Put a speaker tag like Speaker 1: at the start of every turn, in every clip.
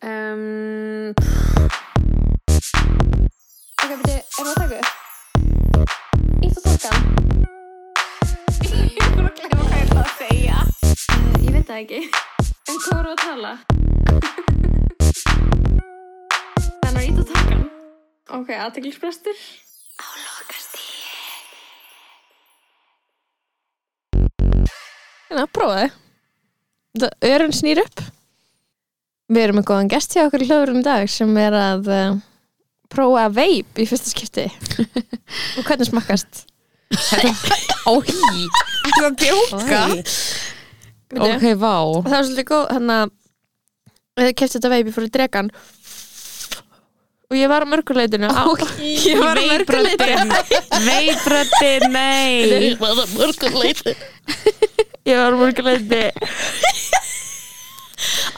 Speaker 1: Um, ok, beti, er það að taka upp? Ítt og tólka.
Speaker 2: Ég voru að glemma hvað ég ætla að segja.
Speaker 1: Uh, ég veit það ekki. En hvað voru að tala?
Speaker 2: Þannig að ít að taka.
Speaker 1: Ok, aðteglisbrestur.
Speaker 2: Á lokast í.
Speaker 3: Þannig að prófa þið. Það örun snýr upp. Við erum með góðan gest hjá okkur í hlöfurum í dag sem er að uh, prófa veip í fyrsta skipti. Og hvernig smakkast?
Speaker 4: Óhí, ertu að bjóka? Ok, vá
Speaker 3: Og það var svolítið góð, hann að eða kefti þetta veip, ég fór í dregan og ég var á mörguleitinu okay. ég var á mörguleitinu
Speaker 4: Veibrötti, nei
Speaker 3: ég var á mörguleitinu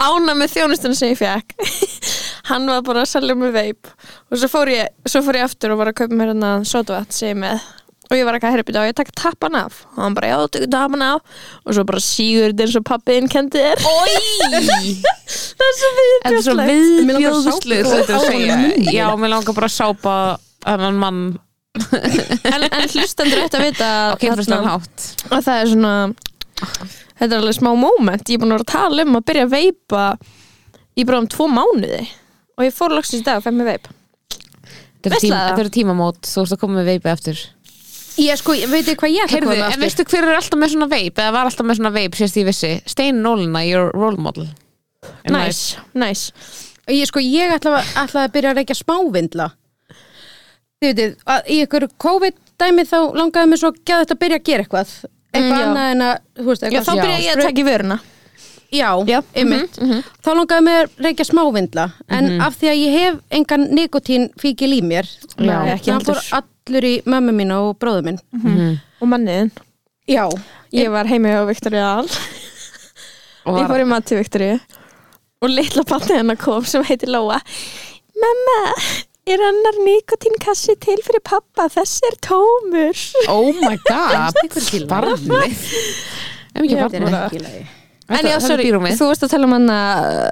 Speaker 3: ána með þjónustun sem ég fekk hann var bara að selja mig veip og svo fór ég, svo fór ég aftur og var að kaupa mér hérna sótavatt sem ég er með og ég var ekki að herpa þetta og ég takk tappan af og hann bara já, takk tappan af og svo bara sígur þetta eins og pappiðin kendi þér það er svo
Speaker 4: Þetta er svo
Speaker 3: viðbjöðslegt
Speaker 4: viðbjóðslega Þetta er að
Speaker 3: Á
Speaker 4: segja
Speaker 3: honum munninum.
Speaker 4: Já, mér langar bara að sápa Þannig mann
Speaker 3: en, en hlustendur ætti að vita að
Speaker 4: á kynfærslega
Speaker 3: þarna-
Speaker 4: hátt
Speaker 3: að það er svona þetta er alveg smá moment ég er búin að vera að tala um að byrja að veipa í bara um tvo mánuði og ég fór loksins í dag að fæ mér veip
Speaker 4: Þetta eru
Speaker 3: Veistla
Speaker 4: tím,
Speaker 3: það.
Speaker 4: þetta eru tímamót, þú ert að koma með veipið eftir
Speaker 3: ég sko, ég veit hvað ég
Speaker 4: Heyrðu, en veistu hver er alltaf með svona veip eða var alltaf með svona veip, sést ég vissi Stein Nólina, your role model In life.
Speaker 3: næs, næs
Speaker 5: Ég sko, ég ætla, ætla að byrja að reykja smávindla Þið veitir, að í ykkur COVID-dæmi þá langaði mér svo gæði þetta að byrja að gera eitthvað Eitthvað
Speaker 3: Mm, já.
Speaker 5: annað en að, þú veist,
Speaker 3: já,
Speaker 5: eitthvað
Speaker 3: þá byrja ég að taka í vöruna
Speaker 5: Já,
Speaker 3: Já, mhm,
Speaker 5: einmitt Þá langaði mér að reykja smávindla En
Speaker 3: Mhm.
Speaker 5: af því að ég hef engan nikotín fíkil í mér
Speaker 3: Já, ekki
Speaker 5: Þannig
Speaker 3: heldur.
Speaker 5: fór allur í mömmu mín og bróðu minn
Speaker 3: og manniðin
Speaker 5: Já,
Speaker 3: ég var heimi á Viktoria Al
Speaker 4: Og
Speaker 3: ég
Speaker 4: var-
Speaker 3: fór í mat til Viktoria og litla barnið hennar kom sem heiti Lóa mamma er annar nikotínkassi til fyrir pappa þessi er tómur
Speaker 4: Oh my god, barnið Ef ekki
Speaker 5: þetta er
Speaker 4: barnið
Speaker 5: ekki í lagi
Speaker 3: En já, sorry, þú varst að tala um hana uh,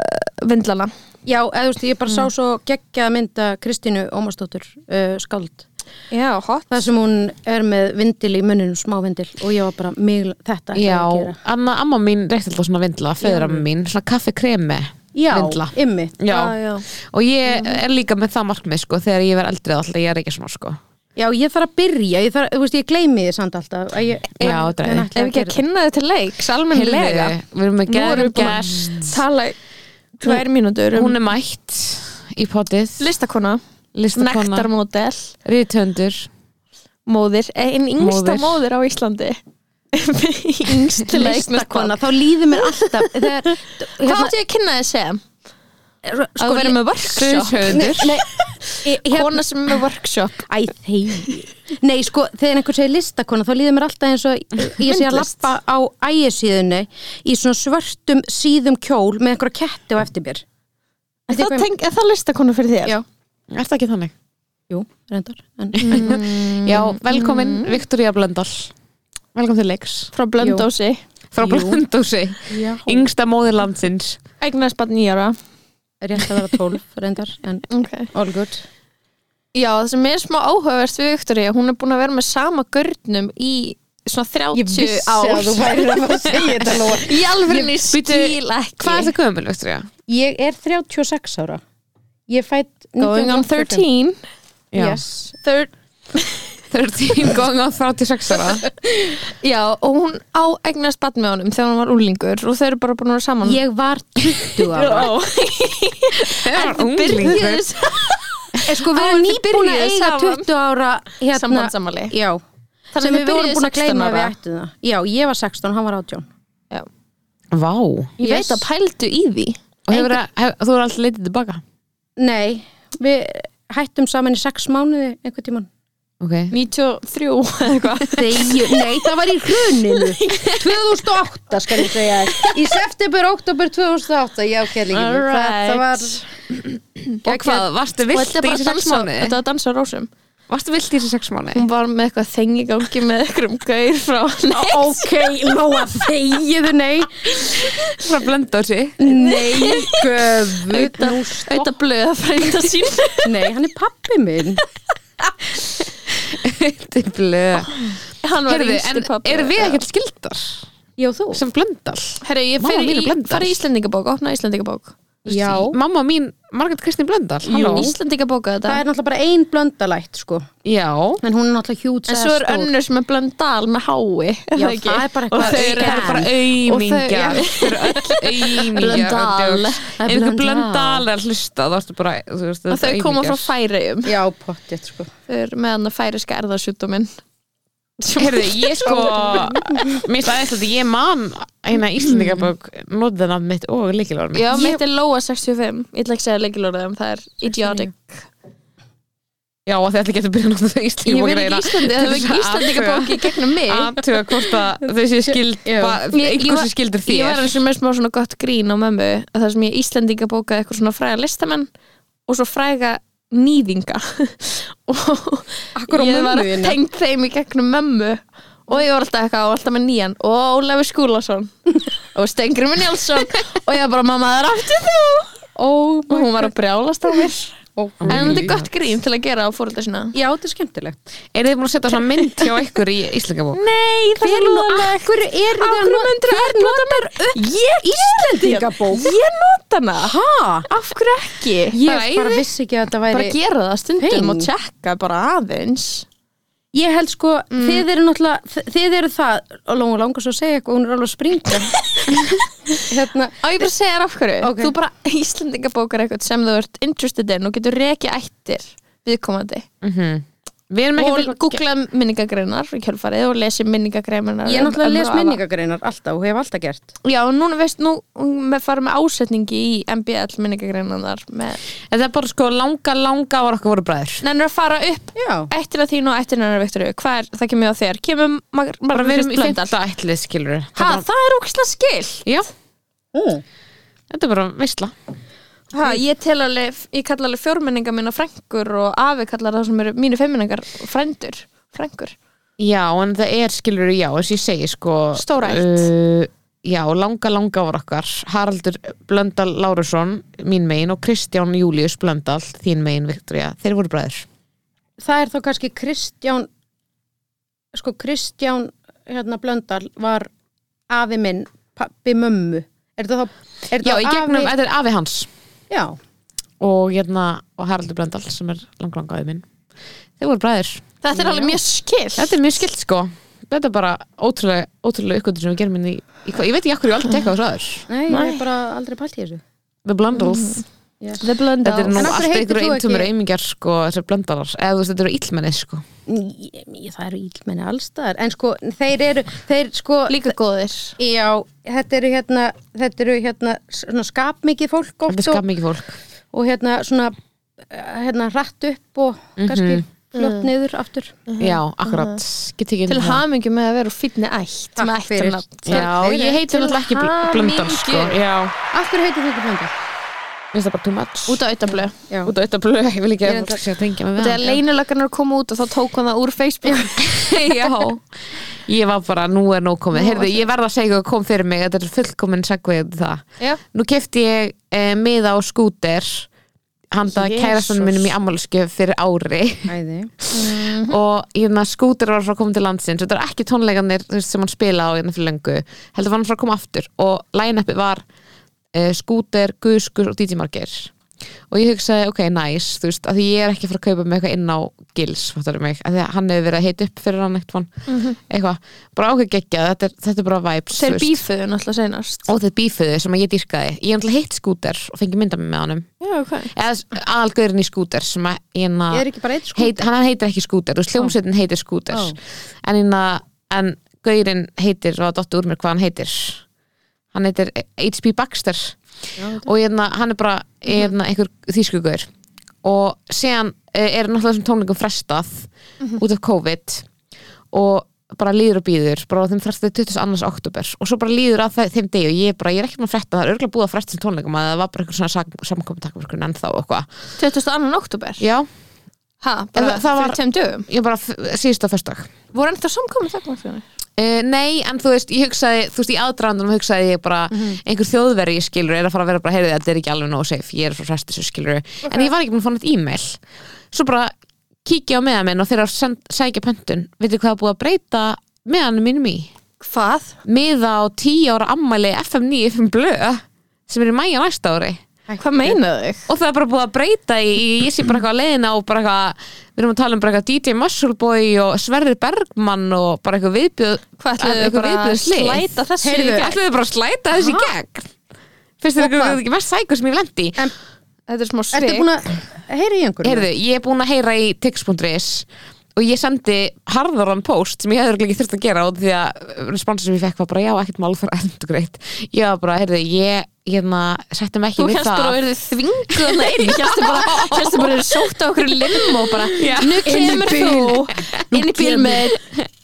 Speaker 3: vindlana
Speaker 5: Já, eða þú veist, ég bara sá
Speaker 3: Mm.
Speaker 5: svo geggjaða mynda Kristínu Ómarsdóttur uh, skáld
Speaker 3: Já, hot
Speaker 5: Það sem hún er með vindil í munnum, smá vindil og ég var bara, mig, þetta ætla ég
Speaker 4: Já,
Speaker 5: að gera.
Speaker 4: Anna, amma mín reykti alltaf svona vindla, feðra mín, svona kaffekremi
Speaker 5: Já,
Speaker 4: vindla.
Speaker 5: ymmit.
Speaker 4: Já.
Speaker 3: Já, já.
Speaker 4: og ég er líka með það markmið sko, þegar ég verð eldrið alltaf, ég er ekki svona sko.
Speaker 5: Já, ég þarf að byrja, ég þarf, þú veist, ég gleymi þið samt alltaf. að Ég,
Speaker 4: Já, þetta er-
Speaker 3: Ef
Speaker 5: en ætla
Speaker 3: ekki
Speaker 5: að
Speaker 3: að
Speaker 5: gera það.
Speaker 3: kynna þau til leiks, almennilega
Speaker 4: Heyrðu, við erum
Speaker 3: Nú erum
Speaker 4: með
Speaker 3: við
Speaker 4: geðum
Speaker 3: búin að
Speaker 4: gest
Speaker 3: tala í tvær mínútur um
Speaker 4: hún er mætt í potið
Speaker 3: listakona,
Speaker 4: listakona,
Speaker 3: nektarmódel
Speaker 4: rítöndur
Speaker 3: móðir, ein yngsta
Speaker 4: Móðir.
Speaker 3: móðir á Íslandi yngst til að eignast barn.
Speaker 5: Listakona, þá líður mér alltaf þegar, hérna,
Speaker 3: Hvað áttu ég að kynna þið sem? Að þú verður Hérna- Sko, með workshop
Speaker 4: suðshöfundur
Speaker 5: nei, sko, ég- hérna,
Speaker 3: Kona sem er með workshop
Speaker 5: æ, þeir Nei, sko, þegar einhver segir listakona þá líður mér alltaf eins og ég sé að
Speaker 3: Myndlist.
Speaker 5: lappa á ægisíðunni í svona svörtum síðum kjól með einhverja ketti á eftir mér
Speaker 3: Er það, teng, er það listakona fyrir þér?
Speaker 5: Já.
Speaker 4: Er það ekki þannig?
Speaker 5: Jú, reyndar en,
Speaker 3: Mm,
Speaker 4: Já, velkomin Viktoria Blöndal Velkomin til leiks
Speaker 3: Frá Blöndósi
Speaker 4: Frá Blöndósi, yngsta móðir landsins
Speaker 3: Eignast bara nýjara
Speaker 5: Rétt að vera tólf, reyndar en
Speaker 3: okay.
Speaker 5: all good
Speaker 3: Já, það sem er smá áhugavert við Viktoria, hún er búin að vera með sama gurnum í svona 30 ár.
Speaker 5: værir að segja þetta Lóa
Speaker 3: Í alvörinni
Speaker 4: Bíddu,
Speaker 3: skil ekki.
Speaker 4: Hvað er það gömul, Viktoria?
Speaker 5: Ég er 36 ára Ég fætt
Speaker 3: Going on 13.
Speaker 5: yes.
Speaker 3: Thir
Speaker 4: 13 going on 36 ára
Speaker 3: já, og hún á eignast badn með honum þegar hún var úlingur og þau eru bara búin að vera saman.
Speaker 5: Ég var 20 ára
Speaker 4: Þegar var
Speaker 3: Byrjuðu
Speaker 4: unglingur
Speaker 3: þess-
Speaker 5: Eh, Sko við
Speaker 3: Á,
Speaker 5: erum
Speaker 3: þið
Speaker 5: nýbúin að
Speaker 3: byrjuðu
Speaker 5: eiga
Speaker 3: saman.
Speaker 5: 20 ára hérna,
Speaker 3: Sambandsafmæli.
Speaker 5: Já
Speaker 3: Þannig
Speaker 5: sem
Speaker 3: þið
Speaker 5: við vorum
Speaker 3: byrjuðu
Speaker 5: búin að
Speaker 3: 16
Speaker 5: gleyma að við
Speaker 3: ára.
Speaker 5: ættum það Já, ég var 16, hann var 18
Speaker 3: Já.
Speaker 4: Vá
Speaker 3: Ég
Speaker 5: Yes.
Speaker 3: veit að pældu í því.
Speaker 4: Og hefur, hef, þú er alltaf leitið tilbaka
Speaker 5: Nei, við hættum saman í 6 mánuði einhvern tímann
Speaker 4: Ok
Speaker 3: 93 eða eitthvað.
Speaker 5: Þeir, Nei, það var í hruninu 2008 skal ég segja þér. Í september, oktober 2008 Já, kærleikin minn, það-
Speaker 3: Alright.
Speaker 5: Það var
Speaker 4: Og hvað, varstu
Speaker 3: Og þetta
Speaker 4: vilt
Speaker 3: er
Speaker 4: í
Speaker 3: bara að
Speaker 4: sex
Speaker 3: dansa,
Speaker 4: mánuði?
Speaker 3: þetta er að dansa á rósum.
Speaker 4: Varstu vilt í þessi sex mánuði?
Speaker 3: Hún var með eitthvað þengi gangi með eitthvað um gaur frá henni.
Speaker 5: Ok, Lóa, þegiðu, nei
Speaker 4: Hún var að blenda á sig
Speaker 5: Nei, göfu
Speaker 3: Þetta blöða freynda sín.
Speaker 5: Nei, hann er pappi minn
Speaker 4: Þetta er blöð
Speaker 3: Hann var
Speaker 4: Herðu,
Speaker 3: yngsti
Speaker 4: en
Speaker 3: pabbi.
Speaker 4: erum við ekkert skildar
Speaker 5: Ég og þú
Speaker 4: sem blöndal?
Speaker 3: Herru, ég
Speaker 4: Mamma mín
Speaker 3: fer
Speaker 4: er
Speaker 3: í,
Speaker 4: blönduð.
Speaker 3: fara í Íslendingabók, opna Íslendingabók.
Speaker 5: Já,
Speaker 4: Mamma mín, Margaret Kristín Blöndal
Speaker 3: Halló.
Speaker 4: halló.
Speaker 3: Íslendingabóka þetta.
Speaker 5: það er náttúrulega bara ein blöndalætt, sko
Speaker 4: Já,
Speaker 5: En hún er náttúrulega sko. hjút
Speaker 3: En svo er önnur sem er blöndal með hái.
Speaker 5: Já, það er bara
Speaker 3: Og
Speaker 5: eitthvað
Speaker 3: þau eru
Speaker 5: auka-
Speaker 3: bara
Speaker 4: bara aumingjar
Speaker 3: Og
Speaker 4: Þau eru öll aumingjar
Speaker 3: Blöndal.
Speaker 4: En einhver blöndal er að hlusta þá ertu bara, þú veist,
Speaker 3: Og þau
Speaker 4: þetta
Speaker 3: koma frá
Speaker 4: aumingjar.
Speaker 3: færiðum.
Speaker 5: Já, pottjætt, sko
Speaker 3: Þau eru með hann að færiska erðasjúdóminn.
Speaker 4: Heyrðu, ég sko Mér finnst aðeins að ég man eina Íslandingabók notaði nafn mitt og líkilorð mitt
Speaker 3: Já, mitt er Lóa 65. Ég ætla ekki að segja leikilorðið um það er idiotic.
Speaker 4: Já, og þið ætla ekki að byrja að nota það
Speaker 3: Ég
Speaker 4: Íslandingabók
Speaker 3: verið í Íslandi, það er Íslandingabók í gegnum mig.
Speaker 4: Aðtuga hvort að þau séu skild
Speaker 5: Já.
Speaker 4: ba-
Speaker 3: Ég- ég
Speaker 4: einhver
Speaker 3: var-
Speaker 4: sem skildur
Speaker 3: Ég var
Speaker 4: þér
Speaker 3: eins og með smá svona gott grín á mömmu að það sem ég Íslendinga bókaði eitthvað svona fræga listamenn og svo fræga nýðinga og
Speaker 5: Akkur á
Speaker 3: ég var
Speaker 5: mömmu þinni?
Speaker 3: tengt þeim í gegnum mömmu og ég var alltaf eitthvað og alltaf með nýjan og Ólefi Skúlason og Stengrimur Njálsson og ég var bara mamma það er aftur þú
Speaker 5: Oh
Speaker 3: og hún var að brjálast á mér
Speaker 5: oh,
Speaker 3: en þetta er gott grín til að gera á fórölda sína
Speaker 5: Já, þetta er skemmtilegt
Speaker 4: Er þið búin að setja svona mynd hjá ykkur í Íslandingabók?
Speaker 3: Nei, það
Speaker 5: Hver
Speaker 3: er
Speaker 5: nú,
Speaker 3: lúðalega
Speaker 5: akkur er
Speaker 3: Af hverju myndirðu
Speaker 5: Hver notar
Speaker 3: Ég
Speaker 5: Íslendingabók?
Speaker 3: Ég nota hana
Speaker 5: Ha?
Speaker 3: Af hverju ekki?
Speaker 5: Ég bara vissi ekki að þetta
Speaker 3: bara
Speaker 5: væri
Speaker 3: gera það stundum
Speaker 5: Thing.
Speaker 3: og tjekka bara aðeins
Speaker 5: Ég held sko,
Speaker 3: Mm.
Speaker 5: þið eru náttúrulega þi- Þið eru það, og Lóa langar svo að segja eitthvað Hún er alveg að springa Hérna,
Speaker 3: á ég bara segja þér af hverju
Speaker 5: Ok.
Speaker 3: þú bara íslendingabókar eitthvað sem þú ert interested in og getur rekið ættir viðkomandi
Speaker 4: Við erum ekki
Speaker 3: Mhm. og googla minningagreinar í kjölfarið og lesi minningagreinar um
Speaker 5: ég er náttúrulega að les minningagreinar alltaf og hef alltaf gert
Speaker 3: já og núna veist nú með fara með ásetningi í MBL minningagreinar með
Speaker 4: Þetta er bara sko langa, langa var okkar voru bræður
Speaker 3: nennir að fara upp
Speaker 5: Já,
Speaker 3: ættir að þínu og ættir hennar Viktoríu hvað er það kemur á þér kemur mar
Speaker 4: Bara við erum í
Speaker 3: Blöndal?
Speaker 4: fyrta ætlið skilur
Speaker 3: ha það er ógislega skil
Speaker 4: Já,
Speaker 5: mm.
Speaker 4: þetta er bara vissla
Speaker 3: Ha, ég tel alveg, ég kalla alveg fjórmenningar mína frængur og afi kallar það sem eru mínu femmenningar frændur, frængur.
Speaker 4: Já, en það er skilur já, þess ég segi sko
Speaker 3: Stórætt.
Speaker 4: uh, Já, langa, langa var okkar Haraldur Blöndal Lárusson mín megin og Kristján Július Blöndal þín megin, Viktoria, þeir voru bræður
Speaker 5: það er þá kannski Kristján sko Kristján hérna Blöndal var afi minn, pappi mömmu er það þá er
Speaker 4: Já,
Speaker 5: það
Speaker 4: í gegnum,
Speaker 5: afi,
Speaker 4: þetta er afi hans
Speaker 5: já,
Speaker 4: og, hérna, og Haraldur Blöndal sem er lang, langa afi minn Þeir voru bræður
Speaker 3: Þetta er alveg mjög skilt.
Speaker 4: Þetta er mjög skilt sko Þetta er bara ótrúlega, ótrúlega ykkur sem við gerum inn í, í hvað, ég veit ekki af hverju ég aldrei tekka á þessu aður
Speaker 5: nei, ég hef bara aldrei pælt í þessu
Speaker 4: The Blundals
Speaker 5: yes.
Speaker 3: The Blöndal.
Speaker 4: Þetta er nú
Speaker 5: En af hverju
Speaker 4: alltaf
Speaker 5: heitir
Speaker 4: ykkur
Speaker 5: þú
Speaker 4: eintumur
Speaker 5: ekki-
Speaker 4: aumingjar sko, þessar blöndalar, eða þú veist þetta eru illmenni sko.
Speaker 5: ég, ég- það eru ílmenni allstaðar en sko, þeir eru þeir sko,
Speaker 3: líka góðir.
Speaker 5: já, þetta eru hérna þetta eru hérna svona skapmikið fólk
Speaker 4: Þetta
Speaker 5: oft
Speaker 4: er skap mikið fólk
Speaker 5: og, og hérna svona eh, hérna rætt upp og kannski
Speaker 4: Mm.
Speaker 5: flott niður aftur
Speaker 4: Já, akkurat, get ekki inn
Speaker 3: Til
Speaker 4: í það
Speaker 3: hamingi með að vera fínni ætt.
Speaker 5: Takk
Speaker 3: með
Speaker 5: fyrir.
Speaker 3: ættarnafn.
Speaker 5: Takk
Speaker 4: Hérna. Já,
Speaker 5: fyrir.
Speaker 4: ég heiti
Speaker 3: Til
Speaker 4: náttúrulega ekki bl- blöndal
Speaker 3: hamingju.
Speaker 4: sko. Já,
Speaker 5: af hverju heitir þú ekki Blöndal?
Speaker 4: Mér finnst það bara too much
Speaker 3: Út á auðablöð.
Speaker 5: Já.
Speaker 4: Út á þetta blöð, ég vil ekki
Speaker 5: Ég er
Speaker 4: að fólk sé að tengja mig
Speaker 3: Þetta er
Speaker 4: með það
Speaker 3: leinilöggarnar koma út og þá tók hann það úr Facebook. Já.
Speaker 4: Ég var bara, nú er nóg komið Heyrðu, ég verð að segja hvað kom fyrir mig Þetta er fullkomin segvið um það
Speaker 3: Já.
Speaker 4: Nú kefti ég eh, miða á skúter handa
Speaker 5: Jesús.
Speaker 4: kærastanum minnum í ammálsku fyrir ári
Speaker 5: Æði. Mhm.
Speaker 4: og hérna, skúter var frá að koma til landsins þetta er ekki tónleikanir þú veist, sem hann spila á hérna fyrir löngu, heldur var hann frá að koma aftur og line-upið var uh, skúter, guðskur og DJ Margeir og ég hugsaði, ok, nice þú veist, að því ég er ekki að fara að kaupa með eitthvað inn á gils, fattar mig, að því að hann hefur verið að heita upp fyrir hann eitthvað,
Speaker 5: Mhm.
Speaker 4: eitthvað bara ákveð geggjað, þetta er, þetta er bara vibes þú
Speaker 3: Þeir
Speaker 4: veist.
Speaker 3: bífuðu náttúrulega senast.
Speaker 4: og þetta bífuðu sem að ég dýrkaði ég er hitt skúter og fengi mynda með honum
Speaker 3: Já, ok.
Speaker 4: eða algöðurinn í skúter sem að, hérna,
Speaker 5: Ég er ekki bara eitt sko
Speaker 4: heit, hann heitir ekki skúter, þú veist, hljómsveitin heitir skúter
Speaker 5: Ó.
Speaker 4: en, inna, en gaurinn heitir, og að dottu úr mér hvað hann heitir hann heitir H.P. Baxter og hérna, hann er bara hérna, einhver þýskugur og síðan eh, er náttúrulega þessum tónleikum frestað út af COVID og bara líður og býður bara á þeim frestaði 22. oktober og svo bara líður að þe- þeim degi og ég er bara, ég er ekki maður að fretta það er örgulega búið að fresta sem tónleikum að það var bara eitthvað svona samkomið takkverkun ennþá og eitthvað
Speaker 3: 22. oktober.
Speaker 4: Já,
Speaker 3: ha, bara
Speaker 4: En það- það var-
Speaker 3: fyrir tveim dögum
Speaker 4: ég bara f- síðasta förstak
Speaker 3: voru ennþá samkomið þagnarfjörni
Speaker 4: Uh, nei, en þú veist, ég hugsaði þú veist, í aðdraðandunum hugsaði ég bara
Speaker 3: Mhm.
Speaker 4: einhver þjóðveri ég skilur, er að fara að vera bara, heyrði, þetta er ekki alveg nóg safe, ég er svo frestið svo skilur en ég var ekki búin að fá nátt e-mail svo bara kíkja á meðan minn og þeirra send- sækja pöntun, veitir hvað er búið að breyta meðanum mínum í
Speaker 3: hvað?
Speaker 4: miða á 10 ára ammæli FM9 FM Blö sem er í mæja næsta ári
Speaker 3: hvað meinaðu þig?
Speaker 4: og það er bara búið að breyta í, í- ég sé bara eitthvað að leiðina og bara eitthvað við erum að tala um bara eitthvað DJ Muscleboy og Sverri Bergmann og bara eitthvað viðbjöð
Speaker 3: hvað ætluðu þau
Speaker 4: eitthvað
Speaker 3: bara að
Speaker 4: viðbjóðslið.
Speaker 3: slæta þessu í
Speaker 5: Heyrðu,
Speaker 3: gegn?
Speaker 4: ætluðu bara að slæta þessi gegn finnst þér eitthvað ekki mest sækur sem ég lendi í
Speaker 5: En
Speaker 3: þetta er smá
Speaker 5: ertu
Speaker 3: svik
Speaker 5: búin að heyra í einhverju?
Speaker 4: heyrðu, ég er búin að heyra í tix.is og ég sendi harðaran post sem ég hefði örugglega ekki þurft að gera og því að responsa sem ég fekk var bara já, ekkert mál þar endur greitt ég var bara, heyrðu, ég hérna, settum ekki
Speaker 3: Þú
Speaker 4: við
Speaker 3: hérst
Speaker 4: það
Speaker 3: bara að verði þvinguð þarna inn, hérstu bara, hérstu bara að verði sótt á okkur lim og bara, nú kemur þú inn í bíl með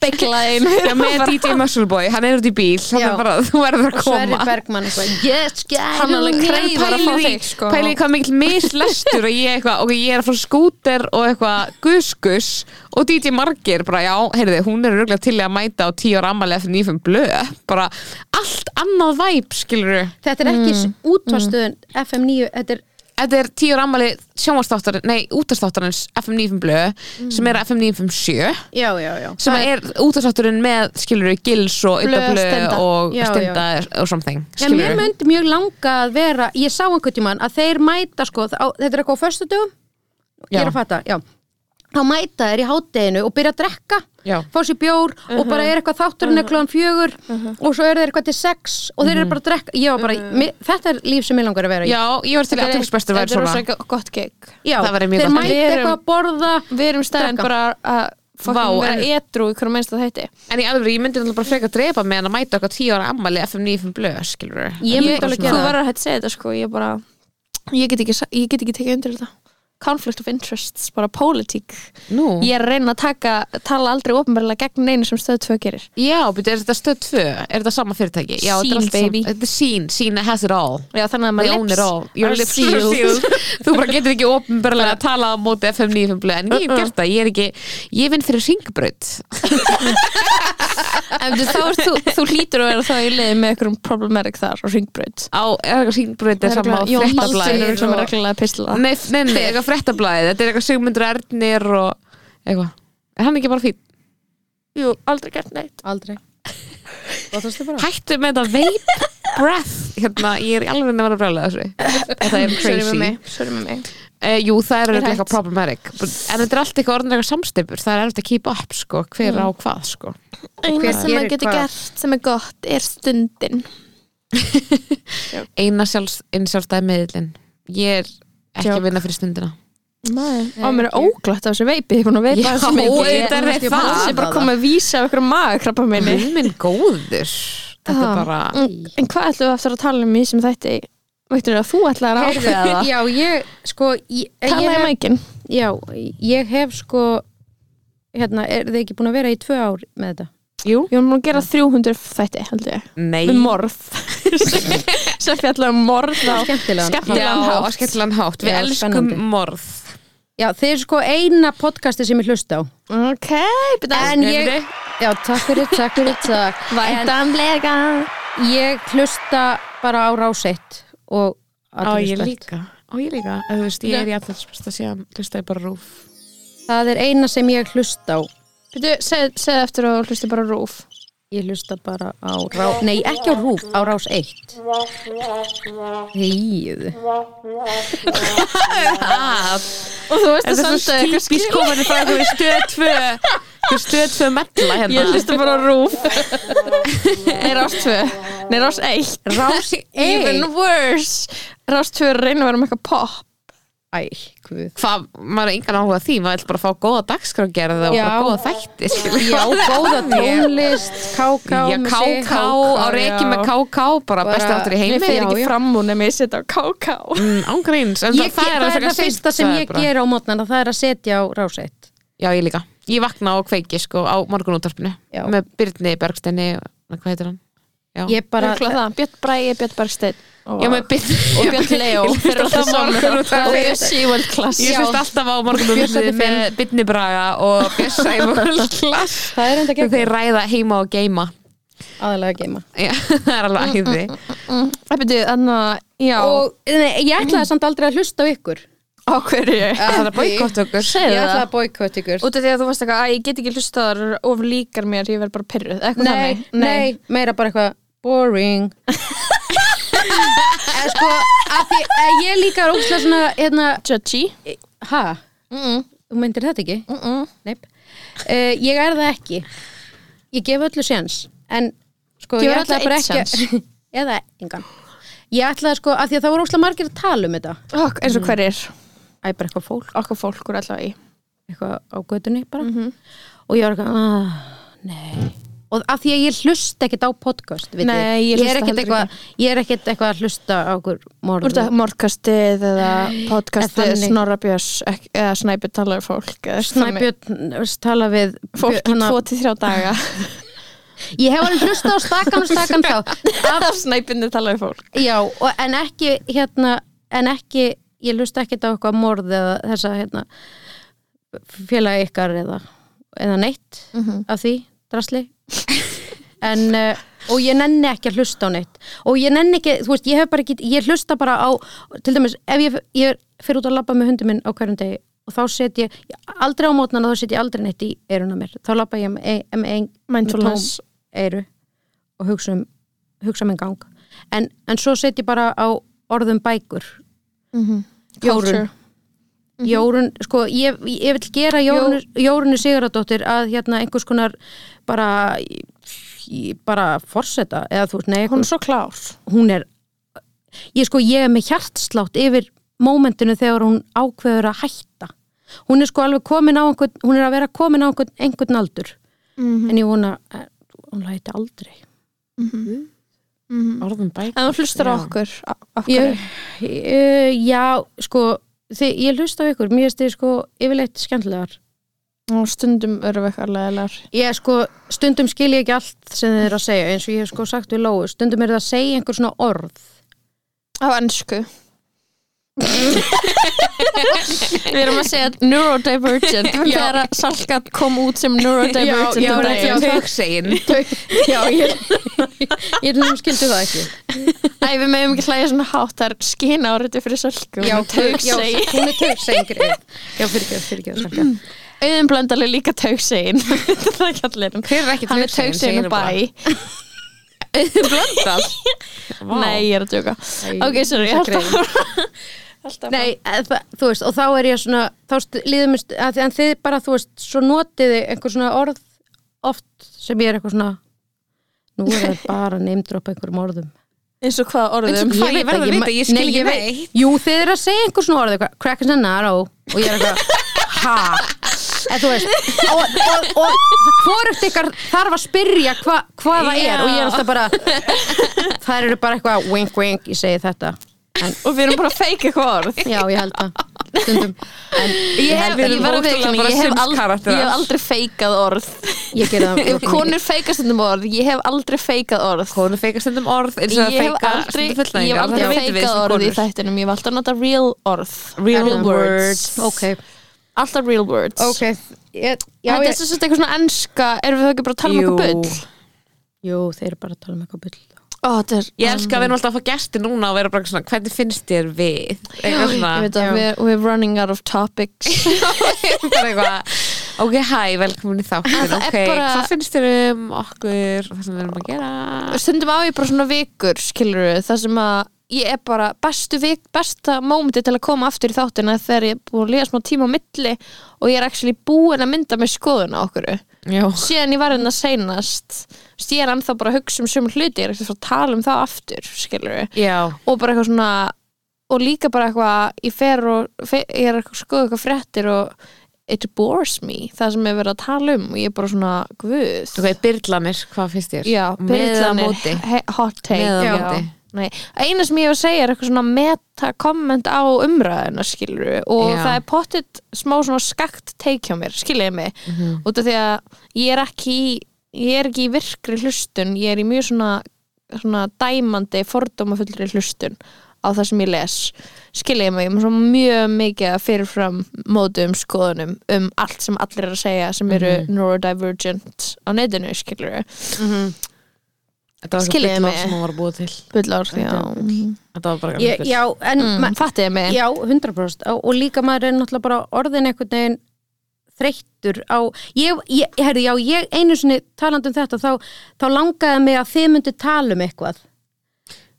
Speaker 3: beiglaðin
Speaker 4: Já, með DJ Muscleboy, hann er út í bíl hann
Speaker 5: Já.
Speaker 4: er bara, þú verður að
Speaker 5: Sverri
Speaker 4: koma
Speaker 5: Bergmann eitthvað
Speaker 3: Yes, yeah, hann alveg kreipar að fá þig sko
Speaker 4: pæli hvað mikil mislestur og ég eitthvað, ok, ég er að fá skúter og eitthvað guskus og DJ Margir bara, já, heyrðu, hún er röglega til í að mæta á tíu ára ammali eftir nýfum blöð bara allt annað væp, skilur
Speaker 5: Þetta er ekki mm. útvastuðun FM 9 Þetta er
Speaker 4: þetta er tíu ára ammali sjónvastáttarins, nei, útastáttarins FM nýfum blöð, sem er FM nýfum sjö
Speaker 5: Já, já, já
Speaker 4: sem
Speaker 5: Það
Speaker 4: er útastátturinn með, skilur gils og
Speaker 3: Blöð,
Speaker 4: ytta blöð
Speaker 3: Steinda.
Speaker 4: og
Speaker 5: Já, já.
Speaker 4: stenda og something,
Speaker 5: Já,
Speaker 4: skilur
Speaker 5: mér myndi mjög langa að vera ég sá einhvern tímann að þeir mæta sko, á, þetta er eitthvað á föstudögum ég er
Speaker 4: Já.
Speaker 5: að fatta, já þá mæta þeir í hátteginu og byrja að drekka
Speaker 4: Já.
Speaker 5: fá sér bjór og bara er eitthvað þátturinn er klóðan fjögur og svo eru þeir eitthvað til sex og þeir eru bara að drekka ég var bara, mér, þetta er líf sem ég langar að vera í
Speaker 4: Já, ég var til í aðtöngsbestur væri svona
Speaker 3: Þetta er rosa gott gig
Speaker 5: já
Speaker 4: það væri mjög
Speaker 5: þeir
Speaker 4: gott.
Speaker 5: mæta
Speaker 3: Við erum-
Speaker 5: eitthvað að borða
Speaker 3: Við erum stæðan
Speaker 5: Drekka.
Speaker 3: bara að fucking
Speaker 4: Vá,
Speaker 3: vera
Speaker 4: en-
Speaker 3: edru í hverju mennst að þetta
Speaker 4: En í alveg, ég myndi náttúrulega bara frekar að drepa mig en að mæta okkar tíu ára ammali FM 95 blöð, skilur við
Speaker 5: Ég myndi alveg gera
Speaker 3: Þú
Speaker 5: það.
Speaker 3: verður að hægt segja þetta sko, ég bara ég get ekki, sa- ég get ekki tekið undir þetta conflict of interests, bara pólitík
Speaker 4: Nú?
Speaker 3: ég er að reyna að taka, tala aldrei ofnbarlega gegn neinu sem stöð 2 gerir
Speaker 4: Já, betur, er þetta stöð 2? Er þetta sama fyrirtæki? Já, þetta er
Speaker 3: Sýn,
Speaker 4: allt sama-
Speaker 3: baby.
Speaker 4: Þetta er sín, sín has it all
Speaker 3: Já, þannig að
Speaker 4: My
Speaker 3: maður
Speaker 4: own it all Your
Speaker 3: are
Speaker 4: lips are sealed Þú bara getur ekki ofnbarlega að tala á móti FM 95 blöð En ég hef gert það, ég er ekki Ég vinn fyrir ringbraut
Speaker 3: En þú, þá ert þú, þú hlýtur að vera þá í liði með einhverjum problematic þar og ringbraut
Speaker 4: Á, er eitthvað ringbraut er sama á
Speaker 3: Jón
Speaker 4: fréttablaði
Speaker 3: Málsson er sem er reglulega að pistla
Speaker 4: Nei, nei, nei, eitthvað fréttablaði Þetta er eitthvað Sigmundur Ernir og eitthvað Er hann ekki bara fín?
Speaker 3: Jú, aldrei gert neitt
Speaker 5: aldrei
Speaker 4: hættu með þetta vape breath hérna, ég er í alveg nefnir að brjála þessu þetta er
Speaker 3: Sorry með
Speaker 4: crazy
Speaker 3: mig, sorry með mig
Speaker 4: uh, jú, það er
Speaker 3: hætt.
Speaker 4: örugglega eitthvað problematic en þetta er allt eitthvað orðin eitthvað samstipur það er eftir að keep up, sko, hver á hvað sko.
Speaker 3: Eina
Speaker 5: Hver
Speaker 3: sem maður
Speaker 5: gerir
Speaker 3: getur
Speaker 5: hvað?
Speaker 3: gert sem er gott er stundin
Speaker 4: eina sjálfs, sjálfstæði meðlinn ég er ekki
Speaker 3: Joke.
Speaker 4: að vinna fyrir stundina
Speaker 3: Nei, og mér er óglætt af þessu veipi Ég er búin að veipa
Speaker 4: Já,
Speaker 3: þessu mikið
Speaker 4: auðvitað er
Speaker 3: Ég
Speaker 4: það.
Speaker 3: er bara að koma að vísa af ykkur magakrabba minni
Speaker 4: minn minn góður þetta er bara
Speaker 3: En hvað ætlum við aftur að tala um í sem þetta Veitur að þú ætlar að ákveða það
Speaker 5: já, ég sko ég, ég,
Speaker 3: Tala í
Speaker 5: hef,
Speaker 3: mækin
Speaker 5: já, ég hef sko hérna, er þið ekki búin að vera í tvö ár með þetta
Speaker 4: jú,
Speaker 3: Ég var nú að gera 300 þætti, held ég
Speaker 4: nei
Speaker 3: Við morð Sem fjallar um morð á
Speaker 5: Skemmtilegan.
Speaker 3: skemmtilegan
Speaker 4: Já, á
Speaker 3: hátt.
Speaker 4: skemmtilegan hátt, við
Speaker 5: Já,
Speaker 4: elskum
Speaker 5: spennandi.
Speaker 4: morð
Speaker 5: já, þið er sko eina podcasti sem ég hlusta á
Speaker 3: Ok, byrja
Speaker 5: En ég, já, takk fyrir, takk fyrir, takk En
Speaker 3: Væntanlega
Speaker 5: ég hlusta bara á rásitt og
Speaker 4: á ég
Speaker 5: Athyglisbert.
Speaker 4: líka á ég líka, Eða, þú veist, ég er í alltaf spesta síðan hlustaði bara rúf
Speaker 5: Það er eina sem ég hlusta á
Speaker 3: Byrja, segð seg eftir og hlusti bara rúf
Speaker 5: Ég hlusta bara á rás Nei, ekki á rúf, á rás 1 Þýðu
Speaker 3: Og þú veist
Speaker 4: Þetta er svo típisk komin frá einhverju stöð 2 einhverju stöð 2 mella hérna
Speaker 3: Ég hlusti bara á rúf Nei, rás 2 Nei, rás 1
Speaker 5: Rás 1
Speaker 3: Even worse Rás 2 er að reyna að vera með eitthvað pop
Speaker 5: Æ, guð
Speaker 4: Hvað, maður er engan áhuga á því, maður vil bara fá góða dagskrágerð og
Speaker 5: Já.
Speaker 4: bara góða þætti skilur.
Speaker 5: Já, góða tónlist, káká
Speaker 4: Já,
Speaker 5: músík.
Speaker 4: káká, á reiki með káká bara,
Speaker 5: Bara-
Speaker 4: besti áttur í
Speaker 3: Mér
Speaker 4: heimi
Speaker 3: fyrir ekki fram úr nema ég setja á KK
Speaker 4: Ángríns, Mm, en
Speaker 5: Ég, það,
Speaker 4: alveg
Speaker 5: er það
Speaker 4: frekar
Speaker 5: fyrsta
Speaker 4: seint,
Speaker 5: sem
Speaker 4: það er
Speaker 5: ég
Speaker 4: bara-
Speaker 5: ger á mótnana það er að setja á rás 1
Speaker 4: Já, ég líka, ég vakna á kveiki sko á morgunúttarpinu
Speaker 5: Já.
Speaker 4: með Byrni Bergsteini, og- hvað heitir hann? Já.
Speaker 5: Ég bara,
Speaker 3: Örugglega það, Björn Bræi, Björn Bergsteinn og,
Speaker 4: Já, maður byrð
Speaker 3: og Björn Leó fyrir alltaf saman og
Speaker 4: Ég
Speaker 3: Bjössi í World Class
Speaker 4: ég finnst alltaf á morgunum með Byrni Braga og Bjössa í Vörlklass
Speaker 5: það er enda ekki
Speaker 4: Þeir ræða heima og geima
Speaker 5: aðalega að geima.
Speaker 4: Já, Það er alveg æði
Speaker 3: Það byrju, en að já,
Speaker 5: Og nei, ég ætlaði samt aldrei að hlusta á ykkur.
Speaker 3: á hverju
Speaker 4: Það er að boykotta okkur
Speaker 5: Ég
Speaker 3: Segðu
Speaker 5: ætlaði
Speaker 3: það
Speaker 5: að boykott ykkur.
Speaker 3: Út af því að þú varst eitthvað, að ég get ekki hlustað þar eru of líkar mér, ég verð bara pyrruð eitthvað
Speaker 5: Nei,
Speaker 3: þannig.
Speaker 5: nei, meira bara eitthvað boring En sko, að því að ég líka er ógstlega svona, hérna,
Speaker 3: Judgy
Speaker 5: ha,
Speaker 3: mm,
Speaker 5: þú myndir þetta ekki?
Speaker 3: mm, mm.
Speaker 5: Nei, uh, ég er það ekki Ég gef öllu séns En sko,
Speaker 3: Gefur
Speaker 5: ég ætla
Speaker 3: öllu
Speaker 5: bara
Speaker 3: einn
Speaker 5: ekki að- Eða engan Ég ætlaði sko, að því að það voru ógstlega margir að tala um þetta
Speaker 3: Ok, eins og hverjir,
Speaker 5: Æ, bara eitthvað fólk,
Speaker 3: okkur fólk úr allavega í
Speaker 5: eitthvað á götunni bara
Speaker 3: Mhm.
Speaker 5: Og ég var eitthvað, ah, nei Og að því að ég hlusta ekkert á podcast vitið.
Speaker 3: Nei, ég
Speaker 5: er
Speaker 3: hlusta
Speaker 5: ekkert
Speaker 3: heldur
Speaker 5: eitthvað Ég er ekkert eitthvað að hlusta á okkur morð
Speaker 3: Úr þetta mórkastið eða podcastið
Speaker 5: Þannig.
Speaker 3: Snorra Björns ek- eða Snæbjörn talar við fólk eða þannig.
Speaker 5: Snæbjörn tala við
Speaker 3: fólk hérna- í
Speaker 5: Björn- hana-
Speaker 3: tvo til þrjá daga
Speaker 5: Ég hef alveg hlusta á stakan og stakan þá
Speaker 3: af Snæbjörni talar við fólk
Speaker 5: Já, og, en ekki hérna, en ekki ég hlusta ekkert á eitthvað morð eða þessa hérna félagi ykkar eða, eða neitt af því, drasli en, uh, og ég nenni ekki að hlusta á neitt og ég nenni ekki, þú veist, ég hef bara ekki ég hlusta bara á, til dæmis ef ég, ég fer út að labba með hundum minn á hverjum degi og þá set ég, aldrei á mótnana þá set ég aldrei neitt í eiruna mér þá labba ég með, ein- með, ein- með tóm
Speaker 3: Mindfulness.
Speaker 5: eiru og hugsa um hugsa um en gang en, en svo set ég bara á orðum bækur
Speaker 3: Mhm.
Speaker 5: Jórun. Jórun, sko, ég, ég vil gera Jórun, Jórunni Sigurðardóttir að hérna einhvers konar bara í- bara forseta eða þú veist, nei,
Speaker 3: hún
Speaker 5: hún,
Speaker 3: er svo klár
Speaker 5: hún er ég sko, ég er með hjartslátt yfir mómentinu þegar hún ákveður að hætta hún er sko alveg komin á einhvern hún er að vera komin á einhvern, einhvern aldur
Speaker 3: Mhm,
Speaker 5: en ég vona að hún hætti aldrei
Speaker 3: mhm.
Speaker 4: Orðum bæk
Speaker 3: en hún hlustar á okkur á- af
Speaker 5: ég,
Speaker 3: hverju?
Speaker 5: uh, já, sko þið, ég hlusta á ykkur, mér finnst þið sko yfirleitt skemmtilegar
Speaker 3: og stundum örf eitthvað leðilegar
Speaker 5: ég sko, stundum skil ég ekki allt sem þið er að segja, eins og ég hef sko sagt við Lóu stundum er það að segja einhver svona orð
Speaker 3: á ennsku við erum að segja neurodivergent þegar að Salkat kom út sem neurodivergent
Speaker 5: Já,
Speaker 3: um
Speaker 5: já,
Speaker 3: daginn.
Speaker 4: Töksegin
Speaker 5: já, ég ég er nefnum skildi það ekki
Speaker 3: Æ, við meðum ekki hlæja svona hátt það er skina áriði fyrir Salku
Speaker 5: já,
Speaker 3: taug
Speaker 5: já,
Speaker 3: segin
Speaker 5: hún er taugsengri já, fyrir ekki, fyrir ekki
Speaker 3: auðin blöndal er líka taugsegin það er ekki allir
Speaker 4: Hver er ekki
Speaker 3: hann er
Speaker 4: taugsegin, segir
Speaker 3: taugsegin og
Speaker 4: hún
Speaker 3: bæ
Speaker 4: Blöndal
Speaker 3: nei, ég er að djóka ok, sorry, ég held að
Speaker 5: Nei, eða það- þú veist, og þá er ég svona þá stu- líður mér, stu- að því- en þið bara, þú veist svo notiði einhver svona orð oft sem ég er eitthvað svona nú er það bara neymdropa einhverjum orðum
Speaker 3: eins og hvað orðum
Speaker 4: Um Hvað, ég verð að vita, ég skil ekki neitt.
Speaker 5: Jú, þið eru að segja einhver svona orð eitthvað, crackers and narrow og ég er eitthvað, ha eða þú veist, og, og, og hvorugt ykkar þarf að spyrja hva, hvað það er og ég er alltaf bara þær eru bara eitthvað wink wink, ég segi þetta
Speaker 3: og við erum bara að feika eitthvað orð
Speaker 5: já, ég held það stundum, en
Speaker 3: ég hef,
Speaker 5: held
Speaker 3: ég
Speaker 5: við
Speaker 3: var að
Speaker 5: erum
Speaker 4: ótrúlega
Speaker 3: veikna,
Speaker 4: bara
Speaker 3: ég hef, ald, ég
Speaker 4: simskarakterar.
Speaker 3: hef aldrei feikað orð
Speaker 5: ég gerði það
Speaker 3: ef konur feikast um orð, ég hef aldrei feikað orð
Speaker 4: Konur feika stundum orð eins
Speaker 3: ég
Speaker 4: og það
Speaker 3: hef
Speaker 4: feika
Speaker 3: aldrei,
Speaker 4: stundum
Speaker 3: ég hef
Speaker 4: fullnæðingar.
Speaker 3: aldrei
Speaker 4: Það vitum við
Speaker 3: feikað
Speaker 4: sem
Speaker 3: orð í
Speaker 4: konur.
Speaker 3: þættinum ég hef alltaf notað real orð
Speaker 4: Real words.
Speaker 5: ok,
Speaker 3: alltaf real words
Speaker 5: ok ég, já,
Speaker 3: þetta er
Speaker 5: ég,
Speaker 3: svo sett eitthvað svona enska erum við þá ekki bara að tala um
Speaker 4: Jú.
Speaker 3: eitthvað bull
Speaker 5: jú, þeir eru bara að tala um eitthvað bull
Speaker 3: Ó, þetta er,
Speaker 4: Ég elska að við erum alltaf að fá gæsti núna og vera bara svona, hvernig finnst þér við? Eitthvað svona
Speaker 3: ég veit að við we're running out of topics
Speaker 4: bara eitthvað Ok, hæ, velkomin í
Speaker 3: En
Speaker 4: þáttin
Speaker 3: það er
Speaker 4: Ok,
Speaker 3: bara-
Speaker 4: hvað finnst þér um okkur og það sem við erum að gera?
Speaker 3: stundum á ég bara svona vikur skilur við, þar sem að ég er bara bestu vik, besta mómenti til að koma aftur í þáttina þegar ég er búin að liða smá tíma á milli og ég er actually búin að mynda með skoðuna okkur
Speaker 4: Já
Speaker 3: síðan ég var hérna seinast þú veist, ég er ennþá bara að hugsa um sömu hluti ég er ekkert að fara að tala um það aftur skilur við
Speaker 4: Já,
Speaker 3: og bara eitthvað svona og líka bara eitthvað ég fer og fer, ég er að skoða eitthvað fréttir og it bores me það sem er verið að tala um og ég er bara svona guð
Speaker 4: ok, byrlanir, hvað finnst þér?
Speaker 3: já,
Speaker 4: Með eða
Speaker 3: byrjanir,
Speaker 4: móti
Speaker 3: he- hot take
Speaker 4: Með eða
Speaker 3: já.
Speaker 4: móti.
Speaker 3: Nei, eina sem ég hef að segja er eitthvað svona meta komment á umræðina skilur og
Speaker 4: Já.
Speaker 3: það er pottitt smá svona skakt take hjá mér, skilur ég mig
Speaker 4: Mhm.
Speaker 3: út af því að ég er ekki í- ég er ekki í virkri hlustun, ég er í mjög svona svona dæmandi fordómafullri hlustun á það sem ég les skilja ég mig, ég er með svo mjög mikið að fyrirfram mótum skoðunum um allt sem allir er að segja sem eru
Speaker 4: Mhm.
Speaker 3: neurodivergent á netinu skiljur
Speaker 4: Þetta var
Speaker 3: Skiljiði
Speaker 4: eitthvað
Speaker 3: mig.
Speaker 4: bygglar sem hún var að búa til
Speaker 3: bullar, já
Speaker 4: Þetta var bara
Speaker 5: Ég,
Speaker 4: bull.
Speaker 5: já, en
Speaker 3: mm,
Speaker 5: ma-
Speaker 3: fattiði mig
Speaker 5: já, 100% og, og líka maður er náttúrulega bara orðin einhvern veginn þreyttur á ég, ég, herri, já, ég einu sinni talandi um þetta þá, þá langaði mig að þið myndi tala um eitthvað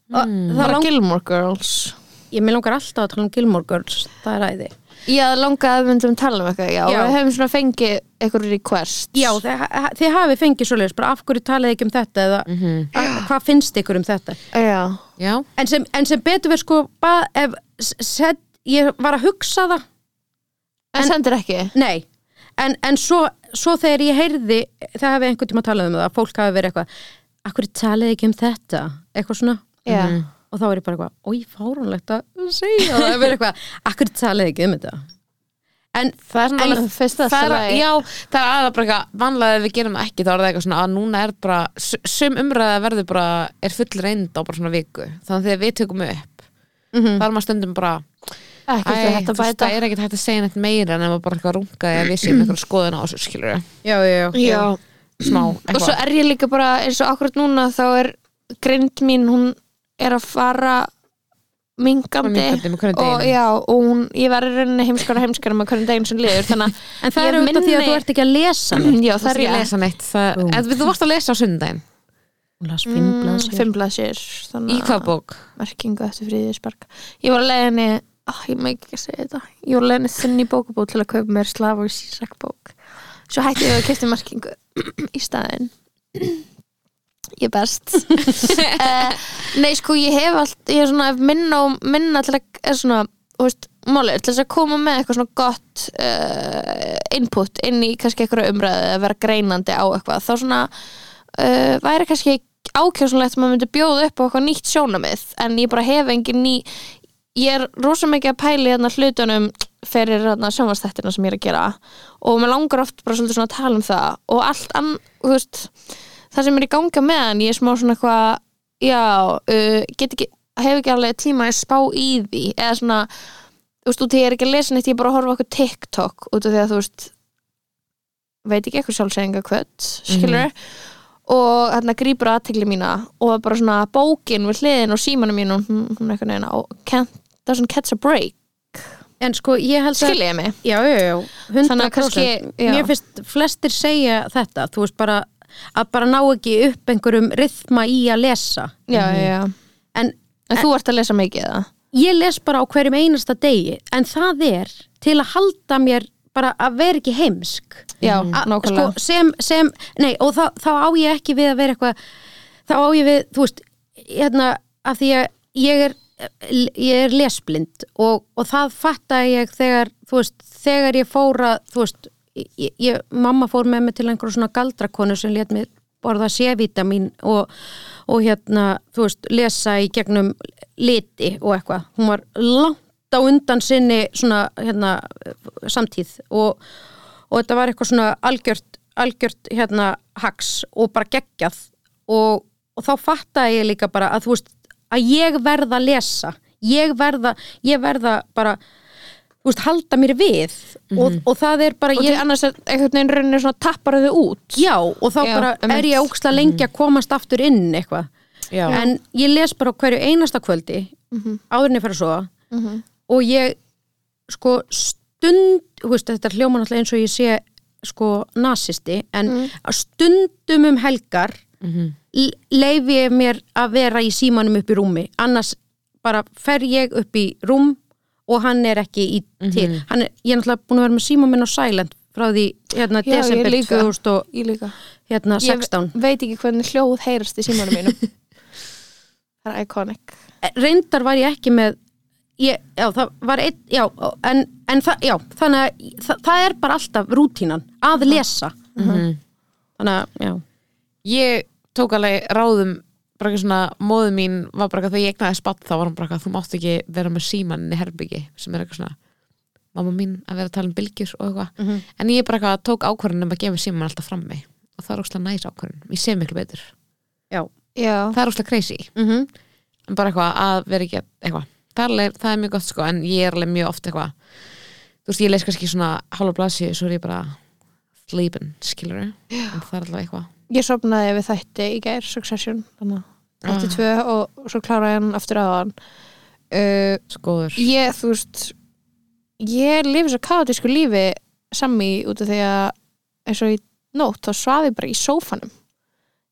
Speaker 5: mm. það
Speaker 3: bara
Speaker 5: lang,
Speaker 3: Gilmore Girls
Speaker 5: ég mér langar alltaf að tala um Gilmore Girls það er æði
Speaker 3: Já, langaði að myndum tala um eitthvað, já,
Speaker 5: Já.
Speaker 3: við hefum svona fengið eitthvað request
Speaker 5: Já, þið, þið hafið fengið svoleiðis, bara af hverju talið þið ekki um þetta eða mm hvað finnst ykkur um þetta
Speaker 3: já,
Speaker 4: Mhm. já,
Speaker 5: en sem, en sem betur við sko ba, ef, s- set, ég var að hugsa það
Speaker 3: en, sendir ekki
Speaker 5: nei, en, en svo, svo þegar ég heyrði, það hefði einhvern tíma talað um það, fólk hafi verið eitthvað af hverju talið þið ekki um þetta, eitthvað svona
Speaker 3: Já,
Speaker 4: mhm.
Speaker 5: og þá er ég bara eitthvað, oi, fárunlegt að segja það, það er eitthvað, af hverju talið þið ekki um þetta en
Speaker 3: það er svona
Speaker 5: En
Speaker 3: alveg fyrst að
Speaker 4: það
Speaker 3: það
Speaker 4: er, já, það er aðra bara eitthvað vanlega ef við gerum það ekki, þá er það eitthvað svona að núna er bara, s- sum umræða verður bara er full reynd á bara svona viku þannig að þegar við tökum upp mm -hmm. þá er maður stundum bara
Speaker 3: Mhm. ekki
Speaker 4: "Æ,
Speaker 3: fyrir hægt
Speaker 4: þú
Speaker 3: að
Speaker 4: veist,
Speaker 3: bæta
Speaker 4: það er ekkert hægt að segja neitt meira en maður bara eitthvað rungaði að við séum eitthvað skoðun á þessu skilur
Speaker 5: já, já, já,
Speaker 3: Já,
Speaker 4: smá
Speaker 3: og svo
Speaker 4: eitthvað
Speaker 3: er ég líka bara eins og akkurat núna þá er grind mín, hún er að fara mingandi
Speaker 4: Minnkandi með hverjum
Speaker 3: og
Speaker 4: deginum.
Speaker 3: já, og hún, ég var í rauninni heimskara heimskara með hvernig deginn sem liður þannig
Speaker 5: en það
Speaker 3: Ég
Speaker 5: er auðvitað því að
Speaker 3: minni-
Speaker 5: þú ert ekki að lesa neitt.
Speaker 3: að já,
Speaker 4: það er ég að
Speaker 3: rétt.
Speaker 4: lesa neitt það,
Speaker 5: Ú.
Speaker 4: eða, þú varst að lesa á sundaginn
Speaker 5: hún las fimm blaðsíður.
Speaker 3: Mm, fimm blaðsir Ah.
Speaker 4: í hvað bók?
Speaker 3: merkingu eftir fríðisberg ég var að leiða henni oh, ég má ekki segja þetta ég var að leiða henni þunni bókabók til að kaupa mér Slavoj Zizek bók svo hætti ég að kefti merkingu í staðinn ég er best uh, nei sko ég hef allt ég er svona að minna og minna til að er svona þú veist málið er til þess að koma með eitthvað svona gott uh, input inn í kannski eitthvað umræðu að vera greinandi á eitthvað þá svona uh, væri kannski ákjósunlegt að maður myndi bjóða upp á eitthvað nýtt sjónamið en ég bara hef engin ný ég er rosa mikið að pæli hérna hlutunum fyrir hérna sjónvastættina sem ég er að gera og maður langar oft bara svolítið svona að tala um það og allt ann, þú veist það sem er í ganga með hann, ég er smá svona eitthvað já, uh, get ekki hef ekki alveg tíma að spá í því eða svona, þú veist, út í ég er ekki að lesa neitt, ég er bara að horfa á okkur TikTok út af því að þú veist veit ekki eitthvað sjálfsæðinga kvöld
Speaker 5: Mhm.
Speaker 3: skilur og hérna grýpur aðtegli mína og bara svona bókin við hliðin og símanum mín og hún hún eitthvað neina og can't, doesn't catch a break
Speaker 5: en sko, ég held að
Speaker 3: skilur ég mig
Speaker 5: já, já, já, 100%
Speaker 3: Þannig að kannski- já.
Speaker 5: mér finnst flestir segja þetta þú veist bara að bara ná ekki upp einhverjum rithma í að lesa
Speaker 3: já, já, já.
Speaker 5: en
Speaker 3: en þú ert að lesa mikið eða?
Speaker 5: ég les bara á hverjum einasta degi en það er til að halda mér bara að vera ekki heimsk
Speaker 3: já, Mm,
Speaker 5: A-
Speaker 3: nákvæmlega
Speaker 5: sko, sem, sem, nei, og þá, þá á ég ekki við að vera eitthvað þá á ég við, þú veist hérna, af því að ég er ég er lesblind og, og það fatta ég þegar þú veist, þegar ég fóra þú veist, ég, ég, mamma fór með mig til einhverjum svona galdrakonu sem lét mig borða sévitamin og, og hérna, þú veist, lesa í gegnum liti og eitthvað hún var langt á undan sinni svona, hérna, samtíð og, og þetta var eitthvað svona algjört, algjört hérna haks og bara geggjað og, og þá fattaði ég líka bara að þú veist að ég verða að lesa ég verða, ég verða bara þú veist, halda mér við og, og það er bara
Speaker 3: Mhm. og
Speaker 5: ég,
Speaker 3: ég, annars er einhvern veginn rauninu svona tappar þau út
Speaker 5: já, og þá
Speaker 3: Já,
Speaker 5: bara
Speaker 3: einmitt. Mhm.
Speaker 5: er ég óksla lengi að komast aftur inn eitthvað
Speaker 4: Já.
Speaker 5: en ég les bara á hverju einasta kvöldi
Speaker 3: Mhm.
Speaker 5: áðurinni fyrir svo mm og ég sko stund þú veist, þetta hljóma náttúrulega eins og ég sé sko nasisti en
Speaker 3: Mhm.
Speaker 5: á stundum um helgar mm
Speaker 4: Mhm.
Speaker 5: leifi ég mér að vera í símanum upp í rúmi annars bara fer ég upp í rúm og hann er ekki í til hann er, ég er náttúrulega búin að vera með síman minn á silent frá því
Speaker 3: Já,
Speaker 5: hérna
Speaker 3: ég
Speaker 5: desember
Speaker 3: líka.
Speaker 5: 2000 og
Speaker 3: ég líka
Speaker 5: hérna
Speaker 3: ég
Speaker 5: 16
Speaker 3: veit ekki hvernig hljóð heyrast í símanum mínum það er iconic
Speaker 5: Eh, reyndar var ég ekki með ég, já, það var einn já, en, en það, já, þannig að það, það er bara alltaf rútínan að lesa Mhm. þannig að, já
Speaker 4: ég tók alveg ráðum bara eitthvað svona, móðu mín var bara eitthvað þegar ég egnaði spatt þá var hann bara eitthvað, þú mátt ekki vera með símann í herbyggi sem er eitthvað svona mamma mín að vera að tala um bylgjur og eitthvað en ég bara eitthvað tók ákvörðin um að gefa símann alltaf frammi og það er ókslega næs ákvörðin, ég sé miklu betur
Speaker 5: já,
Speaker 3: Já,
Speaker 4: það er óslega crazy
Speaker 5: mm -hmm.
Speaker 4: en bara eitthvað að vera ekki að- eitthvað það er, alveg- það er mjög gott sko en ég er alveg mjög oft eitthvað þú veist ég leys kannski svona hálfa blasi svo er ég bara sleeping skilur en það er alltaf eitthvað
Speaker 3: ég sopnaði við þætti í gær Succession, þannig að þætti tvö og og svo kláraði ég hann aftur á hann uh,
Speaker 4: skoður
Speaker 3: ég, þú veist ég lifi svo kaotísku lífi sami út af því að eins og í nótt, þá svaði ég bara í sófanum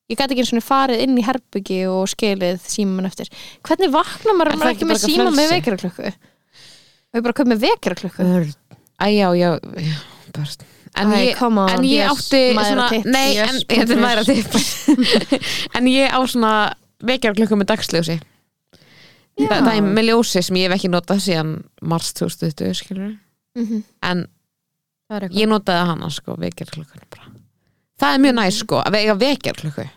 Speaker 3: ég gæti ekki eins og farið inn í herbyggi og skilið síman eftir hvernig vaknar maður ef
Speaker 4: Er það
Speaker 3: maður
Speaker 4: ekki
Speaker 3: ekki með
Speaker 4: bara
Speaker 3: síma með
Speaker 4: frelsi?
Speaker 3: vekjaraklöku og ég bara köp með vekjaraklöku
Speaker 4: æjá, já, já börn. en
Speaker 3: Æ,
Speaker 4: ég,
Speaker 3: come on,
Speaker 4: en ég
Speaker 3: yes,
Speaker 4: átti
Speaker 3: mæðra
Speaker 4: svona,
Speaker 3: tips,
Speaker 4: nei,
Speaker 3: yes,
Speaker 4: en ég þetta er
Speaker 3: punktur.
Speaker 4: mæra tipp en ég á svona vekjar klukku með dagsljósi Þa, það er með ljósi sem ég hef ekki notað síðan mars 2020 skilur
Speaker 3: Mhm.
Speaker 4: en
Speaker 5: það er eitthvað
Speaker 4: ég notaði hana sko vekjar bara það er mjög næs sko að vega vekjar klukku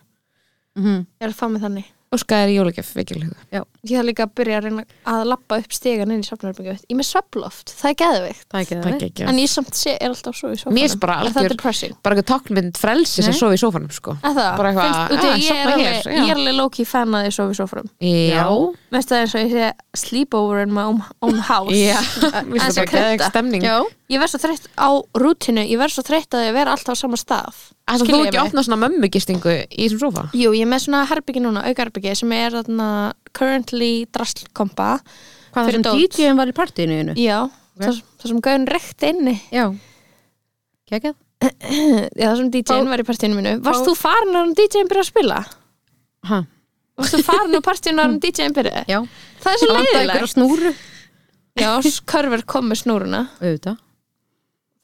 Speaker 3: ég
Speaker 5: Mhm.
Speaker 3: er að fá mig þannig
Speaker 4: og skaðir jólagjöf vekjar klukku
Speaker 3: ég þarf líka að byrja að reyna að lappa upp stegan inn í svefnherbyggju ég er með svefnloft, það er geðveikt
Speaker 5: það er ekki
Speaker 4: það
Speaker 5: það
Speaker 4: er ekki
Speaker 3: en ég samt sé, er alltaf svo í sófanum
Speaker 4: Mér finnst bara
Speaker 3: er það
Speaker 4: algjör-
Speaker 3: depressing
Speaker 4: bara eitthvað táknmynd frelsis að
Speaker 5: Nei.
Speaker 4: sofa í sófanum sko
Speaker 3: Er það?
Speaker 4: Bara eitthvað,
Speaker 3: Finnst- út af
Speaker 4: ah,
Speaker 3: ég er
Speaker 4: sofna
Speaker 3: alveg-
Speaker 4: hér, já.
Speaker 3: Ég er alveg loki fan að því sofi sófrum
Speaker 4: já,
Speaker 3: Veist það eins og ég sé sleepover in my own, own house
Speaker 4: já.
Speaker 3: En
Speaker 4: Mér finnst
Speaker 3: svo
Speaker 4: það bara geðveik
Speaker 3: krydda.
Speaker 4: stemning
Speaker 5: já,
Speaker 3: Ég verð svo þreytt á rútinu Ég verð svo þreytt að ég verð alltaf á sama stað
Speaker 4: Ætlar Ah, þú
Speaker 3: Skiljiði
Speaker 4: ekki
Speaker 3: mig?
Speaker 4: opna svona mömmugistingu í þessum sofa?
Speaker 3: Jú, ég er með svona herbyggi núna, aukaherbyggi sem er þarna currently drastlkompa
Speaker 5: hvað það
Speaker 3: Fyrir
Speaker 5: sem
Speaker 3: dót.
Speaker 5: DJ-um var í partíinu einu
Speaker 3: Já, það, það sem gauðin reykt inni
Speaker 5: já, kekjað
Speaker 3: Já, það sem DJ-in
Speaker 5: Fá-
Speaker 3: var í partíinu mínu Varst þú farin að hann DJ-in byrja að spila?
Speaker 5: ha,
Speaker 3: Varst þú farin á partíinu að hann DJ-in byrja?
Speaker 5: já,
Speaker 3: Það er svo leiðilega
Speaker 5: einhverja snúru
Speaker 3: Já, körfur kom með snúruna
Speaker 5: auðvitað,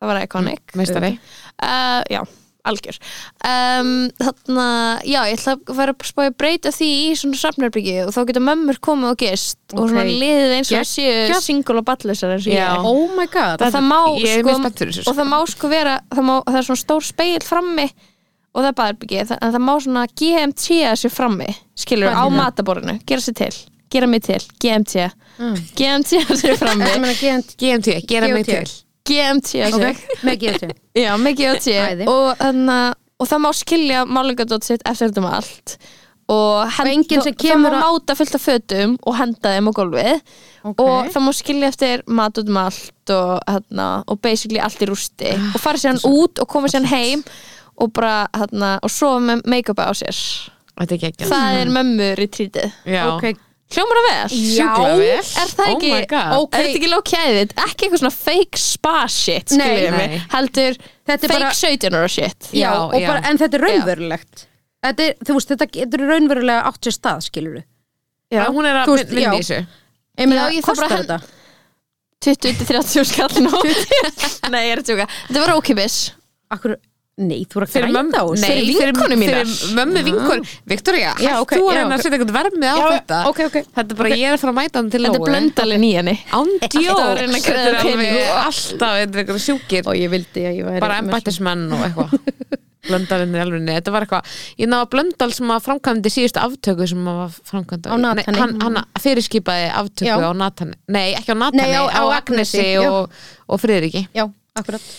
Speaker 3: Það var iconic
Speaker 4: Meistari?
Speaker 3: uh, já, algjör um, þarna, já, ég ætla að vera að spája að breyta því í svona safnarbyggi og þá geta mömmur komið og gist og
Speaker 5: Ok.
Speaker 3: svona liðið eins og
Speaker 5: Geggjað.
Speaker 3: yeah. séu single og ballisar eins og
Speaker 4: Já.
Speaker 3: ég
Speaker 5: oh my god
Speaker 3: og það má
Speaker 4: Ég er
Speaker 3: sko
Speaker 4: mjög spennt fyrir þessu
Speaker 3: og það má sko vera, það, má, það er svona stór speil frammi og það er baðarbyggi það, en það má svona GMT að sér frammi skilur á mataborinu, gera sér til gera mig til, GMT
Speaker 4: Mm.
Speaker 3: GMT að sér frammi,
Speaker 5: ég meina GMT
Speaker 4: GMT, gera mig
Speaker 5: GOT.
Speaker 4: til
Speaker 3: GMT að sér
Speaker 5: Eh. ok, með GMT
Speaker 3: Já, mikið á
Speaker 5: Æði.
Speaker 3: tíu og, þarna, og það má skilja málingadótt sitt eftir þetta með allt og, hend,
Speaker 5: Og enginn sem
Speaker 3: það-
Speaker 5: kemur
Speaker 3: það má
Speaker 5: að-
Speaker 3: máta fullt af fötum og henda þeim á gólfið
Speaker 5: Ok.
Speaker 3: og það má skilja eftir mat út um allt og, hana, og basically allt í rústi og fara sér hann út og koma sér hann heim og bara hana, og sofa með make-up á sér
Speaker 4: Þetta er geggja
Speaker 3: það er mömmu retrítið
Speaker 5: ok,
Speaker 3: hljómar það vel?
Speaker 4: Sjúklega vel.
Speaker 3: er það
Speaker 4: Oh
Speaker 3: ekki,
Speaker 4: my God.
Speaker 3: er þetta ekki lókjæðið ekki eitthvað svona fake spa shit skilurðu
Speaker 5: Nei.
Speaker 3: mig? heldur
Speaker 5: Þetta er
Speaker 3: fake
Speaker 5: bara-
Speaker 3: 17 ára shit
Speaker 5: já,
Speaker 4: Já,
Speaker 5: og
Speaker 4: já.
Speaker 5: bara, en þetta er raunverulegt þetta er, þú veist, þetta getur raunverulega átt sér stað, skilur du
Speaker 4: Já, hún er að
Speaker 5: Þú veist,
Speaker 4: vinna
Speaker 5: já.
Speaker 4: í þessu
Speaker 5: ég meina,
Speaker 3: Já, ég þarf bara
Speaker 5: kostar
Speaker 3: að
Speaker 5: þetta
Speaker 3: 20-30 skall nú nei, ég er að tjóka þetta var ókipis
Speaker 5: Akkur, nei, þú er að
Speaker 4: Fyrir mömmu
Speaker 5: græta á þessu.
Speaker 4: nei,
Speaker 3: Fyrir vinkonu mínar.
Speaker 4: Fyrir mömmu vinkonu Viktoria,
Speaker 5: Já,
Speaker 4: hætt
Speaker 5: ok,
Speaker 4: þú að
Speaker 5: já,
Speaker 4: reyna
Speaker 5: ok.
Speaker 4: að setja eitthvað vermið á
Speaker 5: Já,
Speaker 4: þetta
Speaker 5: ok, ok.
Speaker 4: Þetta er bara, ég er að fara að mæta hann til
Speaker 3: þetta er blöndalinn í henni
Speaker 4: Ándjó
Speaker 3: Þetta var að reyna að
Speaker 4: Þetta er
Speaker 3: greiða
Speaker 4: alveg
Speaker 3: pening.
Speaker 4: alltaf Þetta er eitthvað sjúkir
Speaker 5: og ég vildi að ég væri
Speaker 4: Bara
Speaker 5: með
Speaker 4: embættismenn og eitthvað Blöndalinn í alvegni, þetta var eitthvað Ég náða blöndal sem að framkvæmdi síðustu aftöku sem að var framkvæmdi
Speaker 5: Á Natani. Mm.
Speaker 4: Nei, hann, hann fyrirskipaði aftöku
Speaker 5: Já.
Speaker 4: á Natani Nei, ekki á Natani,
Speaker 5: Nei, á-
Speaker 4: á,
Speaker 5: á Agnesi,
Speaker 4: Agnesi
Speaker 5: já.
Speaker 4: og, og Friðriki
Speaker 5: já, akkurat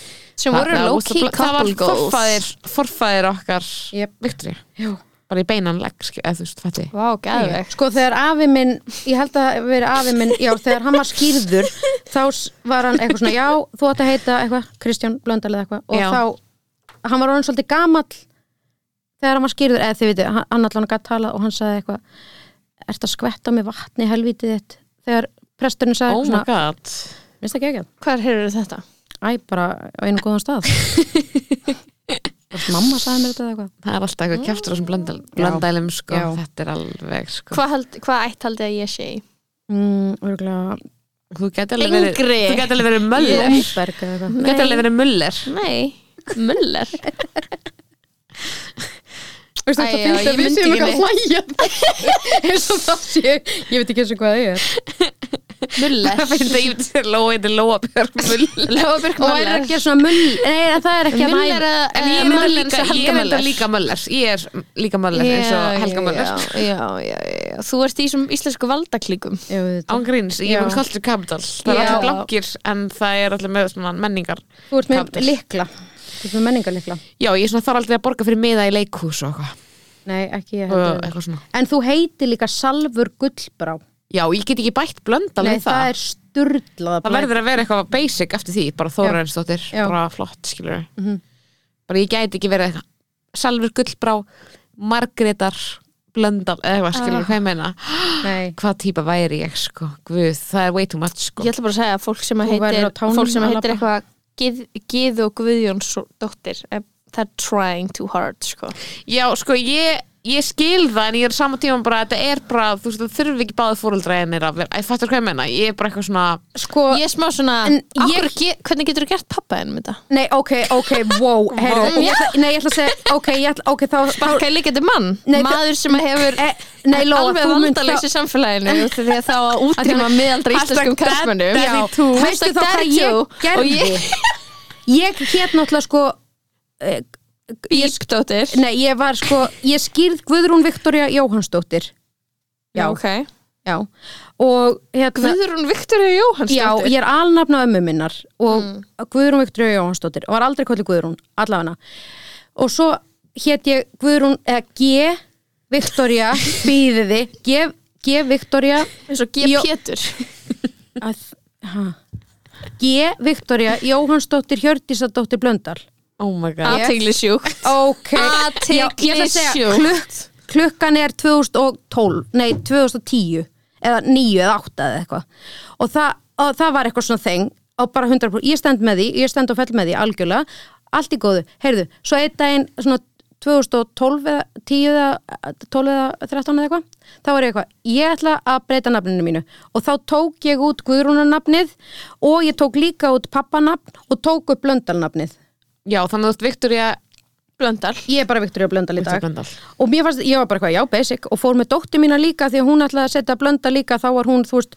Speaker 3: sem voru
Speaker 4: það-
Speaker 3: low-key
Speaker 4: það var
Speaker 3: couple goals
Speaker 4: forfæðir, forfæðir okkar
Speaker 5: Jep.
Speaker 4: Viktoria,
Speaker 5: já.
Speaker 4: bara í beinan legg skil- eða þú veist, fætti
Speaker 3: vá, gæðvegt
Speaker 5: sko þegar afi minn, ég held að það veri afi minn já, þegar hann var skýrður þá s- var hann eitthvað svona, já, þú átt að heita eitthvað, Kristján Blöndal eða eitthvað og
Speaker 4: Já.
Speaker 5: þá, hann var orðin svolítið gamall þegar hann var skýrður, eða þið veitu hann hann allan gætt talað og hann sagði eitthvað ert að skvetta á mig vatni helvítið þitt þegar presturinn sagði
Speaker 4: Oh
Speaker 5: eitthvað
Speaker 4: my
Speaker 5: svona,
Speaker 4: god
Speaker 5: minnst ekki ekki
Speaker 3: hvar hefur þetta?
Speaker 5: æ, bara á einu góðan stað Hvort mamma sagði mér þetta eða eitthvað
Speaker 4: Það er alltaf eitthvað kjæftur á þessum blöndal, blöndælum sko.
Speaker 5: Mm. Já.
Speaker 4: Þetta er alveg sko.
Speaker 3: hvað held, hva ætt haldið að ég sé í?
Speaker 5: mm, örgulega,
Speaker 4: Þú gæti alveg verið
Speaker 3: Yngri.
Speaker 4: Þú gæti alveg verið möller
Speaker 5: Lundberg eða eitthvað
Speaker 4: Þú gæti alveg verið möller
Speaker 3: nei, muller
Speaker 5: Veistu,
Speaker 3: Æ,
Speaker 5: það
Speaker 3: já,
Speaker 5: finnst
Speaker 3: ég
Speaker 5: að við
Speaker 3: myndi
Speaker 5: séum
Speaker 3: ekki
Speaker 5: eitthvað að hlæja eins og það sé ég veit ekki eins og hvað það er
Speaker 3: muller
Speaker 4: Það finnst að ég veit sér Lóa Þetta er Lóa Björg Möller
Speaker 3: Lóabjörg
Speaker 5: og er að
Speaker 3: muller
Speaker 5: gera svona mull nei en það er ekki að
Speaker 3: muller
Speaker 5: næra
Speaker 3: eða-
Speaker 4: En
Speaker 3: eða
Speaker 4: ég er enda
Speaker 3: Muller
Speaker 4: líka,
Speaker 3: eins og
Speaker 4: ég
Speaker 3: Helga
Speaker 4: er enda
Speaker 3: Muller.
Speaker 4: líka möller Ég er líka möller eins og
Speaker 3: Já,
Speaker 4: Helga möller
Speaker 3: já, já, já, já. þú ert í þessum íslensku valdaklíkum
Speaker 4: Ángríns, ég
Speaker 5: Já.
Speaker 4: er kallt til kapital Það er
Speaker 3: Já.
Speaker 4: alltaf blankir en það er alltaf með svona menningar
Speaker 5: þú ert með
Speaker 4: Kapital.
Speaker 5: likla þú ert með menningarlikla
Speaker 4: Já, ég svona þarf aldrei að borga fyrir miða í leikhús og eitthvað
Speaker 5: Nei, ekki ég
Speaker 4: og
Speaker 5: heldur
Speaker 4: eitthvað svona
Speaker 5: En þú heitir líka Salfur Gullbrá
Speaker 4: já, ég get ekki bætt blönda
Speaker 5: Nei,
Speaker 4: við
Speaker 5: það,
Speaker 4: það
Speaker 5: er sturdlað
Speaker 4: það verður að vera eitthvað basic eftir því bara Þórainsdóttir,
Speaker 5: Já. Mhm.
Speaker 4: bara flott skilur bara ég gæti ekki verið eitthvað Salfur Gullbrá, Margretar Blöndal, eða eitthvað skilur
Speaker 5: Ah.
Speaker 4: hvað ég meina,
Speaker 5: Nei,
Speaker 4: hvað típa væri ég sko, guð, það er way too much sko
Speaker 3: Ég ætla bara að segja að fólk sem að
Speaker 5: Þú
Speaker 3: heitir
Speaker 5: verður á tánum
Speaker 3: fólk sem að
Speaker 5: að
Speaker 3: heitir
Speaker 5: labba.
Speaker 3: eitthvað Gið, Gið og Guðjóns dóttir eh, það er trying too hard sko.
Speaker 4: já, sko, ég ég skil það en ég er saman tíma bara þetta er bara, þú veist, það þurfi ekki báði fóreldra en er að vera, ég fattur hvað ég meina, ég er bara eitthvað svona
Speaker 5: sko
Speaker 3: Ég er smá svona
Speaker 5: En
Speaker 3: af
Speaker 5: ég-
Speaker 3: hverju ge- Hvernig getur þú gert pappa ennum þetta?
Speaker 5: Nei, ok, ok, wow, heyrðu
Speaker 3: Vá.
Speaker 5: ég ætla- Nei, ég ætla að segja, ok, ég ætla, ok, þá
Speaker 3: Bakkaði líka þetta mann
Speaker 5: Nei, það-
Speaker 3: Maður sem að hefur
Speaker 5: Eh, Nei, Lóa,
Speaker 3: alveg
Speaker 5: þú mynd
Speaker 3: vandalaus í samfélaginu því að þá að útrýma
Speaker 5: hérna,
Speaker 3: miðaldra íslenskum karlmönnum
Speaker 5: Já, veistu þá hvað ég
Speaker 3: og
Speaker 5: gerði?
Speaker 3: ég
Speaker 5: Ég hét náttúrulega sko
Speaker 3: bískdóttir
Speaker 5: Nei, ég var sko, ég skýrð Guðrún Viktoria Jóhansdóttir Já,
Speaker 3: okay.
Speaker 5: já Og hérna
Speaker 3: Guðrún Viktoria Jóhansdóttir
Speaker 5: Já, ég er alnafna ömmu minnar og
Speaker 3: Mm.
Speaker 5: Guðrún Viktoria Jóhansdóttir og var aldrei kallið Guðrún, allafana og svo hétt ég Guðrún eða G. Viktoria býðiði, G. G. Viktoria
Speaker 3: eins og G.
Speaker 5: Jó-
Speaker 3: Pétur
Speaker 5: að, ha, G. Viktoria Jóhansdóttir Hjördísadóttir Blöndal
Speaker 4: oh my god,
Speaker 3: aðtegli sjúkt
Speaker 5: Ok, já, ég ætla
Speaker 3: aðtegli
Speaker 5: að segja
Speaker 3: sjúkt
Speaker 5: klukkan er 2012, nei 2010 eða 9 eða 8 eða eitthvað og það, og það var eitthvað svona þeng og bara 100%, ég stend með því, ég stend og fell með því algjörlega, allt í góðu, heyrðu svo einn daginn svona 2012 eða 10 eða 12 eða 13 eða eitthvað, þá var ég eitthvað ég ætla að breyta nafninu mínu og þá tók ég út Guðrúnarnafnið og ég tók líka út pappanafn og tók upp blöndalnafnið
Speaker 4: já, þannig að þú ert Viktoria
Speaker 3: Blöndal
Speaker 5: ég er bara Viktoria Blöndal í
Speaker 4: Viktoría
Speaker 5: dag
Speaker 4: Blöndal.
Speaker 5: og mér fannst, ég var bara eitthvað, já, basic og fór með dótti mína líka því að hún ætlaði að setja blönda líka þá var hún, þú veist,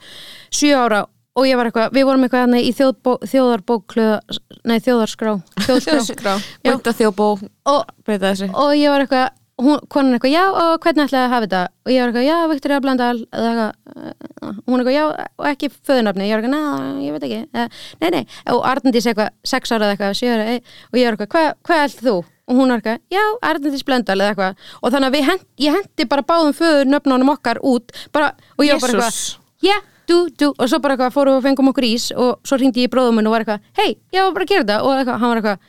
Speaker 5: sjö ára og ég var eitthvað, við vorum eitthvað hérna í þjóðbó, þjóðarbókluða, nei, þjóðarskrá þjóðskrá, Já.
Speaker 4: Breyta þjóðbó,
Speaker 5: og,
Speaker 4: breyta þessu
Speaker 5: og ég var eitthvað hún, konan eitthvað, já, og hvernig ætlaði að hafa þetta og ég var eitthvað, já, Viktoria Blöndal eða eitthvað, eh, hún eitthvað, já, og ekki föðunafni, ég var eitthvað, neða, ég veit ekki eh, nei, nei, og Arndís eitthvað sex ára eða eitthvað, sjö ára, eh, og ég var eitthvað "Hva- hvað ætlaði þú? og hún var eitthvað, já, Arndís Blöndal eða eitthvað, og þannig að við hent, ég hendi bara báðum föðunöfnunum okkar út bara, og ég var bara eitthvað,
Speaker 3: Jesus.
Speaker 5: já, dú, dú og svo bara eitthvað fórum við og fengum okkur ís og svo hringdi ég í bróðum minn og var eitthvað, hei, ég var bara að gera þetta og eitthvað, hann var eitthvað,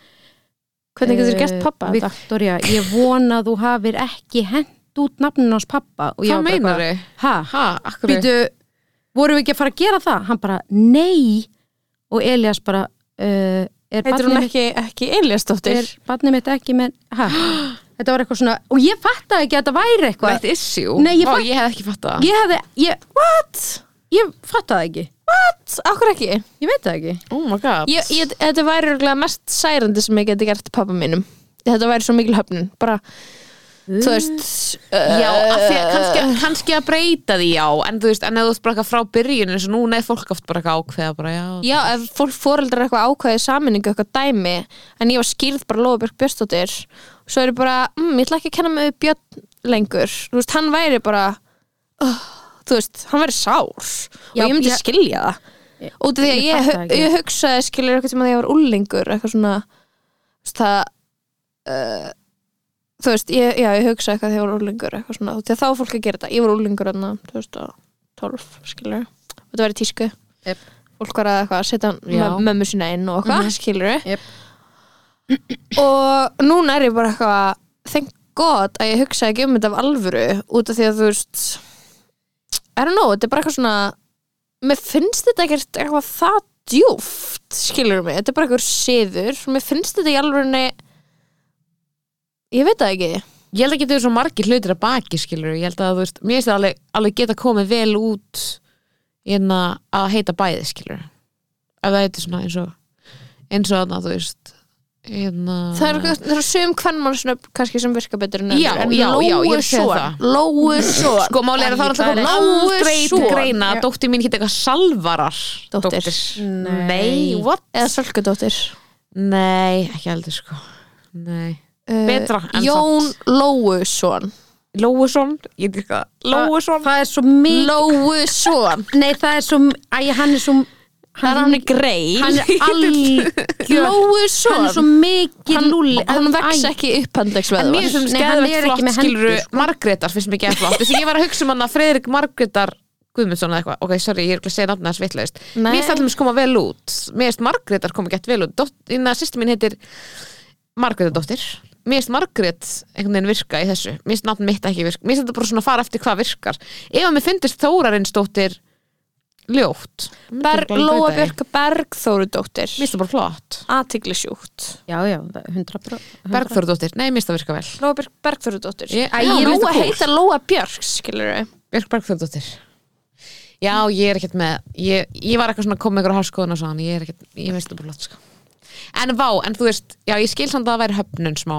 Speaker 3: hvernig getur þú gert pappa þetta?
Speaker 5: Viktoria, Eh, ég vona að þú hafir ekki hent út nafnin hans pappa og ég
Speaker 4: Hvað
Speaker 5: var bara
Speaker 4: meinar
Speaker 5: eitthvað,
Speaker 4: þau?
Speaker 5: Ha,
Speaker 4: Ha, akkur
Speaker 5: býtu, vorum við ekki að fara að gera það? Hann bara, nei og Elias bara uh, er
Speaker 3: heitir
Speaker 5: barnið
Speaker 3: hún
Speaker 5: mitt-
Speaker 3: ekki, ekki Eliasdóttir?
Speaker 5: er barnið mitt ekki með ha, þetta var eitthvað svona, og ég fattaði ekki að þetta væri
Speaker 4: That
Speaker 5: eitthvað
Speaker 4: issue?
Speaker 5: Nei, ég
Speaker 4: Vá,
Speaker 5: fatt-
Speaker 4: ég hef ekki fatt það
Speaker 5: ég hefði, ég,
Speaker 3: what?
Speaker 5: ég fattaði ekki
Speaker 3: what? akkur ekki?
Speaker 5: ég veit það ekki
Speaker 4: Oh my god
Speaker 3: Ég, ég, þetta væri örugglega mest særandi sem ég geti gert pappa mínum þetta væri svo mikil höfnun bara, þú veist uh,
Speaker 4: Já, af því að kannski, kannski að breyta því já En þú veist, en ef þú ert bara eitthvað frá byrjun eins og núna er fólk oft bara eitthvað ákveða bara já
Speaker 3: já, ef fólk fóreldrar eitthvað ákvæði saminningu eitthvað dæmi, en ég var skýrð bara Lóðbjörg Björnsdóttir, svo er ég bara mm, ég ætla ekki að kenna mig við Björn lengur þú veist, hann væri bara uh, þú veist, hann væri sár og
Speaker 5: Já,
Speaker 3: ég myndi
Speaker 5: ég-
Speaker 3: skilja það út af því að
Speaker 5: Ég
Speaker 3: ég,
Speaker 5: fatta
Speaker 3: ég,
Speaker 5: ekki.
Speaker 3: ég hugsaði skilur eitthvað tíma þegar ég var úrlingur eitthvað svona þú veist, það uh, þú veist, ég, já, ég hugsaði eitthvað þegar ég var úrlingur eitthvað svona, því að þá var fólk að gera þetta ég var úrlingur enna 2012 skilur, þetta var í tísku
Speaker 5: Yep.
Speaker 3: fólk var að eitthvað að setja
Speaker 4: Já.
Speaker 3: mö- mömmu sína inn og eitthvað, mm
Speaker 5: Yep.
Speaker 3: og núna er ég bara eitthvað thank god að ég hugsaði ekki um þetta af alvöru út af því að þú veist I don't know, þetta er bara eitthvað svona mér finnst þetta ekkert eitthvað það djúft, skilur mig þetta er bara eitthvað siður, mér finnst þetta í alvörunni ég veit það ekki
Speaker 4: Ég held að geta svo margir hlutir að baki skilur Ég held að þú veist, mér finnst það alveg, alveg geta komið vel út En að að heita bæði skilur Ef það heitir svona eins og Eins og þarna, þú veist Hérna
Speaker 3: það eru það er sum kvennmannsnöfn kannski sem virka betur en
Speaker 4: Já, já, já, ég sé það.
Speaker 3: Lóu Són
Speaker 4: Sko máli er að það er alltaf
Speaker 3: Lóu
Speaker 4: aldrei til
Speaker 3: Són
Speaker 4: greina að dóttir mín hitt eitthvað salvarar
Speaker 3: Dóttir.
Speaker 4: Nei, what?
Speaker 3: eða Sölkudóttir
Speaker 4: Nei, ekki aldrei sko Nei Betra en
Speaker 3: Uh, Jón Lóu Són
Speaker 4: Lóusson, ég dyrka Lóusson
Speaker 5: það er svo mikið
Speaker 3: Lóu Són
Speaker 5: nei, það er svo, æ, hann er svo
Speaker 3: það er hann er grei
Speaker 5: hann er
Speaker 3: Lóu svo
Speaker 5: hann er svo mikið
Speaker 3: hann,
Speaker 5: lúli
Speaker 3: hann vex
Speaker 5: Æ.
Speaker 3: ekki upp
Speaker 4: En mér er sem skeðvegt
Speaker 5: Nei, hann er ekki
Speaker 4: flott
Speaker 5: með hendur,
Speaker 4: skiluru
Speaker 5: sko.
Speaker 4: Margrétar finnst mér ekki að flott Þess að ég var að hugsa um hann að Freyðrik Margrétar Guðmundsson eða eitthvað, ok, sorry, ég er ekki að segja nafna hans vitlaust
Speaker 3: Nei.
Speaker 4: Mér finnst allum koma vel út Mér finnst Margrétar koma gett vel út Dótt, Inna sýsti mín heitir Margrétardóttir Mér finnst Margrét einhvern veginn virka í þessu Mér finnst nafn mitt ekki virka Mér finnst þetta bara svona að fara eftir hvað virkar Ef að mér finnst Þórarinsdóttir ljótt myndi ég
Speaker 3: Berg,
Speaker 4: bara alveg
Speaker 3: Lóa
Speaker 4: breyta því.
Speaker 3: Björk Bergþórudóttir
Speaker 4: Mér finnst það bara flott
Speaker 3: aðtiklisjúkt
Speaker 5: já, já, það er 100%.
Speaker 4: Bergþórudóttir, nei, mér finnst það virka vel
Speaker 3: Lóa Björk Bergþórudóttir
Speaker 4: Ég-
Speaker 3: Æ,
Speaker 4: Já,
Speaker 3: ég
Speaker 4: mér
Speaker 3: Lóa
Speaker 4: finnst það cool.
Speaker 3: heita Lóa Björk skilur
Speaker 4: Björk Bergþórdóttir Já, ég er ekkert með ég, ég var eitthvað svona að koma ykkur á háskóðun og svo en ég er ekkert, ég veist það bara lott sko. En vá, en þú veist, já, ég skil samt að það væri höfnun smá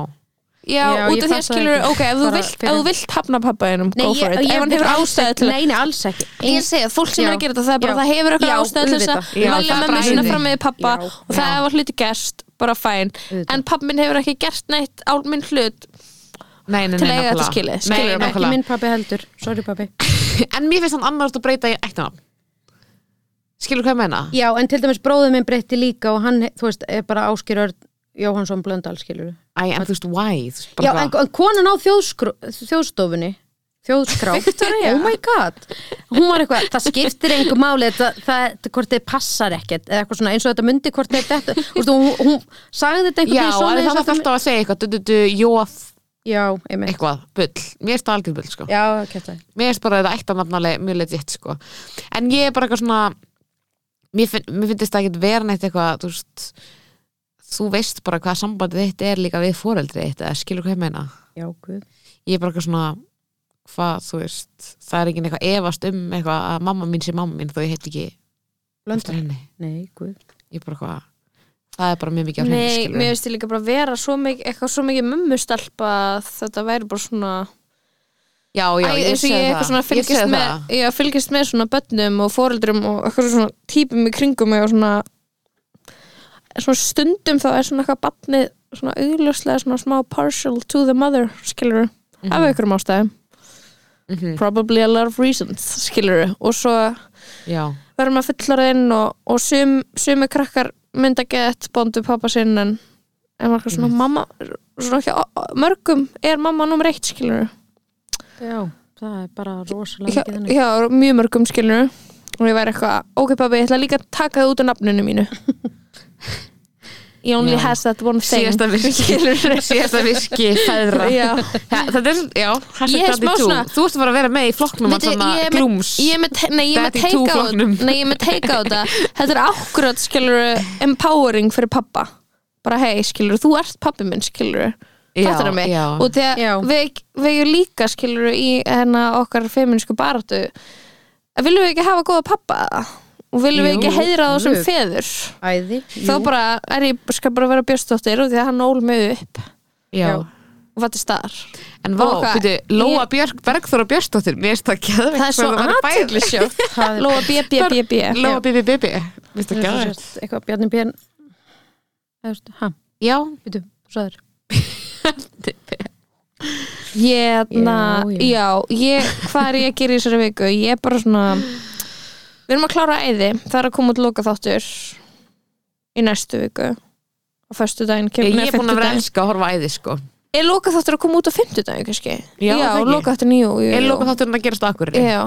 Speaker 3: Já,
Speaker 5: Já,
Speaker 3: út af því að
Speaker 5: ég fattaði
Speaker 3: skilur
Speaker 5: ekki.
Speaker 3: ok, ef þú
Speaker 5: Bara
Speaker 3: vilt,
Speaker 5: fyrir-
Speaker 3: ef þú vilt hafna pappaðinum
Speaker 5: Nei,
Speaker 3: go for
Speaker 5: ég-
Speaker 3: it,
Speaker 5: ég-
Speaker 3: ef hann hefur
Speaker 5: alls
Speaker 3: ástæðu
Speaker 5: ekki-
Speaker 3: til
Speaker 5: nei, nei, alls ekki
Speaker 3: Ég er að segja, fólk sem
Speaker 5: Já.
Speaker 3: er að gera þetta, það er bara,
Speaker 5: Já.
Speaker 3: það hefur eitthvað
Speaker 5: Já,
Speaker 3: ástæðu til þess að
Speaker 5: auðvitað. Já,
Speaker 3: velja
Speaker 4: það er
Speaker 3: mömmu
Speaker 4: bara
Speaker 3: sína
Speaker 4: æði.
Speaker 3: fram með pappa
Speaker 5: Já.
Speaker 3: og það hefur hluti gerst, bara fæn
Speaker 5: Auðvitað.
Speaker 3: en pappi minn hefur ekki gert neitt á minn hlut
Speaker 4: Nei, nei, nei,
Speaker 3: Til að eiga
Speaker 4: nákvæmlega.
Speaker 3: þetta skilið,
Speaker 4: Nei,
Speaker 3: skilurðu mig?
Speaker 5: ekki
Speaker 4: nákvæmlega.
Speaker 5: minn pappi heldur, sorry pappi
Speaker 4: En mér finnst hann annars að breyta í eittan Skilur hvað ég meina?
Speaker 5: já, en til dæmis bróðið minn breytti líka og hann, þú veist, er bara Áskir Örn Jóhansson Blöndal, skilur
Speaker 4: Æ, en þú veist, why? Þú veist, bara
Speaker 5: já,
Speaker 4: hvað-
Speaker 5: en, en konan á þjóðskrú, þjóðstofunni þjóðskrá,
Speaker 3: Victoria.
Speaker 5: oh my god hún var eitthvað, það skiptir engu máli það, það, það, hvort þið passar ekkert eða eitthvað svona, eins og þetta myndi hvort þið þetta Þú veist, hún, hún sagði þetta einhvern
Speaker 4: Já,
Speaker 5: veginn
Speaker 4: en það var
Speaker 5: svoleiðis að
Speaker 4: alltaf að segja eitthvað du, du, du, Jóð,
Speaker 5: já, einmitt,
Speaker 4: eitthvað, bull Mér finnst það algjör bull, sko
Speaker 5: já, kæft það
Speaker 4: mér finnst bara þetta eittanafnaleg mjög legit sko. en ég er bara eitthvað svona mér, finn, mér finnst það ekki vera neitt eitthvað þú veist þú veist bara hvað sambandið þitt er líka við foreldrið þitt eða skilur hvað ég meina
Speaker 5: já, guð
Speaker 4: ég er bara eitthvað svona hvað þú veist, það er ekki eitthvað efast um eitthvað að mamma mín sé mamma mín þó ég heit ekki eftir henni
Speaker 5: Nei, guð.
Speaker 4: ég er bara eitthvað, það er bara mjög mikið á henni
Speaker 3: Nei,
Speaker 4: skilur
Speaker 3: mér finnst ég líka bara vera svo mikið, eitthvað svo mikið mömmustelpa að þetta væri bara svona
Speaker 4: já, já,
Speaker 3: Æ,
Speaker 4: ég
Speaker 3: eins og
Speaker 4: segi
Speaker 3: ég eitthvað svona
Speaker 4: það, ég
Speaker 3: fylgist
Speaker 4: segi
Speaker 3: með,
Speaker 4: það.
Speaker 3: já, fylgist með svona börnum og foreldrum og eitthvað svona típum í kringum mig og svona, svona stundum þá er svona eitthvað barnið svona augljóslega svona smá partial to the mother skilur af einhverjum ástæðum
Speaker 4: Mhm.
Speaker 3: probably a lot of reasons skilur og svo
Speaker 4: já,
Speaker 3: verður maður fullorðinn og, og sum, sumi krakkar mynda gett bondu pappa sinn en, en maður er
Speaker 4: Mhm.
Speaker 3: svona mamma svona ekki, mörgum er mamma nummer eitt skilur
Speaker 5: Já, það er bara rosalega
Speaker 3: hjá,
Speaker 5: mikið þannig.
Speaker 3: hjá mjög mörgum skilur og ég væri eitthvað, ok pabbi, ég ætla líka að taka það út af nafninu mínu Ég only
Speaker 4: Já.
Speaker 3: has that one thing
Speaker 4: síðasta virki síðasta virki feðra
Speaker 3: Já.
Speaker 4: Þa- Þetta er, já, hashtag
Speaker 3: Ég er
Speaker 4: daddy
Speaker 3: smá
Speaker 4: too.
Speaker 3: svona-
Speaker 4: Þú ert bara að vera með í flokknum að
Speaker 3: Veitu,
Speaker 4: svona
Speaker 3: ég er með-
Speaker 4: glúms
Speaker 3: Ég er með, te- nei, ég er með
Speaker 4: Daddy
Speaker 3: teika á
Speaker 4: two-flokknum.
Speaker 3: Nei, ég er með teika á þetta Þetta er akkurat, skilur, empowering fyrir pappa Bara hei, skilur, þú ert pappi minn, skilur
Speaker 4: Já,
Speaker 3: Fattar það mig?
Speaker 4: já.
Speaker 3: Og
Speaker 5: Já.
Speaker 3: þegar við, við líka, skilur, í hennar okkar feminsku baratu Viljum við ekki hafa góða pappa? Og viljum við
Speaker 5: Jú,
Speaker 3: ekki heiðra þá sem
Speaker 5: jú.
Speaker 3: feður?
Speaker 5: Æði,
Speaker 3: Þá bara er ég, skal bara vera björstóttir og því að hann ól mig upp
Speaker 4: já.
Speaker 5: Já.
Speaker 3: og fattir staðar
Speaker 4: En vá,
Speaker 3: Og hvað-
Speaker 4: byrju, Lóa
Speaker 3: ég-
Speaker 4: Björk Bergþóra Björnsdóttir Mér finnst það geðveikt
Speaker 3: Það er svo
Speaker 4: hvað væri bæði.
Speaker 3: aðteglisjótt
Speaker 5: það er
Speaker 3: Lóa B, B, B, B
Speaker 4: Lóa Bibi Bibi Mér finnst það
Speaker 5: bara
Speaker 4: geðveikt.
Speaker 5: eitthvað Bjarni Bjarn Það veist, hæ,
Speaker 4: Já,
Speaker 5: býtu, svo þér
Speaker 3: Hérna,
Speaker 5: Já,
Speaker 3: já, ég, hvað er ég að gera í þessari viku? Ég er bara svona Við erum að klára æði, það er að koma út loka þáttur í næstu viku á föstudaginn kemur
Speaker 4: ég er búin að vera
Speaker 3: fimmtudaginn.
Speaker 4: elska að horfa æði sko
Speaker 3: Er loka þáttur að koma út á fimmtudaginn, kannski?
Speaker 4: Já,
Speaker 3: já
Speaker 4: það ekki.
Speaker 3: loka þáttur nýjú jú,
Speaker 4: Ég
Speaker 3: jú.
Speaker 4: lóka þátturinn að gerast akkur Já,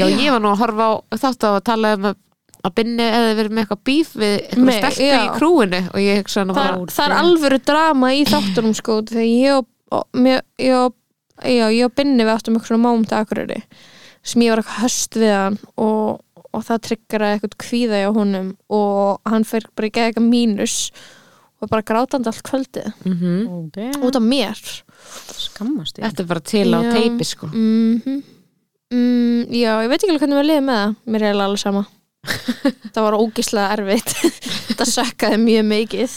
Speaker 3: Já,
Speaker 4: ég var nú að horfa á þátt að tala um að- að binni eða verið með eitthvað bíf við eitthvað
Speaker 3: Nei,
Speaker 4: stelpu
Speaker 3: já.
Speaker 4: í krúinu og ég hugsa hann
Speaker 3: það
Speaker 4: bara
Speaker 3: er, það er alvöru drama í þáttunum sko þegar ég og, og, mér- ég og, já, ég og Binni við áttum eitthvað mámt akureyri sem ég var eitthvað höst við hann og, og það triggeraði eitthvað kvíða hjá honum og hann fer bara í geða eitthvað mínus og er bara grátandi allt kvöldið
Speaker 4: Mhm.
Speaker 5: Ó,
Speaker 3: út af mér
Speaker 5: Skammast ég
Speaker 4: Þetta er bara til á
Speaker 3: Já.
Speaker 4: teipi sko
Speaker 3: mm mm, Já, ég veit ekki alveg hvernig við liðum með það mér er eiginlega alveg sama það var ógislega erfitt þetta sökkaði mjög mikið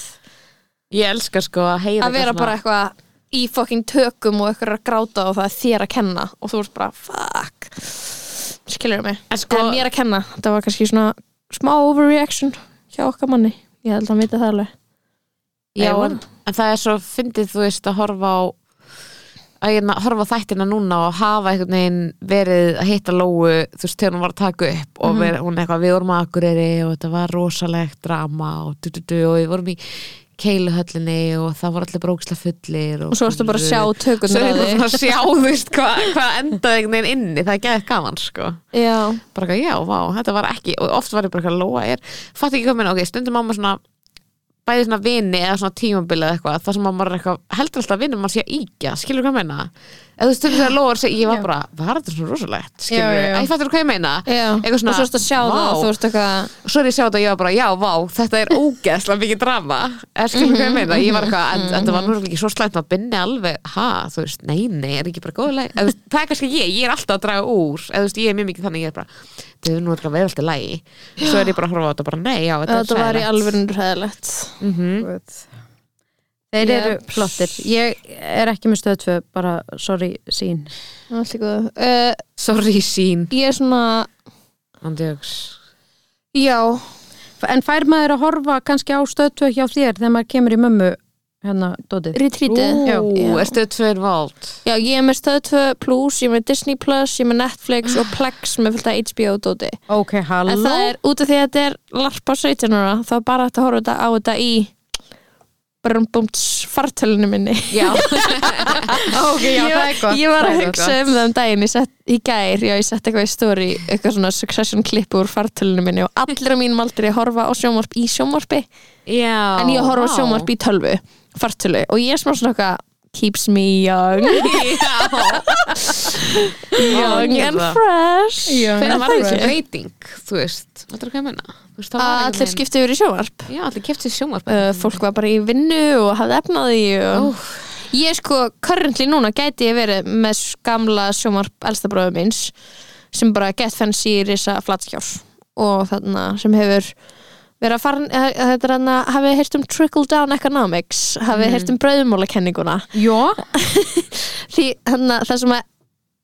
Speaker 4: Ég elska sko að heyra
Speaker 3: að vera
Speaker 4: eitthvað
Speaker 3: bara
Speaker 4: svona-
Speaker 3: eitthvað í fucking tökum og eitthvað að gráta og það er þér að kenna og þú ert bara fuck skilur mig,
Speaker 4: En sko-
Speaker 3: en mér að kenna það var kannski svona smá overreaction hjá okkar manni, ég held að hann vita það alveg
Speaker 4: Já,
Speaker 3: Ævar.
Speaker 4: en, en það er svo fyndið þú veist að horfa á að hérna, horfa á þættina núna og hafa einhvern veginn verið að hitta Lóu þú veist, þegar hún var að taka upp
Speaker 3: Mhm.
Speaker 4: og ver, hún eitthvað, við vorum að akureyri og þetta var rosalegt drama og du, du, du, og við vorum í keiluhöllinni og það voru allir bróksla fullir
Speaker 3: Og svo varstu bara að sjá tökurnar á
Speaker 4: Svo er
Speaker 3: því.
Speaker 4: ég bara að sjá, þú veist, hvað hva endaði einhvern veginn inni, það er geðið gaman, sko
Speaker 3: Já,
Speaker 4: bara eitthvað, já, vá, þetta var ekki og oft var ég bara eitthvað, Lóa er, fatt ekki hvað minna ok, stundum á maður svona bæði svona vini eða svona tímabili eða eitthvað þar sem maður er eitthvað, heldur alltaf að vinna maður sé að íkja skilur hvað ég meina, eða þú stundum þegar Lóa er að segja, ég var bara, var þetta svona rosalegt skilur,
Speaker 5: Já, já, já.
Speaker 4: ég fattur hvað ég meina
Speaker 3: já
Speaker 4: eitthvað svona,
Speaker 3: Og svo varstu að sjá
Speaker 4: vá,
Speaker 3: það og þú veist eitthvað
Speaker 4: svo er ég að sjá þetta og ég var bara, já, vá, þetta er ógeðslega mikið drama, er skilur hvað ég meina ég var eitthvað, en þetta var nú ekki svo slæmt að binni alveg, ha, þú veist, nei, nei, er ekki bara góðleg, eða, þú veist, það er kannski ég, ég er alltaf að draga úr, eða þú veist, ég er mjög mikið þannig ég er bara, þetta er nú eitthvað verið alltaf lægi svo er ég bara að horfa á þetta, bara nei, já, þetta,
Speaker 3: Þetta var í
Speaker 4: er
Speaker 3: alveg hræðilegt
Speaker 5: Þeir eru flottir Ég er ekki með stöð tvö bara sorry sín
Speaker 3: Allt í góðu uh,
Speaker 4: sorry sín,
Speaker 3: Ég er svona,
Speaker 4: andjóks
Speaker 3: já
Speaker 5: En fær maður að horfa kannski á stöð tvö hjá þér þegar maður kemur í mömmu hérna dótið
Speaker 3: Retreatið
Speaker 5: Já.
Speaker 4: ú, er stöð tvö involved
Speaker 3: Já, ég er með Stöð 2 Plus, ég er með Disney Plus, ég er með Netflix og Plex með fullt af HBO-dóti
Speaker 5: Ok,
Speaker 3: En
Speaker 5: halló
Speaker 3: það er út af því að þetta er larpa 17 ára þá er bara hægt að horfa þetta á þetta í brumbumt fartölinu minni
Speaker 4: já,
Speaker 5: Ok, já, það er gott
Speaker 3: Ég var að
Speaker 5: það er
Speaker 3: hugsa
Speaker 5: gott.
Speaker 3: um það um daginn ég sett, í gær, já ég sett eitthvað í story eitthvað svona succession klipp úr fartölinu minni og allir á mínum aldrei horfa á sjónvarp í sjónvarpi
Speaker 4: já
Speaker 3: en ég horfa á
Speaker 4: vá.
Speaker 3: sjónvarp í tölvu fartölu og ég er smá svona eitthvað keeps me young,
Speaker 4: já,
Speaker 3: young
Speaker 4: ég
Speaker 3: and
Speaker 4: það.
Speaker 3: fresh
Speaker 4: hvernig var
Speaker 3: það
Speaker 4: þessi
Speaker 3: ekki?
Speaker 4: breyting, þú veist þetta er hvað ég meina, þú veist, það var
Speaker 3: að
Speaker 4: einhvern
Speaker 3: allir
Speaker 4: veginn-
Speaker 3: skipti yfir í sjónvarp
Speaker 4: Já, allir kefti sjónvarp
Speaker 3: uh, fólk var bara í vinnu og hafði efnaði og... ég sko, currently núna gæti ég verið með gamla sjónvarp elstabróðu minns sem bara get fancy risa flatskjás og þarna sem hefur verið að fara, eh, þetta er hann að hafið heyrt um trickle down economics hafið mm. heyrt um brauðmólakenninguna
Speaker 5: Jó,
Speaker 3: því þannig að það sem að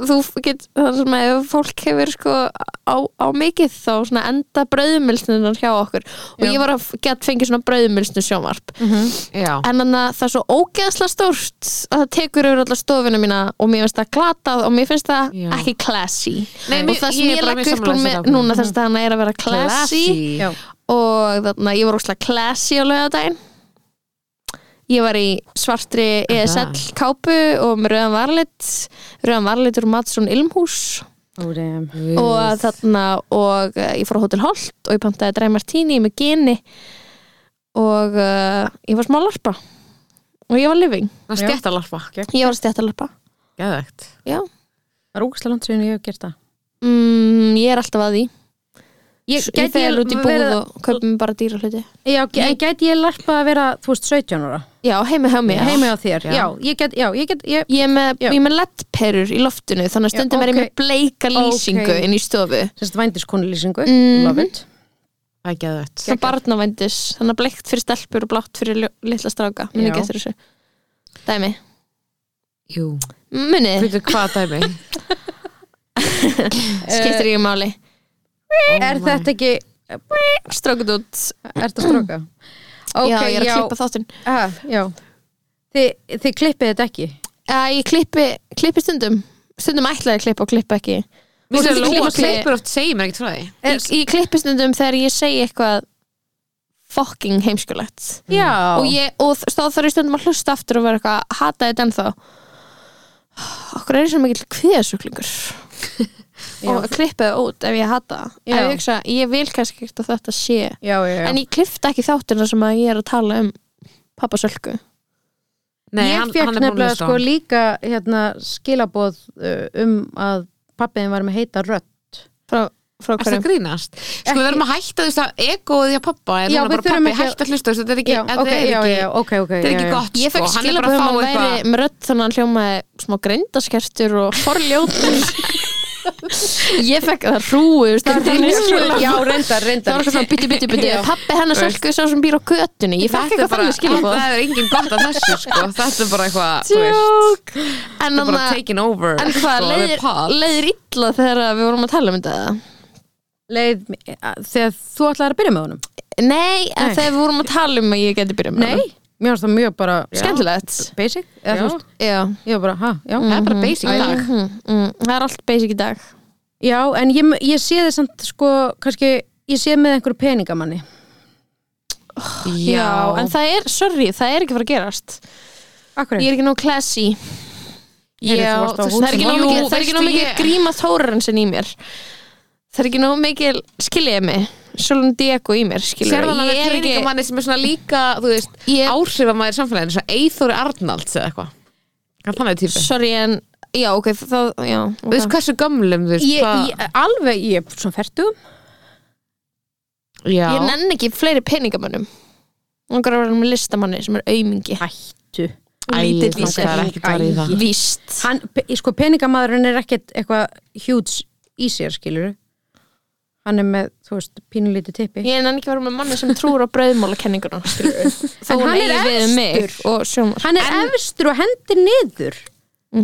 Speaker 3: þú get, það sem að ef fólk hefur sko á, á mikið þá svona enda brauðmilsnunar hjá okkur og
Speaker 5: Já.
Speaker 3: ég var að get fengið svona brauðmilsnu sjónvarp
Speaker 5: Mhm.
Speaker 4: Já,
Speaker 3: en þannig að það er svo ógeðslega stórt að það tekur yfir alla stofuna mína og mér finnst það glatað og mér finnst það
Speaker 4: Já.
Speaker 3: ekki classy
Speaker 4: Nei, mér-
Speaker 3: og það
Speaker 4: ég
Speaker 3: sem
Speaker 4: er
Speaker 3: ég
Speaker 4: bara
Speaker 3: legg
Speaker 4: mjög
Speaker 3: upp úr
Speaker 4: sammála þessu
Speaker 3: með
Speaker 4: ákvörðun.
Speaker 3: núna þess að það er að vera classy,
Speaker 5: já
Speaker 3: og þannig að ég var ógeðslega classy á laugardaginn ég var í svartri
Speaker 4: Aha.
Speaker 3: ESL kápu og með rauðan varlit rauðan varlit úr Madsson Ilmhús og þarna og uh, ég fór á Hotel Holt og ég pantaði Dry Martini með geni og uh, ég var smá larpa og ég var living,
Speaker 4: Það stjætt að larpa
Speaker 3: ég var stjættalarpa
Speaker 4: Geðvegt
Speaker 3: já,
Speaker 5: Það er ógæslega langt síðan ég hef gert það
Speaker 3: mm, ég er alltaf að því ég,
Speaker 5: gæti
Speaker 3: ég fer
Speaker 5: ég
Speaker 3: út í búð
Speaker 5: verið-
Speaker 3: og kaupum bara dýra hluti
Speaker 5: Já, ge- en gæti ég larpa að vera, þú veist, 17 ára
Speaker 3: já, heimi hjá mér
Speaker 5: Heimi á þér,
Speaker 4: Já.
Speaker 5: já, ég get, já, ég get ég,
Speaker 3: Ég er með,
Speaker 5: Já.
Speaker 3: ég er með leddperur í loftinu þannig að
Speaker 5: Já,
Speaker 3: stundum er ég
Speaker 5: ok.
Speaker 3: með bleika lýsingu
Speaker 5: Ok.
Speaker 3: inn í stofu
Speaker 5: sérst vændiskonulýsingu,
Speaker 3: Mhm.
Speaker 5: love it
Speaker 4: Það er geðvegt
Speaker 3: svona barnavændis, þannig að bleikt fyrir stelpur og blátt fyrir ljó- litla stráka muni
Speaker 5: Já.
Speaker 3: getur þessu dæmi,
Speaker 4: Jú
Speaker 3: munið
Speaker 4: Fyrir hvað dæmi
Speaker 3: skiptir
Speaker 5: Eh,
Speaker 3: ég máli
Speaker 4: Oh
Speaker 5: Er þetta ekki,
Speaker 3: strókut út
Speaker 5: er þetta stróka? Ok,
Speaker 3: já, ég er að klippa þáttinn
Speaker 5: ha, já. Þi, Þið klippið þetta ekki
Speaker 3: uh, ég klippi, klippi stundum stundum ætlaði að klippa og klippa ekki
Speaker 4: Mér
Speaker 3: Þú
Speaker 4: finnst að Lóa
Speaker 3: klippir-
Speaker 4: klippur oft segir mér ekkert frá því
Speaker 5: Er-
Speaker 3: ég, ég klippi stundum þegar ég segi eitthvað fucking heimskulegt
Speaker 5: Já,
Speaker 3: og, ég, og þ- þá þarf ég stundum að hlusta aftur og vera eitthvað, hataði þetta ennþá okkur er ég sem ekki kviðasuglingur og klippið út ef ég hata það. ef
Speaker 5: Já.
Speaker 3: ég, hugsa, ég vil kannski ekkert að þetta sé
Speaker 5: já, já, já.
Speaker 3: en ég klippta ekki þáttina sem að ég er að tala um pappasölku
Speaker 4: Nei,
Speaker 5: ég
Speaker 4: hann,
Speaker 5: fekk
Speaker 4: hann er búin
Speaker 5: nefnilega
Speaker 4: að
Speaker 5: sko
Speaker 4: sko
Speaker 5: líka hérna, skilabóð uh, um að pappiðin var með heita rött
Speaker 3: frá, frá
Speaker 4: Er það
Speaker 3: hverjum
Speaker 4: grínast? Sko við verðum að hætta þú veist að egoið hjá pappa er
Speaker 5: Já,
Speaker 4: núna
Speaker 5: við
Speaker 4: bara
Speaker 5: þurfum
Speaker 4: pappi
Speaker 5: ekki að-
Speaker 4: hætt að hlusta þú veist, Þetta er ekki,
Speaker 5: já,
Speaker 4: þetta
Speaker 5: ok,
Speaker 4: er
Speaker 5: já,
Speaker 4: ekki,
Speaker 5: já, ok, ok
Speaker 4: þetta er
Speaker 5: já,
Speaker 4: ekki
Speaker 5: já.
Speaker 4: gott
Speaker 3: Ég fekk
Speaker 4: sko. Hann er bara
Speaker 3: skilabóð um
Speaker 4: að fá
Speaker 3: að hann
Speaker 4: eitthvað-
Speaker 3: væri með rödd þannig að hann hljómaði smá greindaskertur og forljótur Ég fekk það hrúi Það
Speaker 5: Það er mjög svo-
Speaker 3: Það
Speaker 5: já, reyndar,
Speaker 3: var
Speaker 5: reyndar
Speaker 3: eitthvað svona byttu, byttu, byttu Pappi hennar sölku sá sem býr á götunni Ég fekk
Speaker 4: Þetta er
Speaker 3: eitthvað
Speaker 4: bara-
Speaker 3: þannig skilabóð
Speaker 4: Það er engin gott að þessu sko Þetta er bara eitthvað þú veist,
Speaker 3: Tjók En
Speaker 4: Þetta er
Speaker 3: hann
Speaker 4: bara taking over
Speaker 3: En
Speaker 4: sko,
Speaker 3: hvað,
Speaker 4: the
Speaker 3: leiðir,
Speaker 4: pod.
Speaker 3: leiðir illa þegar að við vorum að tala um þetta?
Speaker 5: leið, þegar þú ætlaði að byrja með honum
Speaker 3: Nei, en þegar við vorum að tala um að ég geti byrjað með
Speaker 5: Nei, mér finnst það mjög bara
Speaker 3: Skemmtilegt
Speaker 5: basic, eða
Speaker 4: Já.
Speaker 5: þú veist,
Speaker 3: Já.
Speaker 5: ég var bara, ha, já
Speaker 3: Mm.
Speaker 4: það er bara basic í dag
Speaker 3: Mhm, mhm. Það er allt basic í dag
Speaker 5: Já, en ég, ég sé þið samt, sko, kannski ég sé með einhverju peningamanni
Speaker 3: en það er, sorry, það er ekki fara að gerast
Speaker 5: Akkur
Speaker 3: Ég er ekki nóg classy
Speaker 5: Heyrðu, þú
Speaker 4: Já,
Speaker 5: varst á
Speaker 4: þú-
Speaker 5: hótel.
Speaker 3: Það er ekki nóg
Speaker 4: Jú,
Speaker 3: mikið, það er ekki nóg
Speaker 4: veistu,
Speaker 3: mikið
Speaker 4: ég-
Speaker 3: gríma þórarensin í mér Það er ekki nóg mikið skiljaði mig Svolun Diego í mér,
Speaker 4: Sérðan
Speaker 3: skiljaði Ég
Speaker 4: að það er
Speaker 3: er ekki
Speaker 4: peningamanni sem er svona líka, þú veist,
Speaker 3: Ég-
Speaker 4: áhrifamæður samfélaginu, svona Eithóri Arnalds eða eitthvað. Hann er Þannig típi.
Speaker 3: Sorry, en, já, ok, það, já
Speaker 4: Þú veist
Speaker 3: okay.
Speaker 4: hversu gömlum, þú veist,
Speaker 5: ég, ég, alveg, ég er svona færtugum
Speaker 4: hvað, já.
Speaker 3: Ég nenn ekki fleiri peningamönnum Langar að vera með listamanni sem er aumingi
Speaker 5: Hættu
Speaker 4: Æ,
Speaker 3: lítill í
Speaker 4: það
Speaker 3: sér.
Speaker 4: er ekki farið í það.
Speaker 3: Víst
Speaker 5: Hann, pe- sko, peningamadurinn er ekkert eitthvað huge í sér, skilur Hann er með, þú veist, pínulítið tippi
Speaker 3: Ég nenn ekki að vera með manni sem trúur á brauðmálakenninguna skilurðu. Þó
Speaker 5: En
Speaker 3: hún
Speaker 5: hann er
Speaker 3: eigi við um mig
Speaker 5: efstur.
Speaker 3: og sjómar
Speaker 5: Hann er efstur og hendir niður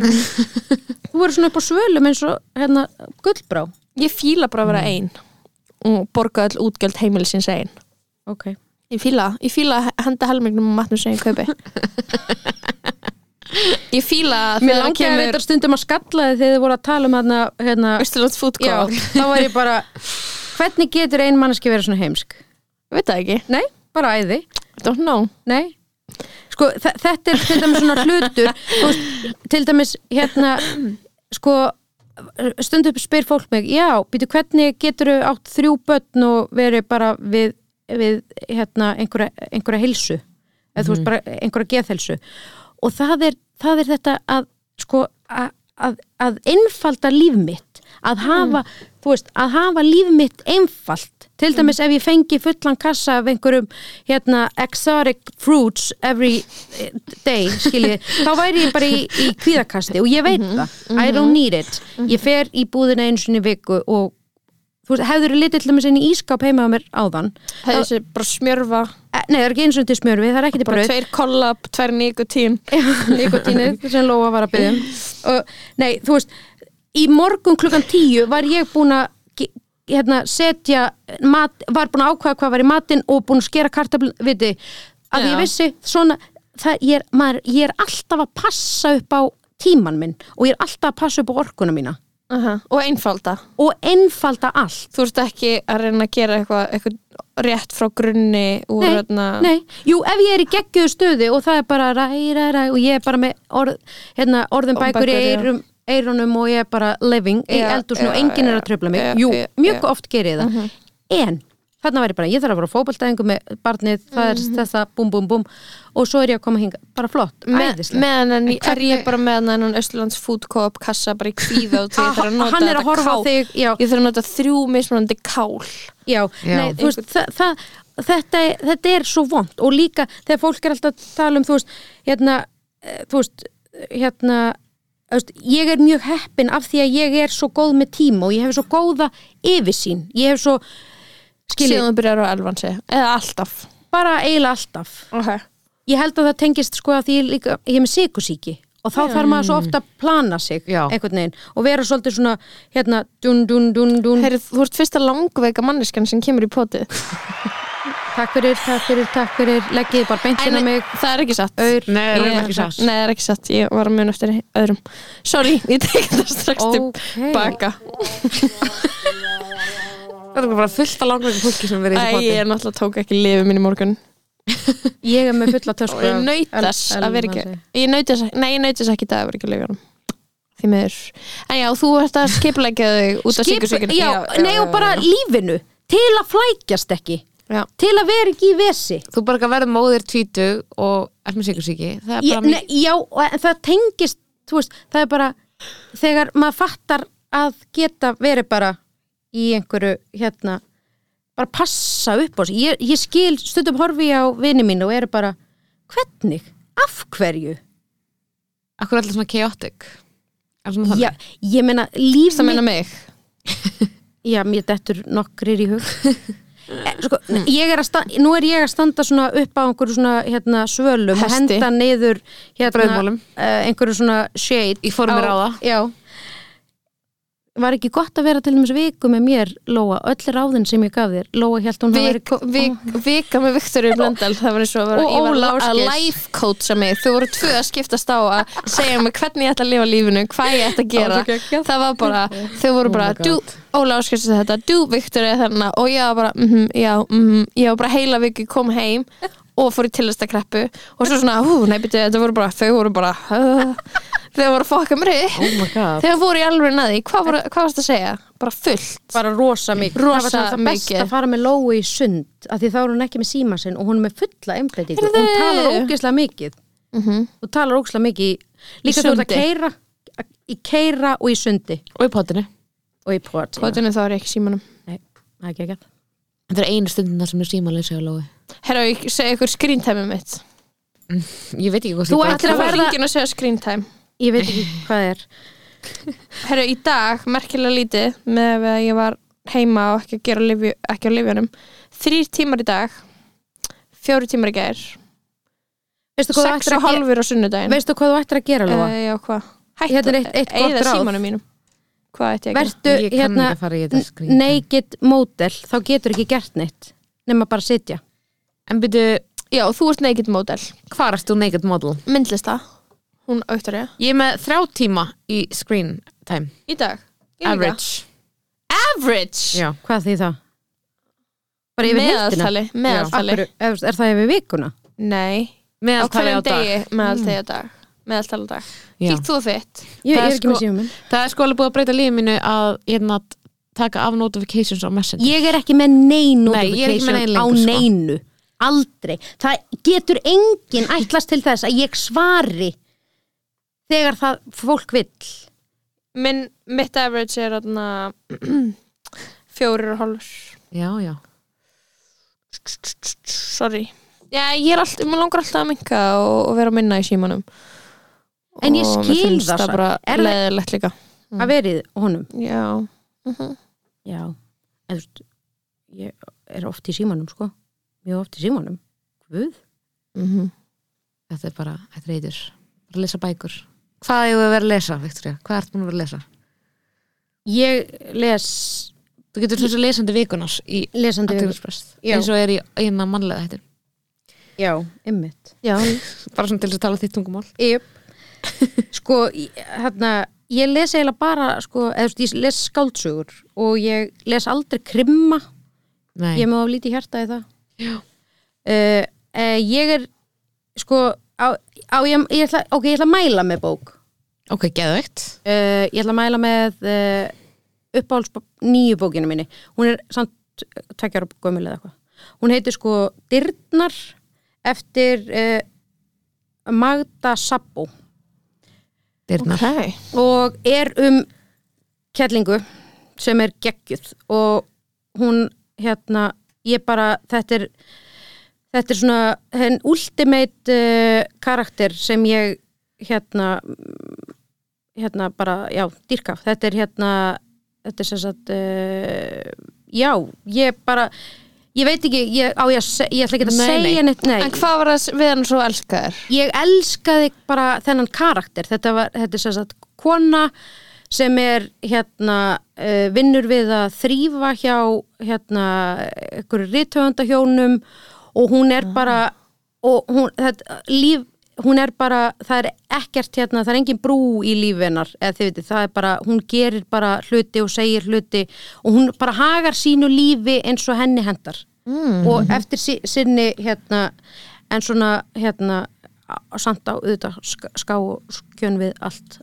Speaker 5: Þú verður svona upp á svölum eins og, hérna, gullbrá
Speaker 3: Ég fíla bara að vera ein og borga öll útgjöld heimilisins ein
Speaker 5: Ok
Speaker 3: Ég fíla, ég fíla að henda helmingnum og matnum sem ég kaupi Ég fíla
Speaker 5: Mér
Speaker 3: þegar það
Speaker 5: langaði
Speaker 3: kemur
Speaker 5: reyndar stundum að skalla þið þegar þið voru að tala um hérna, hérna
Speaker 3: Östurlótt
Speaker 5: já,
Speaker 3: fútkóð
Speaker 5: þá var ég bara hvernig getur ein manneski verið svona heimsk?
Speaker 3: Ég veit það ekki,
Speaker 5: Nei, bara æði,
Speaker 3: don't know
Speaker 5: nei Sko, þe- þetta er til dæmis svona hlutur þú veist, til dæmis hérna sko, stundum spyr fólk mig, já, býtu hvernig getur átt þrjú börn og verið bara við, við hérna, einhverja, einhverja heilsu eða þú veist bara einhverja geðhelsu og það er, það er þetta að sko að, að, að einfalda líf mitt að hafa, þú veist, að hafa líf mitt einfalt, til dæmis ef ég fengi fullan kassa af einhverjum hérna, exotic fruits every eh, day, skiljið þá væri ég bara í, í kvíðakasti og ég veit það, I don't need it ég fer í búðina einu sinni í viku og þú veist, hefur litið til dæmis inn í ískap heima á mér áðan
Speaker 3: Það er þessi bara smjörfa
Speaker 5: Eh, nei, það er ekki einu sinni til smjörfi, það er ekki til
Speaker 3: bara
Speaker 5: brauð
Speaker 3: tveir kollab, tveir nikotín
Speaker 5: nikotínið sem Lóa var að byggja um og nei, þú veist í morgun klukkan tíu var ég búin að ge- hérna, setja mat, var búin að ákvaða hvað var í matinn og búin að skera kartabl, viti að ég
Speaker 4: Já.
Speaker 5: vissi, svona það, ég, er, maður, ég er alltaf að passa upp á tíman minn og ég er alltaf að passa upp á orkuna mína
Speaker 3: Aha, og einfalda
Speaker 5: og einfalda allt
Speaker 3: þú ert ekki að reyna að gera eitthvað eitthvað rétt frá grunni úr
Speaker 5: Nei,
Speaker 3: hérna
Speaker 5: nei, jú, ef ég er í geggjöðu stöðu og það er bara ræ, ræ, ræ og ég er bara með orð, hérna,
Speaker 3: Orðin
Speaker 5: orðin bækur í
Speaker 3: bækur, já.
Speaker 5: eirum, eirunum og ég er bara living í
Speaker 3: Já,
Speaker 5: eldúsinu og
Speaker 3: já,
Speaker 5: enginn er
Speaker 3: já,
Speaker 5: að tröfla mig
Speaker 3: já,
Speaker 5: jú,
Speaker 3: já,
Speaker 5: mjög
Speaker 3: já. Mhm.
Speaker 5: oft gerir ég það en þarna var ég bara, ég þarf að vera fótballtæðingu með barnið, það
Speaker 3: Mhm.
Speaker 5: er þessa búm, búm, búm og svo er ég að koma hinga, bara flott
Speaker 3: Me,
Speaker 5: æðislega.
Speaker 3: meðan en er ég bara meðan en hann Östurlands food co-op kassa bara í kvíða og því ég þarf að nota
Speaker 5: hann er að
Speaker 3: þetta
Speaker 5: horfa á
Speaker 3: kál.
Speaker 5: þig já,
Speaker 3: ég þarf að nota þrjú mismunandi kál
Speaker 5: Já,
Speaker 4: Já.
Speaker 5: Nei, þú veist, það, það, þetta, er- þetta er svo vond og líka þegar fólk er alltaf að tala um þú veist, hérna, eh, þú veist, hérna þú veist, ég er mjög heppin af því að ég er svo góð með tíma og ég hef svo góða yfirsýn, ég hef svo skiljið,
Speaker 3: síðan þú byrjar á elvansi eða alltaf
Speaker 5: bara eiginlega alltaf
Speaker 3: okay.
Speaker 5: ég held að það tengist sko að því ég, líka, ég er með sykusíki og þá þarf maður svo ofta að plana sig
Speaker 4: Já.
Speaker 5: einhvern veginn og vera svolítið svona hérna, dun, dun, dun, dun
Speaker 3: Heri, þú ert fyrsta langveika manneskan sem kemur í potið
Speaker 5: takk fyrir, takk fyrir, takk fyrir leggiði bara beintina
Speaker 3: En
Speaker 5: mig
Speaker 3: það er ekki satt
Speaker 5: Aur.
Speaker 4: Nei, það er
Speaker 3: Ég-
Speaker 4: ekki satt.
Speaker 3: Nei, það er ekki satt, ég var að muna eftir öðrum Sorry, ég tek þetta strax
Speaker 5: Ókei.
Speaker 3: til baka
Speaker 4: Það er bara fullt af langveikum fólki sem verið í
Speaker 3: Æ,
Speaker 4: þessu
Speaker 3: ég
Speaker 4: poti.
Speaker 3: er náttúrulega tók ekki lifið mín í morgun
Speaker 5: Ég er með fulla tösku
Speaker 3: og ég
Speaker 5: af
Speaker 3: naut
Speaker 5: el-
Speaker 3: þess að vera ekki
Speaker 5: elmansi.
Speaker 3: ég naut þess, nei, ég naut þess ekki í dag að vera ekki lögjónum því miður en já, þú ert að skipleggja þig út af
Speaker 5: Skip,
Speaker 3: sykursökunni
Speaker 5: já, nei og bara lífinu til að flækjast ekki
Speaker 3: já.
Speaker 5: til að vera ekki í vesi
Speaker 4: Þú bara ekki að verða móðir tvítug og ert með sykursíki. Það er
Speaker 5: ég,
Speaker 4: bara
Speaker 5: ne,
Speaker 4: mikið.
Speaker 5: já, og en það tengist þú veist, það er bara þegar maður fattar að geta verið bara í einhverju hérna, bara passa upp á sig ég, ég skil, stundum horfi ég á vini mín og er bara, hvernig af hverju,
Speaker 4: Akkur er alltaf svona chaotic. Er svona þannig?
Speaker 5: já, ég meina líf
Speaker 3: það meina
Speaker 5: mitt-
Speaker 3: mig
Speaker 5: Já, mér dettur nokkrir í hug Eh, sko, ég er að standa, nú er ég að standa svona upp á einhverju svona hérna, svölum og
Speaker 3: Hesti.
Speaker 5: henda niður hérna,
Speaker 4: Brauðmolum.
Speaker 5: eh, einhverju svona shade
Speaker 4: Í formir á það.
Speaker 5: já. var ekki gott að vera til þess viku með mér Lóa, öll ráðin sem ég gaf þér Lóa held hún hafi verið
Speaker 3: Vik, vik, vika með Viktor í Blöndal það var eins og að vera
Speaker 5: Og
Speaker 3: ég var
Speaker 5: Óla
Speaker 3: að
Speaker 5: Ásgeirs.
Speaker 3: life coacha mig þau voru tvö að skiptast á að segja mig hvernig ég ætti að lifa lífinu, hvað ég ætti að gera
Speaker 5: Það var svo geggjað.
Speaker 3: það var bara, þau voru bara
Speaker 4: oh my God.
Speaker 3: "Du, Óla áskilst þetta, du Viktor er þarna og ég var bara, mhm, já, mhm ég var bara heila viku kom heim og fór í tillastakreppu og svo svona, hú, nei byrju, þetta voru bara, þau voru bara uh, þau voru að fokka mér upp
Speaker 4: Oh my god
Speaker 3: þau voru í alveg naði, hvað, voru- hvað varst að segja? bara fullt
Speaker 5: bara rosa mikið
Speaker 3: Rosa
Speaker 5: það var það best
Speaker 3: mikið.
Speaker 5: að fara með Lóu í sund af því þá er hún ekki með síma sinn og hún er með fulla einbreytingu
Speaker 3: Heyrðu. Mhm.
Speaker 5: hún talar ógeðslega mikið hún talar ógeðslega mikið í, líka þú ert að
Speaker 3: sundi.
Speaker 5: keira í keira og í sundi
Speaker 4: Og í potinu
Speaker 5: og í port
Speaker 3: Kotinu þá er ég ekki í símanum
Speaker 5: Nei, það er ekki ekki
Speaker 4: Það er einu stundin þar sem ég síma að leysa á Lói
Speaker 3: Herra, ég segi ykkur skrýntæmi mitt
Speaker 4: Ég veit ekki hvað
Speaker 5: Þú
Speaker 4: slíkt er.
Speaker 5: ætlar
Speaker 3: Það
Speaker 5: að
Speaker 3: var
Speaker 5: verða-
Speaker 3: hringin að segja screen time
Speaker 5: ég veit ekki hvað það er
Speaker 3: Herru, í dag, merkilega lítið með að ég var heima og ekki, að gera lifi, ekki á lifjunum Þrýr tímar í dag Fjóri tímar í gær
Speaker 5: veistu hvað þú
Speaker 3: Sex
Speaker 5: ættir
Speaker 3: og
Speaker 5: að gera,
Speaker 3: halvur á sunnudaginn
Speaker 5: veistu hvað þú ættir að gera Lóa
Speaker 3: Eh, Já, hvað?
Speaker 5: Hérna er eitt- eitt gott
Speaker 3: eyða
Speaker 5: ráð.
Speaker 3: símanum mínum Hvað ætti ég að gera?
Speaker 5: vertu
Speaker 4: Ég kann
Speaker 5: hérna
Speaker 4: ekki að fara í þetta skrýta.
Speaker 5: naked model þá getur ekki gert neitt nema bara sitja
Speaker 4: En byrju,
Speaker 3: Já, þú ert naked model
Speaker 4: hvað erst þú naked model?
Speaker 3: Myndlista Hún auktur ég
Speaker 4: Ég er með þrjá tíma í screen time
Speaker 3: Í dag Ég líka.
Speaker 4: Average
Speaker 3: Average
Speaker 4: Já
Speaker 5: hvað því það? bara yfir heildina
Speaker 3: Meðaltali Meðaltali
Speaker 5: Akkur, er það yfir vikuna?
Speaker 3: Nei Á
Speaker 4: Meðaltali á
Speaker 3: hverjum
Speaker 4: dag
Speaker 3: degi
Speaker 5: Mm.
Speaker 3: meðaltali á dag Meðaltali á dag
Speaker 4: Já.
Speaker 3: Kíkt þú á þitt
Speaker 5: Ég, ég
Speaker 4: Það
Speaker 5: er
Speaker 4: er
Speaker 5: ekki með
Speaker 4: sko-
Speaker 5: síma minn
Speaker 4: Það er sko alveg búið að breyta lífið mínu að hérna taka af notifications á messenger
Speaker 5: Ég er ekki með nein
Speaker 4: Nei, ég er ekki með nein
Speaker 5: notification á
Speaker 4: lengur, sko.
Speaker 5: neinu Aldrei Það getur enginn ætlast til þess að ég svari þegar það fólk vill
Speaker 3: Minn, mitt average er atna, fjórir og hálfur
Speaker 4: Já, já
Speaker 3: sorry já, ég er alltaf, mér langar alltaf að minka og, og vera að minna í símanum
Speaker 5: En ég
Speaker 3: Og mér
Speaker 5: skil
Speaker 3: finnst
Speaker 5: það
Speaker 3: það
Speaker 5: samt.
Speaker 3: bara
Speaker 5: Er það-
Speaker 3: leðilegt líka
Speaker 5: að verið honum
Speaker 3: já,
Speaker 5: Já en, þú veist, Ég er oft í símanum sko Mjög oft í símanum Guð
Speaker 3: Mhm.
Speaker 4: Þetta er bara, þetta er eitur Bara að lesa bækur Hvað hefur verið að lesa, Viktoria? Hvað ert búin að vera að lesa?
Speaker 5: Ég les
Speaker 4: Þú getur svona svo lesandi vikunars í
Speaker 5: lesandi við
Speaker 4: Athyglisbrest
Speaker 5: Já.
Speaker 4: eins og er í eina mannlega þetta
Speaker 5: Já, ymmit
Speaker 3: já
Speaker 4: bara svona til þess að tala þitt tungumál
Speaker 5: Jöp. sko, ég- hérna ég les eiginlega bara, sko, eða þú veist, ég les skáldsögur og ég les aldrei krimma,
Speaker 4: Nei,
Speaker 5: ég má af lítið hjarta í það uh, uh, ég er sko, á, á ég, ég ætla, ok, ég ætla að mæla með bók
Speaker 4: ok, geðveikt
Speaker 5: uh, ég ætla að mæla með uh, uppáhalds nýju bókinu minni hún er samt tveggjara gömul eða eitthvað hún heitir sko Dyrnar eftir uh, Magda Sabbo
Speaker 4: Dyrnar,
Speaker 3: okay.
Speaker 5: og er um kjallingu sem er geggjuð og hún hérna, ég bara, þetta er þetta er svona henn ultimate uh, karakter sem ég hérna mm, hérna bara, já, dýrka þetta er hérna, þetta er sem sagt uh, já, ég bara ég veit ekki, ég, á ég að se- ég ætla ekki að
Speaker 4: Nei, nei.
Speaker 5: segja neitt, nei
Speaker 3: en hvað var það við hann svo elskaðir?
Speaker 5: ég elskaði bara þennan karakter þetta, var, þetta er sem sagt kona sem er hérna uh, vinnur við að þrýfa hjá hérna einhverju rithöfundahjónum og hún er bara og hún, þetta, líf, hún er bara það er ekkert hérna, það er engin brú í lífinar eða þið veitir, það er bara hún gerir bara hluti og segir hluti og hún bara hagar sínu lífi eins og henni hendar
Speaker 4: Mhm.
Speaker 5: og eftir sí- sinni hérna en svona hérna á- samt á auðvitað sk- ská og skjön við allt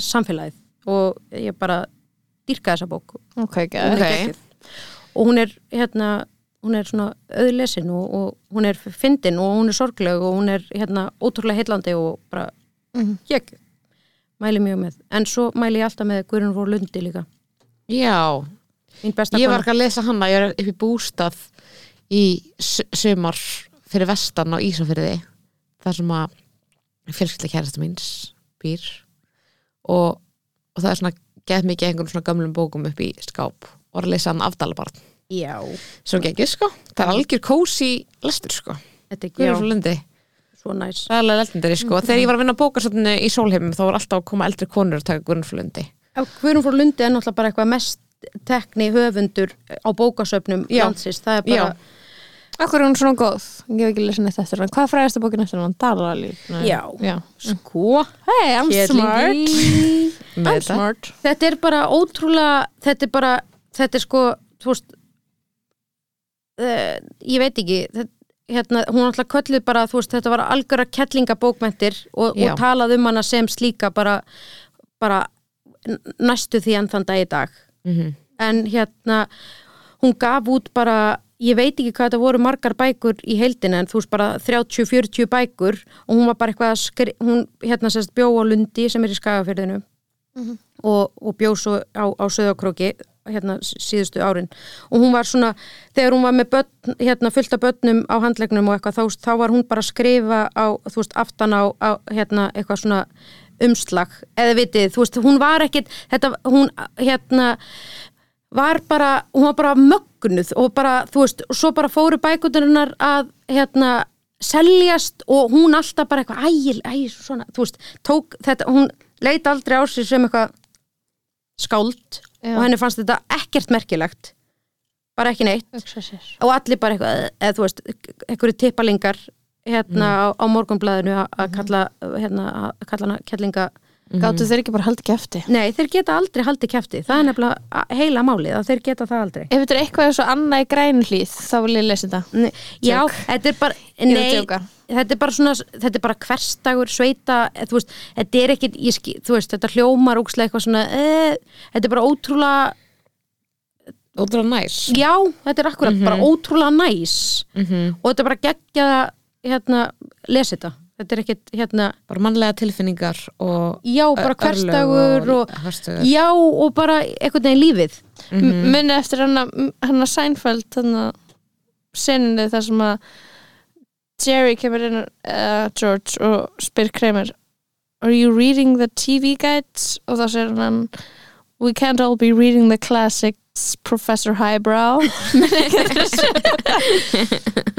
Speaker 5: samfélagið og ég bara dýrka þessa bók
Speaker 3: ok,
Speaker 5: Hún er
Speaker 3: okay.
Speaker 5: geggjuð. og hún er hérna hún er svona auðlesin og, og hún er fyndin og hún er sorgleg og hún er hérna ótrúlega heillandi og bara
Speaker 4: Mhm.
Speaker 5: ég mæli mjög með en svo mæli ég alltaf með Guðrun Rór Lundi líka
Speaker 4: já
Speaker 5: mín besta
Speaker 4: ég
Speaker 5: kona.
Speaker 4: var ekki að lesa hana, ég er upp í bústað í su- sumar fyrir vestan á Ísafyrði þar sem að fjölskylda kærasta míns býr og, og það er svona gett mikið einhvern svona gamlum bókum upp í skáp og var að lesa hann afdalabarn
Speaker 5: já,
Speaker 4: sem gengið sko, það er algjör kósi lestur sko,
Speaker 5: þetta er
Speaker 4: Guðrún
Speaker 5: já,
Speaker 4: frá Lundi
Speaker 5: svo næs Mhm.
Speaker 4: Það er alveg legendari sko. Þegar ég var að vinna á bókasöfninu í Sólheimum þá var alltaf að koma eldri konur að taka Gunnflundi.
Speaker 5: Ef Guðrún frá Lundi er náttúrulega bara eitthvað mest tekni höfundur á bókasöfnum
Speaker 4: Já.
Speaker 5: landsins, það er bara
Speaker 4: Já.
Speaker 3: Akkur er hún svona góð? Ég hef ekki lesin eitt eftir hann. Hvað fræðist að bókin eftir hann? Dalalíf? Nei.
Speaker 5: Já.
Speaker 3: Já.
Speaker 5: sko
Speaker 3: Hey, I'm smart.
Speaker 5: Kjellingi.
Speaker 4: með
Speaker 3: I'm
Speaker 4: þetta.
Speaker 3: smart.
Speaker 5: þetta er bara ótrúlega þetta er bara, þetta er sko þú veist uh, ég veit ekki þetta, hérna, hún alltaf kölluð bara, þú veist, þetta var algjöra kettlingabókmentir og,
Speaker 4: Já.
Speaker 5: og talað um hana sem slíka bara, bara n- næstu því enn þann dag í dag
Speaker 4: Mhm.
Speaker 5: en hérna hún gaf út bara ég veit ekki hvað þetta voru margar bækur í heildina en þú veist bara 30-40 bækur og hún var bara eitthvað að skri, hún hérna sérst bjó á Lundi sem er í Skagafyrðinu og, og bjó svo á, á Söðakróki hérna s- síðustu árin og hún var svona, þegar hún var með börn, hérna, fullt af börnum á handlegnum og eitthvað, þá, þá var hún bara að skrifa á, þú veist, aftan á, á hérna, eitthvað svona umslag eða vitið, þú veist, hún var ekkit þetta, hún, hérna var bara, hún var bara mögnuð og bara, þú veist, og svo bara fóru bækuturinnar að, hérna seljast og hún alltaf bara eitthvað ægil, ægil, svona, þú veist tók þetta, hún leit aldrei á sig sem eitthvað skáld
Speaker 3: Já.
Speaker 5: og henni fannst þetta ekkert merkilegt bara ekki neitt
Speaker 3: Hugsa sér.
Speaker 5: og allir bara eitthvað, eða þú veist einhverju tippalingar hérna á, á morgunblæðinu að- að kalla hérna, að kalla hana kellinga
Speaker 3: Gáttu þeir ekki bara haldið kæfti?
Speaker 5: nei, þeir geta aldrei haldið kæfti, það er nefnilega a- heila málið að þeir geta það aldrei
Speaker 3: Ef þetta er eitthvað eins og annað í grænhlýð, þá vil ég lesa þetta.
Speaker 5: Nei, já, þetta er bara
Speaker 3: Ég er að
Speaker 5: nei,
Speaker 3: djóka.
Speaker 5: þetta er bara svona þetta er bara hverstagur, sveita eh, þú veist, þetta er ekkit, ég skil, þú veist þetta hljómar úkslega eitthvað svona e, þetta er bara ótrúlega,
Speaker 4: Ótrúlega næs
Speaker 5: já, þetta er akkurat bara ótrúlega næs
Speaker 4: Mhm.
Speaker 5: og þetta er bara geggjaða hérna, lesi þetta þetta er ekkit, hérna,
Speaker 4: Bara mannlega tilfinningar og
Speaker 5: já, bara
Speaker 4: örlög
Speaker 5: hverstagur og,
Speaker 4: hárstugar.
Speaker 5: já, og bara einhvern veginn lífið
Speaker 3: Mm
Speaker 5: Mhm.
Speaker 3: Munið eftir hann að Seinfeld, hann að sinni þar sem að Jerry kemur inn, uh, George, og spyr Kramer Are you reading the TV guides? Og þá segir hann We can't all be reading the classics Professor Highbrow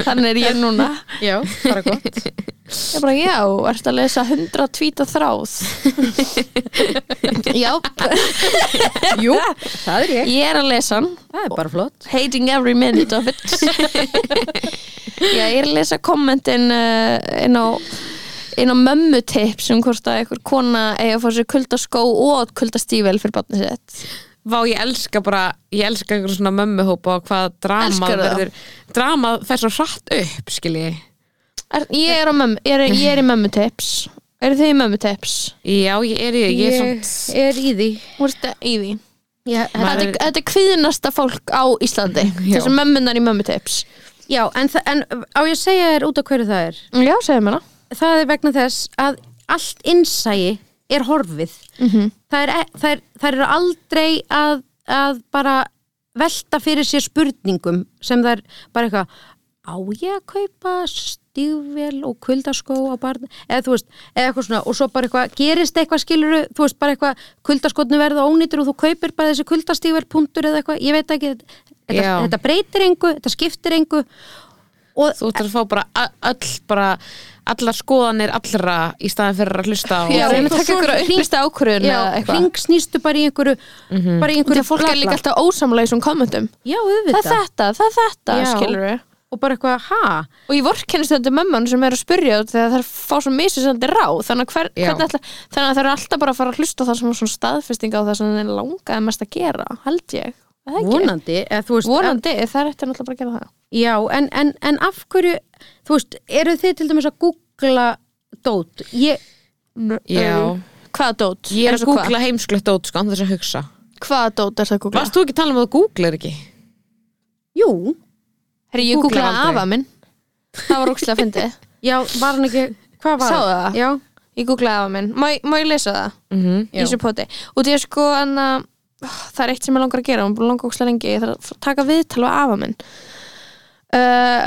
Speaker 3: Þannig er ég núna
Speaker 5: já, bara gott
Speaker 3: Ég bara, já, ertu að lesa 100 tvíta þráð? já,
Speaker 5: jú, það er
Speaker 3: ég er að lesa hann
Speaker 5: það er bara flott
Speaker 3: Hating every minute of it Já, ég er að lesa kommentin uh, inn á inn á mömmutips um hvort að einhver kona eigi að fá sér kuldaskó og kuldastível fyrir barnið sitt
Speaker 4: Vá, ég elska bara, ég elska einhver svona mömmuhópa og hvað dramað
Speaker 3: Elskarðu það?
Speaker 4: verður Dramað fer svo hratt upp, skilji
Speaker 3: er, Ég er, á mömmu, ég er, ég er í mömmutips Eru þið í mömmutips?
Speaker 4: Já, ég er í, ég er
Speaker 5: ég
Speaker 4: samt
Speaker 5: er í því
Speaker 3: Þú ert í því
Speaker 5: ég,
Speaker 3: Þetta er, þetta er kvíðinasta fólk á Íslandi Þessum mömmunar í mömmutips
Speaker 5: já, en, þa- en á ég að segja þér út af hverju það er
Speaker 3: Já, segðu mér það
Speaker 5: það er vegna þess að allt innsæi er horfið það, er, e- það, er, það er aldrei að, að bara velta fyrir sér spurningum sem það er bara eitthvað á ég að kaupa stífvel og kuldaskó á barn eða þú veist, eða eitthvað svona og svo bara eitthvað, gerist eitthvað skiluru þú veist, bara eitthvað, kuldaskotnu verða ónýtur og þú kaupir bara þessi kuldastífvel punktur eða eitthvað, ég veit ekki, þetta,
Speaker 4: Já.
Speaker 5: þetta breytir engu, þetta skiptir engu og
Speaker 4: Þú ert að fá bara a- öll bara allar skoðanir allra í staðan fyrir að hlusta á
Speaker 3: Já,
Speaker 5: Já,
Speaker 3: reyna
Speaker 5: og
Speaker 3: að taka
Speaker 5: svo
Speaker 3: ykkur
Speaker 5: hring-
Speaker 3: upplýsta ákvörðun eða
Speaker 5: já,
Speaker 3: eitthvað
Speaker 5: ringsnýstu bara í einhverju bara í
Speaker 3: Því
Speaker 5: einhverju
Speaker 3: að Mhm. fólk er líka alltaf ósamlega í svona kommentum
Speaker 5: já,
Speaker 3: Það
Speaker 5: auðvitað
Speaker 3: er þetta, það er þetta,
Speaker 5: Já.
Speaker 3: skilur við
Speaker 5: og bara eitthvað, ha,
Speaker 3: Og ég vorkennist þetta mömman sem er að spyrja út þegar það er að fá svo misisandi ráð þannig að, hver,
Speaker 4: Já.
Speaker 3: hvernig ætla, þannig að það er alltaf bara að fara að hlusta á það sem er svona staðfesting á það sem þeir langaði mest að gera, held ég Er það ekki?
Speaker 5: vonandi eða, þú veist,
Speaker 3: Vonandi, það er eftir náttúrulega bara að gera það
Speaker 5: að- já, en, en, en af hverju þú veist, eru þið til dæmis að googla dót, ég
Speaker 4: Já.
Speaker 3: Hvaða dót?
Speaker 4: Ég er
Speaker 3: Eins
Speaker 4: að
Speaker 3: og
Speaker 4: googla heimsklegt dót sko, án þess að hugsa
Speaker 3: hvað? Hvaða dót er það að googla?
Speaker 4: Varst þú ekki að tala um að þú googlar ekki?
Speaker 5: jú,
Speaker 3: Herri, ég
Speaker 4: Googlar
Speaker 3: googlaði
Speaker 4: aldrei.
Speaker 3: afa minn Það var ókslega að fyndi
Speaker 5: já, var hann ekki hvað var
Speaker 3: Sáðu það?
Speaker 5: já,
Speaker 3: Ég googlaði afa minn, má, ég- má ég lesa það?
Speaker 4: Mm
Speaker 3: í þessu poti og því að sko en að ah, það er eitt sem ég langar að gera og langar ókslega lengi, ég þarf að taka viðtal á afa minn uh,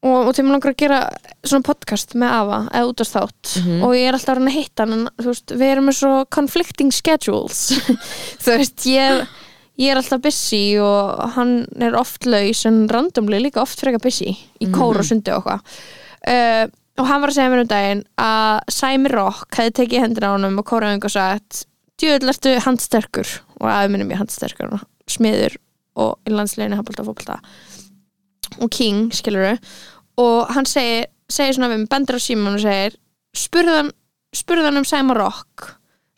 Speaker 3: og, og því að mig langar að gera svona podcast með afa eða út af þátt og ég er alltaf að reyna að hitta hann en þú veist, við erum með svo conflicting schedules þú veist, ég ég er alltaf busy og hann er oft laus en randomli líka oft frekar busy í kór og sundi og eitthvað uh, og hann var að segja mér um daginn að Sæmi Rock hefði tekið hendur á honum og kóraðing og sagt djöðl ertu handsterkur og afi minn er mjög handsterkur og smiður og í landsleginu handbólta og fótbolta og King, skilur og hann segir, segir svona við mig, bendur á síman og segir spurðan, spurðan um Sæma Rock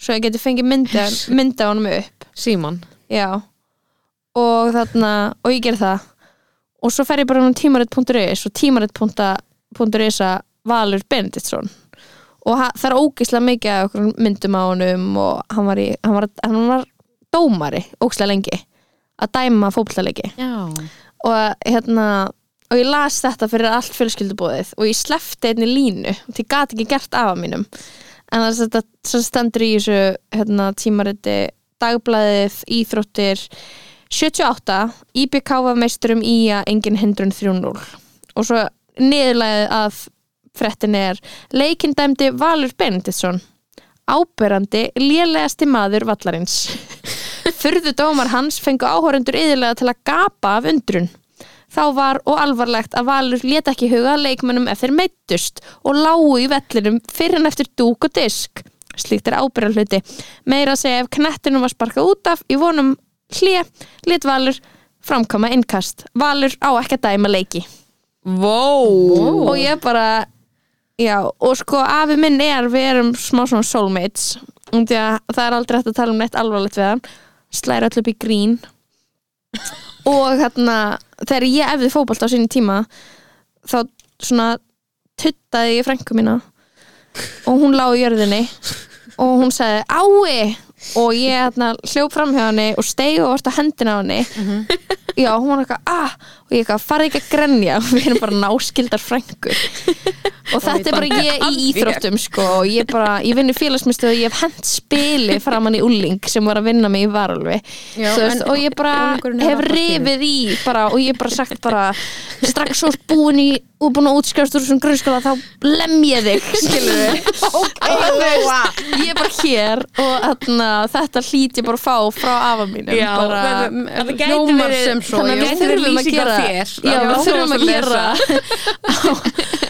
Speaker 3: svo ég geti fengið mynda, mynda honum upp
Speaker 4: Símon
Speaker 3: já og þarna, og ég ger það og svo fer ég bara um tímarit.is og tímarit.is að Valur Benediktsson og ha- það er ógislega mikið af okkur myndum á honum og hann var, í, hann var, hann var dómari ógislega lengi að dæma fótballleiki
Speaker 4: Já,
Speaker 3: og hérna og ég las þetta fyrir allt fjölskyldubóðið og ég slefti einni línu og ég gat ekki gert afa mínum en þess að þetta sem stendur í þessu hérna, tímariti dagblæðið, íþróttir 78, IBK var meisturum í að engin hindrun 3-0 og svo niðurlæðið að frettin er leikinn dæmdi Valur Benediktsson áberandi lélegasti maður vallarins Furðu dómar hans fengu áhórendur yðurlega til að gapa af undrun. Þá var og alvarlegt að Valur let ekki huga að leikmönnum ef þeir meittust og lágu í vellinum fyrir en eftir dúk og disk. Slíkt er ábyrðan hluti. Meira að segja ef knettinum var sparkað út af í vonum hlje, let Valur framkama innkast. Valur á ekki að dæma leiki.
Speaker 4: Vó
Speaker 3: Og ég bara, já, og sko afi minn er, við erum smá svona soulmates. um Því að það er aldrei hægt að tala um neitt alvarlegt við hann. Slæra öll upp í grín. Og þarna, þegar ég efði fótbolt á sínum tíma, þá svona tuttaði ég frænku mína og hún lá í jörðinni og hún sagði, ái! Og ég hérna hljóf fram hjá henni og steig og vart á hendina á henni já, hún var eitthvað, ah og ég eitthvað, farið ekki að grenja við erum bara náskildar frængur og þetta er bara ég í íþróttum sko, og ég bara, ég vinn í félagsmyndstöð og ég hef hent spili framann í Ulling sem var að vinna mig í varulvi
Speaker 5: Já,
Speaker 3: veist,
Speaker 5: en
Speaker 3: og ég bara
Speaker 5: unglingurinn er
Speaker 3: hef
Speaker 5: að fara
Speaker 3: rifið í bara, og ég hef bara sagt bara strax svo ert búin í og búin að útskjást úr þessum grunnskóla þá lem ég þig, skilur við ég er bara hér og atna, þetta hlýt ég bara að fá frá afa mínum
Speaker 4: Já,
Speaker 3: bara,
Speaker 4: það- það gæti
Speaker 5: hljómar
Speaker 4: verið-
Speaker 5: sem svo,
Speaker 4: þannig að
Speaker 5: já.
Speaker 4: við
Speaker 3: við þurfum að gera
Speaker 4: þér
Speaker 3: já,
Speaker 4: Já,
Speaker 3: við þurfum að
Speaker 4: svoleiðis.
Speaker 3: gera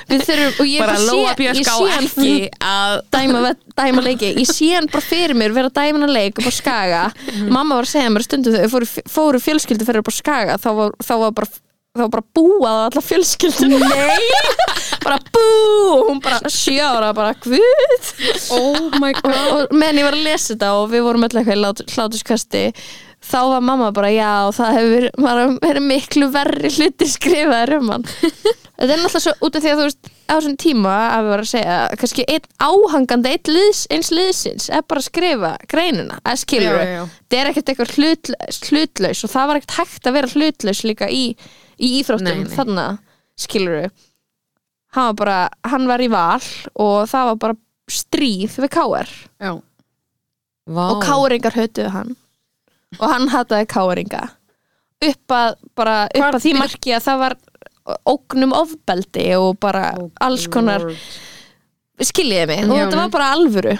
Speaker 3: við þurfum og ég
Speaker 4: bara
Speaker 3: sé-
Speaker 4: Lóa Björk
Speaker 3: ég
Speaker 4: á
Speaker 3: sé hann
Speaker 4: ekki að
Speaker 3: dæma, dæma leiki ég sé hann bara fyrir mér vera dæmina leik upp á skaga
Speaker 5: Mhm.
Speaker 3: mamma var að segja mér stundum þegar þau fóru, fóru fjölskyldu fyrir upp á skaga þá var, þá var bara þá var bara búað á alla fjölskyldun Nei! bara bú og hún bara sjö ára bara guð
Speaker 5: Oh my
Speaker 3: og, og meðan ég var að lesa þetta og við vorum öll eitthvað í lát- hlátuskasti þá var mamma bara já það hefur maður verið miklu verri hluti skrifaður um hann þetta er náttúrulega svo út af því að þú veist á þessum tíma að við varum að segja kannski einn áhangandi einn liðs, eins liðsins er bara að skrifa greinuna að skilur
Speaker 5: Já, já, já.
Speaker 3: það er ekkert eitthvað hlutlaus, hlutlaus og það var ekkert hægt að vera hlutlaus líka í, í íþróttum
Speaker 4: Nei, nei.
Speaker 3: þarna skilur hann var bara, hann var í val og það var bara stríð við K.R.
Speaker 5: Já,
Speaker 4: Vá.
Speaker 3: og K.R.ingar hötuðu hann og hann hataði K.R.inga upp að, bara, upp að því marki að það var ógnum ofbeldi og bara alls konar skiljiði mig og
Speaker 5: Já. Mhm.
Speaker 3: þetta var bara alvöru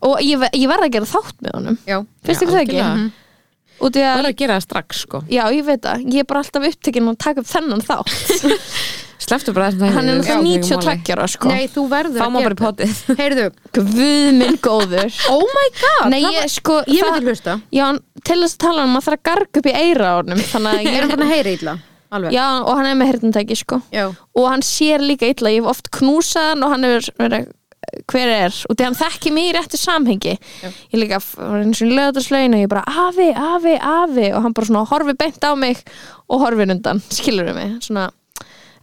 Speaker 3: og ég, ve- ég verði að gera þátt með honum
Speaker 5: já,
Speaker 3: finnst
Speaker 4: Já,
Speaker 3: ykkur það ekki? Mhm.
Speaker 4: algjörlega.
Speaker 3: Út í
Speaker 4: Það
Speaker 3: að,
Speaker 4: er að gera það strax sko
Speaker 3: já, ég veit það, ég er bara alltaf upptekinn að taka upp þennan þátt
Speaker 4: Sleftu bara þessum
Speaker 3: hann er náttúrulega 92 ára sko
Speaker 5: Nei, þú verður
Speaker 4: Þá má
Speaker 5: að
Speaker 4: bara í
Speaker 5: gera
Speaker 4: potið
Speaker 5: þetta. Heyrðu,
Speaker 3: Guð minn góður
Speaker 5: oh my god
Speaker 3: Nei, ég sko
Speaker 5: Ég
Speaker 3: það-
Speaker 5: myndi hlusta
Speaker 3: Já, en til þess að tala um maður þarf að garga upp í eira á honum Þannig að
Speaker 5: Ég er
Speaker 3: ég
Speaker 5: hann að heyra illa Alveg
Speaker 3: Já, og hann er með hirtintæki sko
Speaker 5: Já.
Speaker 3: Og hann sér líka illa, ég hef oft knúsað hann og hann hefur verið hver er og því hann þekki mig í réttu samhengi ég líka var eins og löðarslögin og ég bara afi, afi, afi og hann bara svona horfi beint á mig og horfi undan, skilur við mig svona.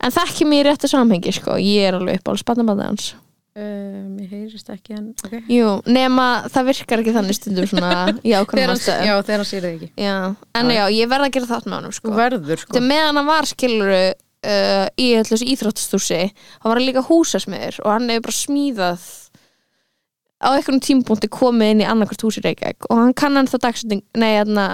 Speaker 3: en þekki mig í réttu samhengi sko, ég er alveg upp á spannabanda hans
Speaker 5: Um, Ég heyrist ekki en okay.
Speaker 3: Jú, nema það virkar ekki þannig stundum svona í ákveðnum
Speaker 5: Já,
Speaker 3: aðstæðum
Speaker 5: þegar hann sér þig ekki
Speaker 3: Já, en já, ég verð að gera þátt með honum sko.
Speaker 5: Þú verður sko
Speaker 3: Þegar meðan hann var skiluru uh, í öllu þessu íþróttastúsi hann var líka húsasmiður og hann hefur bara smíðað á einhvern tímpúnti komið inn í annarkvært hús í Reykjavík og hann kann hann þá dagsetning nei, hérna,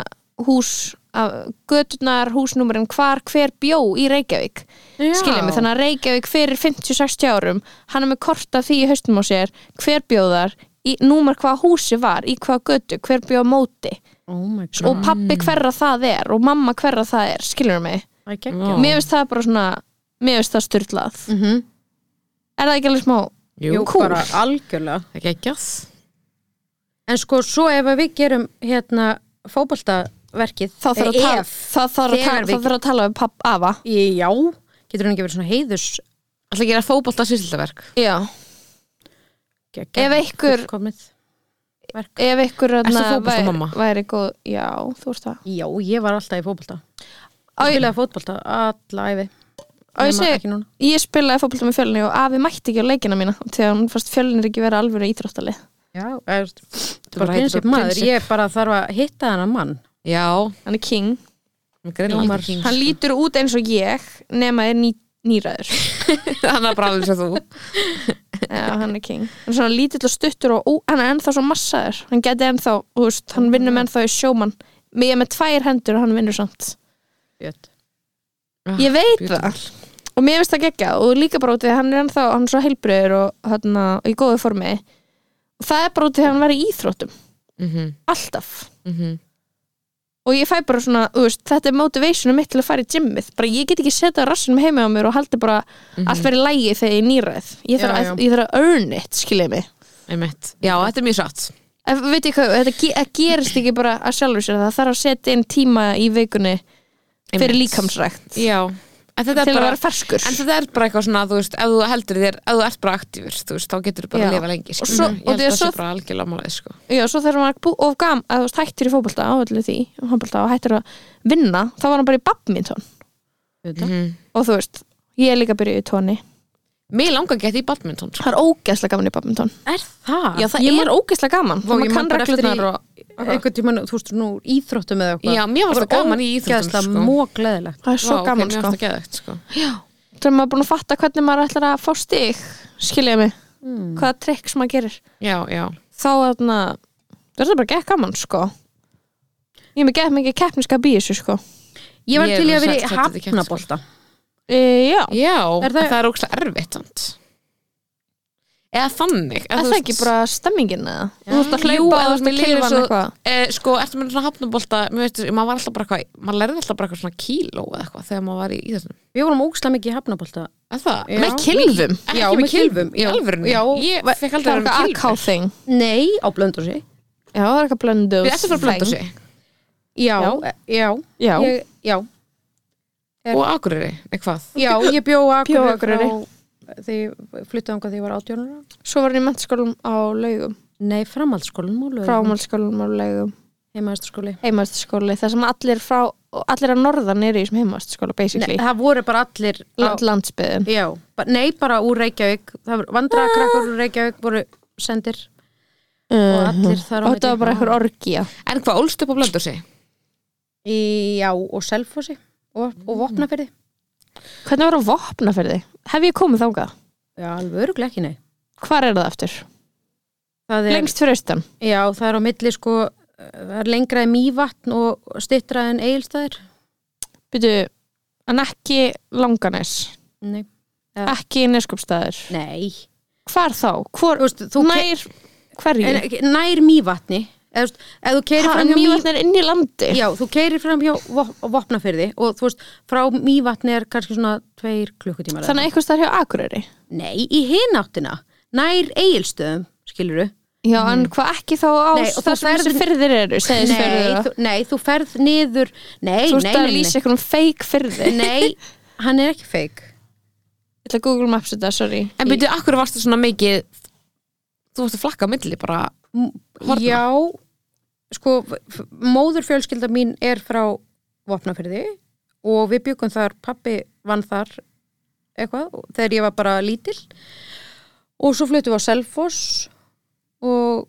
Speaker 3: hús af- göturnar, húsnúmerinn, hvar hver bjó í Reykjavík
Speaker 5: Já.
Speaker 3: skiljum við, þannig að Reykjavík fyrir 50-60 árum hann er með kort af því í haustum á sér hver bjóðar, í, númer hvað húsi var í hvað götu, hver bjó á móti
Speaker 5: Oh my god
Speaker 4: Sko,
Speaker 3: og pappi hverra það er og mamma hverra það er, skiljum mig
Speaker 5: Það er
Speaker 4: Já.
Speaker 5: geggjað.
Speaker 3: mér finnst það bara svona mér finnst það styrlað
Speaker 5: Mhm.
Speaker 3: er það ekki alveg smá
Speaker 5: Jú,
Speaker 3: Kúl.
Speaker 5: bara algjörlega
Speaker 4: Það er geggjað
Speaker 5: en sko svo ef að við gerum hérna fótboltaverkið
Speaker 3: þá þarf að,
Speaker 5: eh,
Speaker 3: tala,
Speaker 5: ef,
Speaker 3: það þarf að,
Speaker 5: þegar
Speaker 3: tala,
Speaker 5: við-
Speaker 3: það þarf að tala um papp afa
Speaker 5: já, getur hann ekki verið svona heiðus
Speaker 4: Alltaf að gera fótbolta sýsildaverk
Speaker 3: Já, Ef einhver-
Speaker 5: fullkomið verk
Speaker 3: ef ykkur
Speaker 4: Ertu fótboltamamma?
Speaker 3: væri, væri góð Já, þú ert það
Speaker 5: já, ég var alltaf í fótbolta
Speaker 3: Á,
Speaker 5: ég
Speaker 3: ég,
Speaker 5: spilaði fótbolta alla æfi
Speaker 3: á, ég,
Speaker 5: Nema
Speaker 3: segi-
Speaker 5: ekki núna
Speaker 3: ég spilaði fótbolta með fjölunni og afi mætti ekki á leikina mína þegar hún fannst fjölunni ekki vera alvöru íþróttalið
Speaker 5: já, eða, þú veist,
Speaker 4: bara
Speaker 5: bara
Speaker 4: heitir
Speaker 5: prinsip
Speaker 4: bara
Speaker 5: maður,
Speaker 4: prinsip.
Speaker 5: ég bara þarf að hitta þennan mann
Speaker 4: Já,
Speaker 3: Hann er king
Speaker 4: greinlega ekki
Speaker 3: Hann lítur út eins og ég nema er ný, nýræður
Speaker 4: Hann er bara alveg sem þú
Speaker 3: Já, hann er king Hann er svona lítill og stuttur og ó, hann er ennþá svo massaður Hann geti ennþá, þú veist, hann vinnur með ennþá í sjómann Mér er með tvær hendur og hann vinnur samt
Speaker 5: Björn.
Speaker 4: Ah.
Speaker 3: Ég veit það
Speaker 4: Beautiful.
Speaker 3: og mér finnst það geggja og líka bara út við að hann er ennþá, hann er svo heilbriður og hérna, í góðu formi og það er bara út við að hann var í íþróttum
Speaker 4: Mhm,
Speaker 3: alltaf
Speaker 4: mhm.
Speaker 3: og ég fæ bara svona, þú veist, þetta er motivationum mitt til að fara í gymmið, bara ég get ekki setja rassinum heima á mér og haldi bara
Speaker 4: Mhm.
Speaker 3: allt verið lægi þegar ég er nýræð ég þarf,
Speaker 5: Já,
Speaker 3: að,
Speaker 5: já.
Speaker 3: ég þarf að earn it, skiljið mig
Speaker 4: Einmitt. Já, þetta er mjög satt
Speaker 3: Ef, veit ég hvað, þetta ge að gerist ekki bara að sjálfur sér það þarf að setja inn tíma í vikunni fyrir
Speaker 4: Einmitt.
Speaker 3: líkamsrækt
Speaker 4: Já, en þetta
Speaker 3: til að
Speaker 4: er bara
Speaker 3: vera ferskur
Speaker 4: En þetta er bara eitthvað svona, þú veist, ef þú heldur þér, ef þú ert bara aktífur, þú veist, þá getur þú bara
Speaker 3: Já.
Speaker 4: að lifa lengi,
Speaker 3: Og
Speaker 4: skilur.
Speaker 3: svo- og
Speaker 4: ég
Speaker 3: því að
Speaker 4: held að það sé
Speaker 3: svo-
Speaker 4: bara algjörlega málið, sko.
Speaker 3: Já, svo þegar hann var bú- of gam að þú veist hættir í fótbolta á öllu því fótbolta, og hættir að vinna, þá var hann bara í badminton
Speaker 5: Auðvitað.
Speaker 4: Mhm.
Speaker 3: og þú veist, ég er líka byrjuð í tóni
Speaker 4: Mér langar að geta í badminton, sko.
Speaker 3: það er ógeðslega gaman í badminton
Speaker 5: er það?
Speaker 3: Já, það
Speaker 5: ég
Speaker 3: er
Speaker 5: man-
Speaker 3: ógeðslega gaman
Speaker 5: Vá,
Speaker 3: Vá,
Speaker 5: ég
Speaker 3: maður
Speaker 5: man
Speaker 3: kann
Speaker 5: bara eftir
Speaker 3: reglunar
Speaker 5: í-
Speaker 3: og
Speaker 5: einhvern tímann, þú veist, nú íþróttum eða eitthvað
Speaker 4: Já, mér varst það gaman í íþróttum,
Speaker 5: ógeðslega
Speaker 4: sko.
Speaker 5: mógleðilegt
Speaker 3: það er svo
Speaker 4: Vá,
Speaker 3: gaman
Speaker 4: ok, Mér
Speaker 3: sko
Speaker 4: varst það geðvægt, sko.
Speaker 3: Það er maður búin að fatta hvernig maður ætlar að fá stig skilja mig, hvaða trikks maður gerir
Speaker 4: Já, já.
Speaker 3: þá þarna það er það bara gekk gaman sko ég er með gekk mikið keppniskap í þessu sko
Speaker 5: ég var
Speaker 4: Ég
Speaker 5: til í
Speaker 4: er
Speaker 5: að vera
Speaker 4: sagt
Speaker 5: í
Speaker 4: þetta í kjafti, sko.
Speaker 5: hafnabolta
Speaker 3: e, já,
Speaker 4: Já, en
Speaker 5: Er það-
Speaker 4: það er ógslag erfitt, sant? Eða þannig.
Speaker 3: er það ekki bara stemmingin eða? Þú ert að
Speaker 4: Jú,
Speaker 3: hlaupa
Speaker 4: eða
Speaker 3: og þú ert
Speaker 4: þú veist,
Speaker 3: að
Speaker 4: mér líður
Speaker 3: keifa hann
Speaker 4: svo-
Speaker 3: eitthvað
Speaker 4: E, sko, ertu með svona hafnabólta, mér veist, maður var alltaf bara eitthvað, maður lærði alltaf bara eitthvað svona kíló eða eitthvað þegar maður var í íþróttum.
Speaker 5: við vorum ógeðslega mikið í hafnabolta
Speaker 4: Er það?
Speaker 5: Já.
Speaker 3: með kilfum
Speaker 4: Ekki
Speaker 5: Já,
Speaker 4: með
Speaker 5: með kylfum,
Speaker 4: kylfum, í
Speaker 5: já.
Speaker 4: alvörunni.
Speaker 5: Já.
Speaker 4: Ég fekk aldrei
Speaker 3: það
Speaker 4: að
Speaker 3: er
Speaker 4: vera með
Speaker 3: eitthvað
Speaker 4: kylfum.
Speaker 3: AK thing
Speaker 5: nei, á blöndur sig
Speaker 3: já, það er eitthvað blöndu
Speaker 4: Við ættum að blönda sig.
Speaker 5: já,
Speaker 3: Já.
Speaker 5: e- já,
Speaker 3: já,
Speaker 5: Ég, já, Er-
Speaker 4: og Akureyri, eitthvað
Speaker 5: já, ég bjó
Speaker 3: Bjó á
Speaker 5: Akureyri
Speaker 3: Akureyri.
Speaker 5: frá því fluttuðum hvað því ég var átjónur
Speaker 3: svo var ég í mentaskólum á laugum
Speaker 5: nei, framhaldsskólan
Speaker 3: frámálskólum á laugum,
Speaker 5: heimaðastaskóli
Speaker 3: heimastaskóli þar sem allir frá, allir að norðan eru í sem heimastaskóla basically,
Speaker 5: það voru bara allir á,
Speaker 3: land, landsbyðin
Speaker 5: já, ba nei, bara úr Reykjavík það voru vandrakrakkur úr Reykjavík voru sendir og allir þar á
Speaker 3: og þetta var bara eitthvað orgía
Speaker 4: en hvað ólst upp á blöndur sig?
Speaker 5: Í- já, og selfósi og, og vopnafyrði
Speaker 3: hvernig var að vopna fyrir þig? hef ég komið þangað?
Speaker 5: já, alveg öruglega ekki nei
Speaker 3: hvar er það eftir?
Speaker 5: það er,
Speaker 3: lengst fyrir austan
Speaker 5: já, það er á milli sko eh, það er lengra en mývatn og stittra en eigilstæðir
Speaker 3: byrju, en ekki langanes
Speaker 5: nei,
Speaker 3: ekki neskupstæðir
Speaker 5: nei.
Speaker 3: hvar þá? Hvor,
Speaker 5: Þú veist, þú ke-
Speaker 3: nær hverju?
Speaker 5: en, ekki- nær mývatni eða, þú veist, ef þú keirir
Speaker 3: hann
Speaker 5: fram hjá mývatni
Speaker 3: mývatn er inn í landi
Speaker 5: já, þú keirir fram hjá vopnafyrði og þú veist, frá mývatni er kannski svona tveir klukkutímar eða
Speaker 3: þannig að eitthvað stær hjá Akureyri
Speaker 5: eitthvað. nei, í hináttina, nær eigilstöðum skiluru
Speaker 3: já, en hvað ekki þá á
Speaker 5: Nei, og þú
Speaker 3: þar sem
Speaker 5: ferð-
Speaker 3: þessi fyrðir eru segist
Speaker 5: nei,
Speaker 3: fyrðir
Speaker 5: þú, nei, þú ferð niður nei,
Speaker 3: þú
Speaker 5: nei,
Speaker 3: ert að
Speaker 5: nei,
Speaker 3: lýsa einhvern feik fyrði
Speaker 5: nei, nei hann er ekki feik
Speaker 3: ég ætla að Google Maps þetta, sorry
Speaker 4: en byrju, Akureyri varstu svona mikið þú varst að flakka á milli bara Horna.
Speaker 5: Já, sko, móður fjölskylda mín er frá Vopnafyrði og við byggum þar, pappi vann þar eitthvað þegar ég var bara lítil og svo flutum við á Selfoss og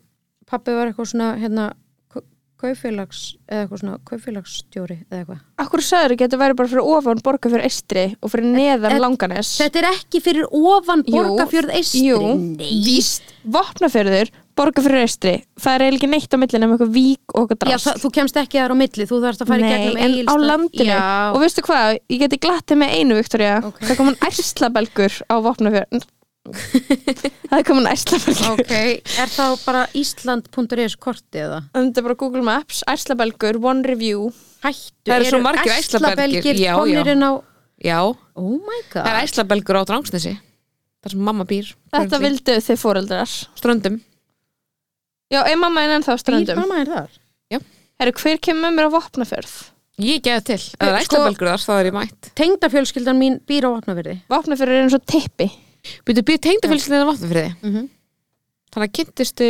Speaker 5: pappi var eitthvað svona hérna kau- kaupfélags eða eitthvað svona kaupfélagsstjóri eða eitthvað.
Speaker 3: Akkur sagður getur verið bara fyrir ofan borga fyrir eistri og fyrir neðan langanes
Speaker 5: Þetta er ekki fyrir ofan
Speaker 3: Jú,
Speaker 5: borgarfjörð eistri.
Speaker 3: jú,
Speaker 5: Nei.
Speaker 3: Vopnafjörður, borga fyrir eistri það er eiginlega ekki neitt á milli nema eitthvað vík og eitthvað
Speaker 5: Já,
Speaker 3: drast
Speaker 5: það, þú kemst ekki þar á milli, þú þarfst að fara í gegnum
Speaker 3: en á
Speaker 5: Egilsstaði.
Speaker 3: landinu
Speaker 5: Já,
Speaker 3: og veistu hvað, ég geti glattið með einu Viktoria,
Speaker 5: Ok.
Speaker 3: það kom hann ærslabelgur á vopnafjörn það kom hann ærslabelgur
Speaker 5: Ok, er þá bara Ísland.is korti eða?
Speaker 3: en Um þetta er bara Google Maps, ærslabelgur one review,
Speaker 5: Hættu,
Speaker 4: Það eru svo margir Æslabelgir, já,
Speaker 5: komnir
Speaker 4: já.
Speaker 5: inn á
Speaker 4: já,
Speaker 5: Oh my god
Speaker 4: það er æslabelgur á Drangsnesi þar sem mamma býr
Speaker 3: þetta vildu þið fóreldrar
Speaker 4: ströndum,
Speaker 3: Já, ein mamma er ennþá á
Speaker 5: Býr
Speaker 3: ströndum
Speaker 5: mamma er þar?
Speaker 3: Herru, hver kemur með mér á Vopnafjörð?
Speaker 4: Ég geði til, ef það er
Speaker 5: Sko-
Speaker 4: ætla belgur þar, þá er ég mætt
Speaker 5: Tengda fjölskyldan mín býr á vatnaverði
Speaker 3: Vopnafjörð er eins og tippi
Speaker 4: Býtu, býr tengdafélsinn en vatnafriði
Speaker 5: Mhm.
Speaker 4: Þannig að kynntistu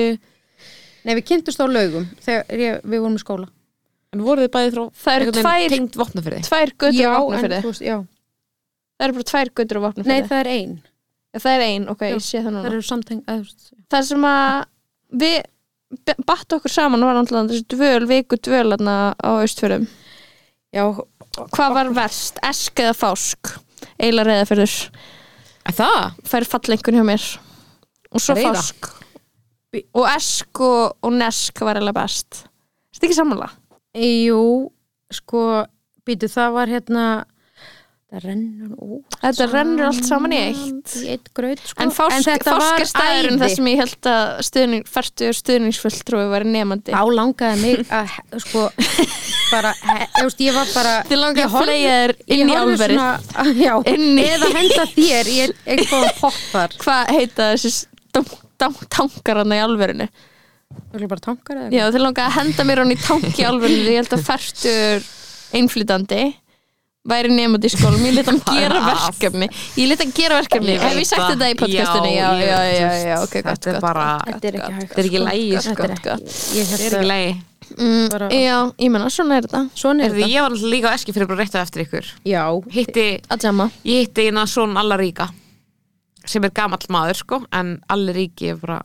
Speaker 5: Nei, við kynntumst á laugum þegar ég, við vorum í skóla
Speaker 4: En voruð þið bæði frá
Speaker 3: Það eru
Speaker 4: einhvern veginn
Speaker 3: tvær-
Speaker 4: tengd vopnafriði
Speaker 3: Tvær götur á Vopnafjörði
Speaker 5: þú veist, já
Speaker 3: Það eru bara tvær götur á
Speaker 5: Nei,
Speaker 3: Vopnafjörði
Speaker 5: það er ein,
Speaker 3: það... það er ein, ok,
Speaker 5: Já,
Speaker 3: ég sé það
Speaker 5: það
Speaker 3: núna
Speaker 5: eru samteng að, þú veist,
Speaker 3: Það sem að við batt okkur saman var náttúrulega þessi dvöl, viku dvöl þarna á Austfjörðum
Speaker 5: Já,
Speaker 3: Hvað var verst? Esk eða fásk? Eila reyðafjörður
Speaker 4: Það?
Speaker 3: Fær fallengun hjá mér Og svo
Speaker 4: Reiða?
Speaker 3: fásk Og esk og, og nesk var eða best Er þetta ekki samanlega?
Speaker 5: jú, sko býtu, það var hérna það rennur út
Speaker 3: Þetta rennur allt saman í eitt
Speaker 5: í eitt gröð, sko
Speaker 3: En fásk,
Speaker 5: þetta
Speaker 3: fásk er
Speaker 5: var
Speaker 3: staðurinn
Speaker 5: æði.
Speaker 3: þar sem ég held að stuðning, færtu stuðningsfulltrúi var nefandi
Speaker 5: Þá langaði mig að, he- sko, bara, he- þú veist, ég var bara
Speaker 3: Þið langar
Speaker 5: ég
Speaker 3: að
Speaker 5: horfði-
Speaker 3: flega þér inn í
Speaker 5: ég horfði
Speaker 3: álverið
Speaker 5: svona- Já,
Speaker 3: Inn í-
Speaker 5: eða henda þér í ein- eitthvað pott þar
Speaker 3: Hvað heita þessi dang- dang- tankar hann í álverinu?
Speaker 5: Þú vilja bara tankar eða?
Speaker 3: Já, þið langar að henda mér hann í tank í álverinu Ég held að færtur einflýtandi væri nefandi í skólum, ég leta hann gera verkefni ég leta hann gera verkefni
Speaker 4: Ég
Speaker 3: hef ég
Speaker 4: veit
Speaker 3: sagt
Speaker 4: það.
Speaker 3: þetta í podcastinu já,
Speaker 4: Já, ég
Speaker 3: já,
Speaker 4: veit
Speaker 3: já,
Speaker 4: það.
Speaker 3: já, ok,
Speaker 4: Þetta
Speaker 3: gott,
Speaker 4: er
Speaker 3: gott,
Speaker 4: bara-
Speaker 3: gott,
Speaker 5: Þetta er ekki
Speaker 3: gott, gott,
Speaker 5: hægt,
Speaker 4: Þetta er ekki
Speaker 3: gott,
Speaker 4: lægi,
Speaker 3: gott,
Speaker 4: sko.
Speaker 3: gott, gott.
Speaker 5: Ég
Speaker 4: Það er
Speaker 5: held
Speaker 4: ekki
Speaker 5: að,
Speaker 4: lægi
Speaker 3: Mm,
Speaker 5: Bara-
Speaker 3: já, ég menna, svona er þetta
Speaker 5: svona er
Speaker 4: Erði,
Speaker 5: þetta
Speaker 4: Ég var náttúrulega líka á eski fyrir bara rétt á eftir ykkur
Speaker 5: Já,
Speaker 4: Hitti,
Speaker 3: að jamma
Speaker 4: Ég hitti eina svona alla ríka sem er gamall maður sko en allir ríki er bara,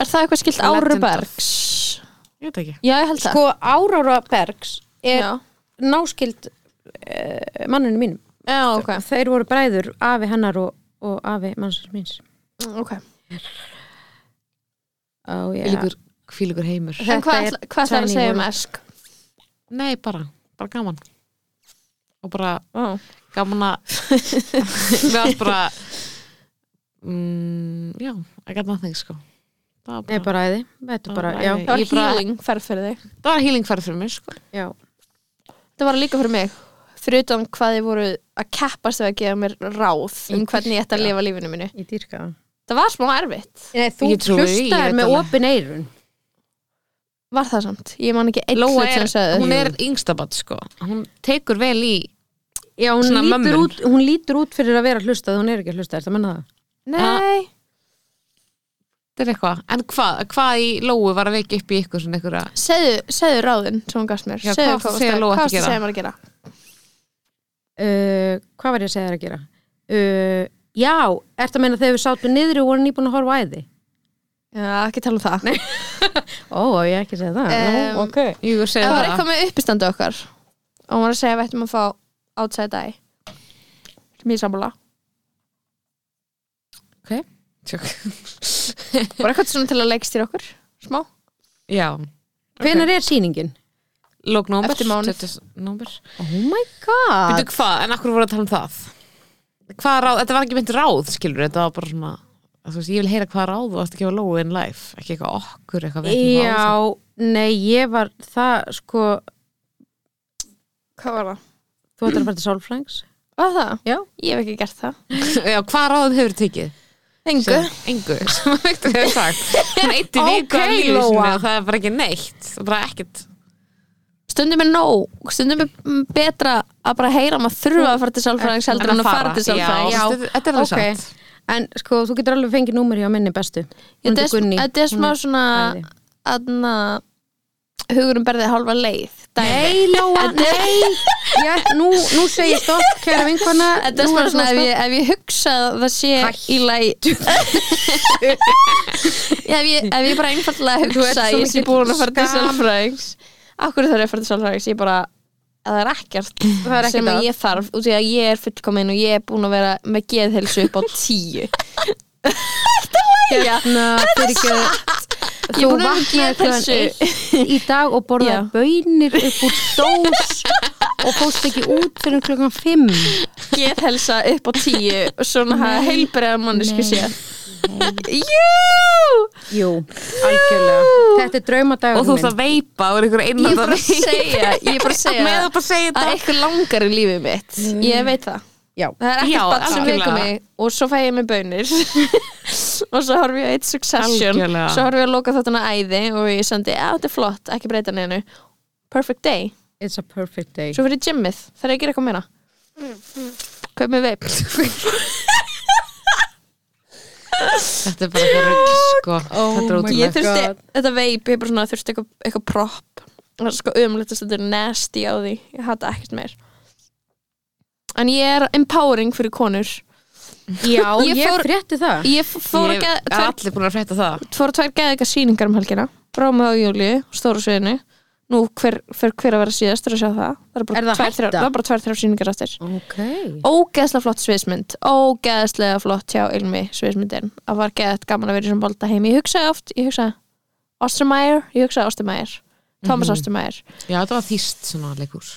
Speaker 3: Er það eitthvað skilt
Speaker 4: Legend
Speaker 3: Áru
Speaker 4: of-
Speaker 3: Bergs?
Speaker 4: ég veit ekki
Speaker 3: Já, ég held það
Speaker 5: sko Árára Bergs er
Speaker 3: Já,
Speaker 5: náskild uh, manninu mínum
Speaker 3: já ok,
Speaker 5: Þeir voru bræður, afi hennar og, og afi mannsins míns
Speaker 3: okay.
Speaker 5: Ó, já.
Speaker 4: Hvílíkur, hvílíkur heimur
Speaker 5: Þetta
Speaker 3: En hvað
Speaker 5: er
Speaker 3: ætla- hvað ætlar að
Speaker 5: tvenning
Speaker 3: segja um
Speaker 5: voru-
Speaker 3: Esk?
Speaker 4: Nei, bara, bara gaman og bara
Speaker 3: Ó.
Speaker 4: gaman að við allt bara mm, já, I got nothing sko það var
Speaker 5: Nei,
Speaker 4: bara,
Speaker 5: bara æði, þetta er bara,
Speaker 4: Bara
Speaker 5: já,
Speaker 4: æði.
Speaker 3: Það var
Speaker 4: Ég bara-
Speaker 3: healing ferð fyrir þig
Speaker 4: það var healing færð fyrir mig sko
Speaker 5: já
Speaker 3: Það var líka fyrir mig Fyrir utan hvað þið voru að keppast við að gefa mér ráð um hvernig ég ætti að lifa lífinu mínu
Speaker 5: Ég dýrka það
Speaker 3: Það var smá erfitt
Speaker 5: Nei, þú
Speaker 4: Ég trúi því, ég
Speaker 5: hlustaðir
Speaker 4: veit
Speaker 5: með
Speaker 4: alveg.
Speaker 5: opin eirun
Speaker 3: Var það samt, ég man ekki einn
Speaker 4: Lóa
Speaker 3: hlut
Speaker 4: er,
Speaker 3: sem sagði
Speaker 4: hún er yngstabat sko hún tekur vel í
Speaker 5: Já, hún
Speaker 4: Svona
Speaker 5: lítur,
Speaker 4: mömmun.
Speaker 5: út, hún lítur út fyrir að vera hlustað hún er ekki hlustað, það menna það
Speaker 3: Nei,
Speaker 4: þetta er eitthvað, en hvað, hvað í Lóu var að vekja upp í ykkur svona ykkur að
Speaker 3: segðu, segðu ráðin sem hún gafst mér
Speaker 4: Já,
Speaker 3: Segðu
Speaker 4: hvað varstu að
Speaker 3: varstu-
Speaker 4: segja
Speaker 3: hvað
Speaker 4: Lóa að
Speaker 3: varstu að
Speaker 4: gera?
Speaker 3: segja mér að gera
Speaker 5: uh, Hvað var ég að segja þér að gera? Uh, já, ertu að meina þegar við sátum niður og vorum nýbúin að horfa á æði?
Speaker 3: Já, ekki tala um það
Speaker 5: Ó, ég hef ekki segja það
Speaker 3: Em,
Speaker 5: Nú, ok
Speaker 4: jú, ég segi
Speaker 3: Það var
Speaker 4: það
Speaker 3: eitthvað með uppistandu okkar og hún var að segja að við ættum að fá outside eye sem ég er sammála
Speaker 4: Tjók.
Speaker 3: var eitthvað svona til að leikstýra okkur smá
Speaker 4: já,
Speaker 5: Hvenær er sýningin?
Speaker 4: lók nómber
Speaker 3: Eftir mánuð.
Speaker 4: nómber
Speaker 5: Oh my god
Speaker 4: Býtu hvað, en akkur voru að tala um það Hvað ráð, þetta var ekki mynd ráð skilur, þetta var bara svona að þú veist, ég vil heyra hvað ráð þú átt að gefa lógu in life ekki eitthvað okkur, eitthvað við ætlum að ráða.
Speaker 5: Já, nei, ég var það sko,
Speaker 3: hvað var það?
Speaker 5: þú ætlar að fara til sálfrængs
Speaker 3: Var það?
Speaker 5: Já.
Speaker 3: Ég hef ekki gert það
Speaker 4: Já, hvað ráð hefur tekið?
Speaker 3: Engu
Speaker 4: Engu, sem að veikt að hefur sagt Hún eitti okay, viku af
Speaker 5: Ókei,
Speaker 4: lífi sinni
Speaker 5: Lóa.
Speaker 4: og það er bara ekki neitt Það er bara ekkert
Speaker 3: Stundum er nóg Stundum er mm, betra að bara heyra að maður þurfa að fara til sálfræðings heldur en að fara til
Speaker 4: Já,
Speaker 3: sálfræðings
Speaker 4: þetta- þetta er alveg
Speaker 5: ok.
Speaker 4: satt
Speaker 5: En sko, þú getur alveg fengið númer hjá minni bestu Hún
Speaker 3: Þetta
Speaker 5: heitir
Speaker 3: er sm-
Speaker 5: Gunni.
Speaker 3: þetta er smá
Speaker 5: Hún
Speaker 3: svona
Speaker 5: æði.
Speaker 3: aðna hugurum berðið hálfa leið dæmi.
Speaker 5: Nei, Lóa, nei Já, nú, nú segir stopp, kæra vinkona
Speaker 3: Þetta er
Speaker 5: nú
Speaker 3: smá
Speaker 5: er
Speaker 3: svona ef ég, ef ég hugsa að það sé í læg ef, ég- ef ég bara einfallega hugsa að ég sé búin að fara til sálfræðings Akkur þarf ég að fara til sálfræðings Ég bara, að það er ekkert
Speaker 5: Það er ekkert
Speaker 3: sem
Speaker 5: að.
Speaker 3: ég þarf út í að ég er fullkomin og ég er búin að vera með geðhelsu upp á tíu
Speaker 5: stopp Hérna, fyrir ekki
Speaker 3: Ég
Speaker 5: Þú
Speaker 3: er búin að vera
Speaker 5: vaknaði
Speaker 3: með
Speaker 5: klukkan
Speaker 3: geðhelsu
Speaker 5: eitt í dag og borðaði
Speaker 3: Já.
Speaker 5: bönir upp úr dós og fóst ekki út fyrir klukkan fimm
Speaker 3: geðhelsa upp á tíu og svona heilbreða mannesku sé Jú!
Speaker 5: Jú, algjörlega Þetta er draumadagurinn
Speaker 4: Og þú ert að veipa og er ykkur
Speaker 3: Ég
Speaker 4: einnig
Speaker 3: er bara að segja Ég er bara að segja
Speaker 4: Með að bara
Speaker 3: Það
Speaker 4: segja
Speaker 3: er
Speaker 4: þetta Mm.
Speaker 3: eitthvað langar í lífið mitt Ég veit það
Speaker 5: Já,
Speaker 3: Það er
Speaker 4: Já,
Speaker 3: ekkert bann sem
Speaker 4: algjörlega.
Speaker 3: veikum mig Og svo fæ ég mig bönir og svo horfum ég á eitt succession
Speaker 4: Algjörlega.
Speaker 3: svo horfum ég að lóka þáttuna æði og ég sendi, já þetta er flott, ekki breyta neinu perfect day,
Speaker 5: It's a perfect day
Speaker 3: svo fyrir gymmið það er að gera eitthvað meira kaup með veip
Speaker 4: Þetta er bara eitthvað rugl sko.
Speaker 5: Oh
Speaker 3: ég
Speaker 4: Þetta er
Speaker 5: my God.
Speaker 4: ótrúlega
Speaker 3: þurfti, þetta veip, ég bara svona þurfti eitthvað, eitthvað prop það er sko umlítast, þetta er nasty á því ég hata ekkert meir en ég er empowering fyrir konur
Speaker 5: Já,
Speaker 3: Ég
Speaker 5: ég,
Speaker 3: fór-
Speaker 5: frétti það
Speaker 3: ég f- fór að
Speaker 4: Ég
Speaker 3: geða
Speaker 4: er allir búin að frétta það
Speaker 3: fóru tvær geðika sýningar um helgina Brámið og Júliu, stóru sviðinu nú hver, hver, hver að vera síðast er að sjá það það er bara
Speaker 5: Er það
Speaker 3: tvær, þrjár-
Speaker 5: hætta?
Speaker 3: það er bara tvær, þrjár sýningar aftur
Speaker 5: Ok
Speaker 3: ógeðslega flott sviðsmynd ógeðslega flott hjá Ilmi sviðsmyndin að var geðt gaman að vera í svona bolta heim ég hugsaði oft, ég hugsaði Ostermeier, ég hugsaði Ostermeier Thomas
Speaker 4: Mhm.
Speaker 3: Ostermeier
Speaker 4: Já, þetta var þýst svona leikús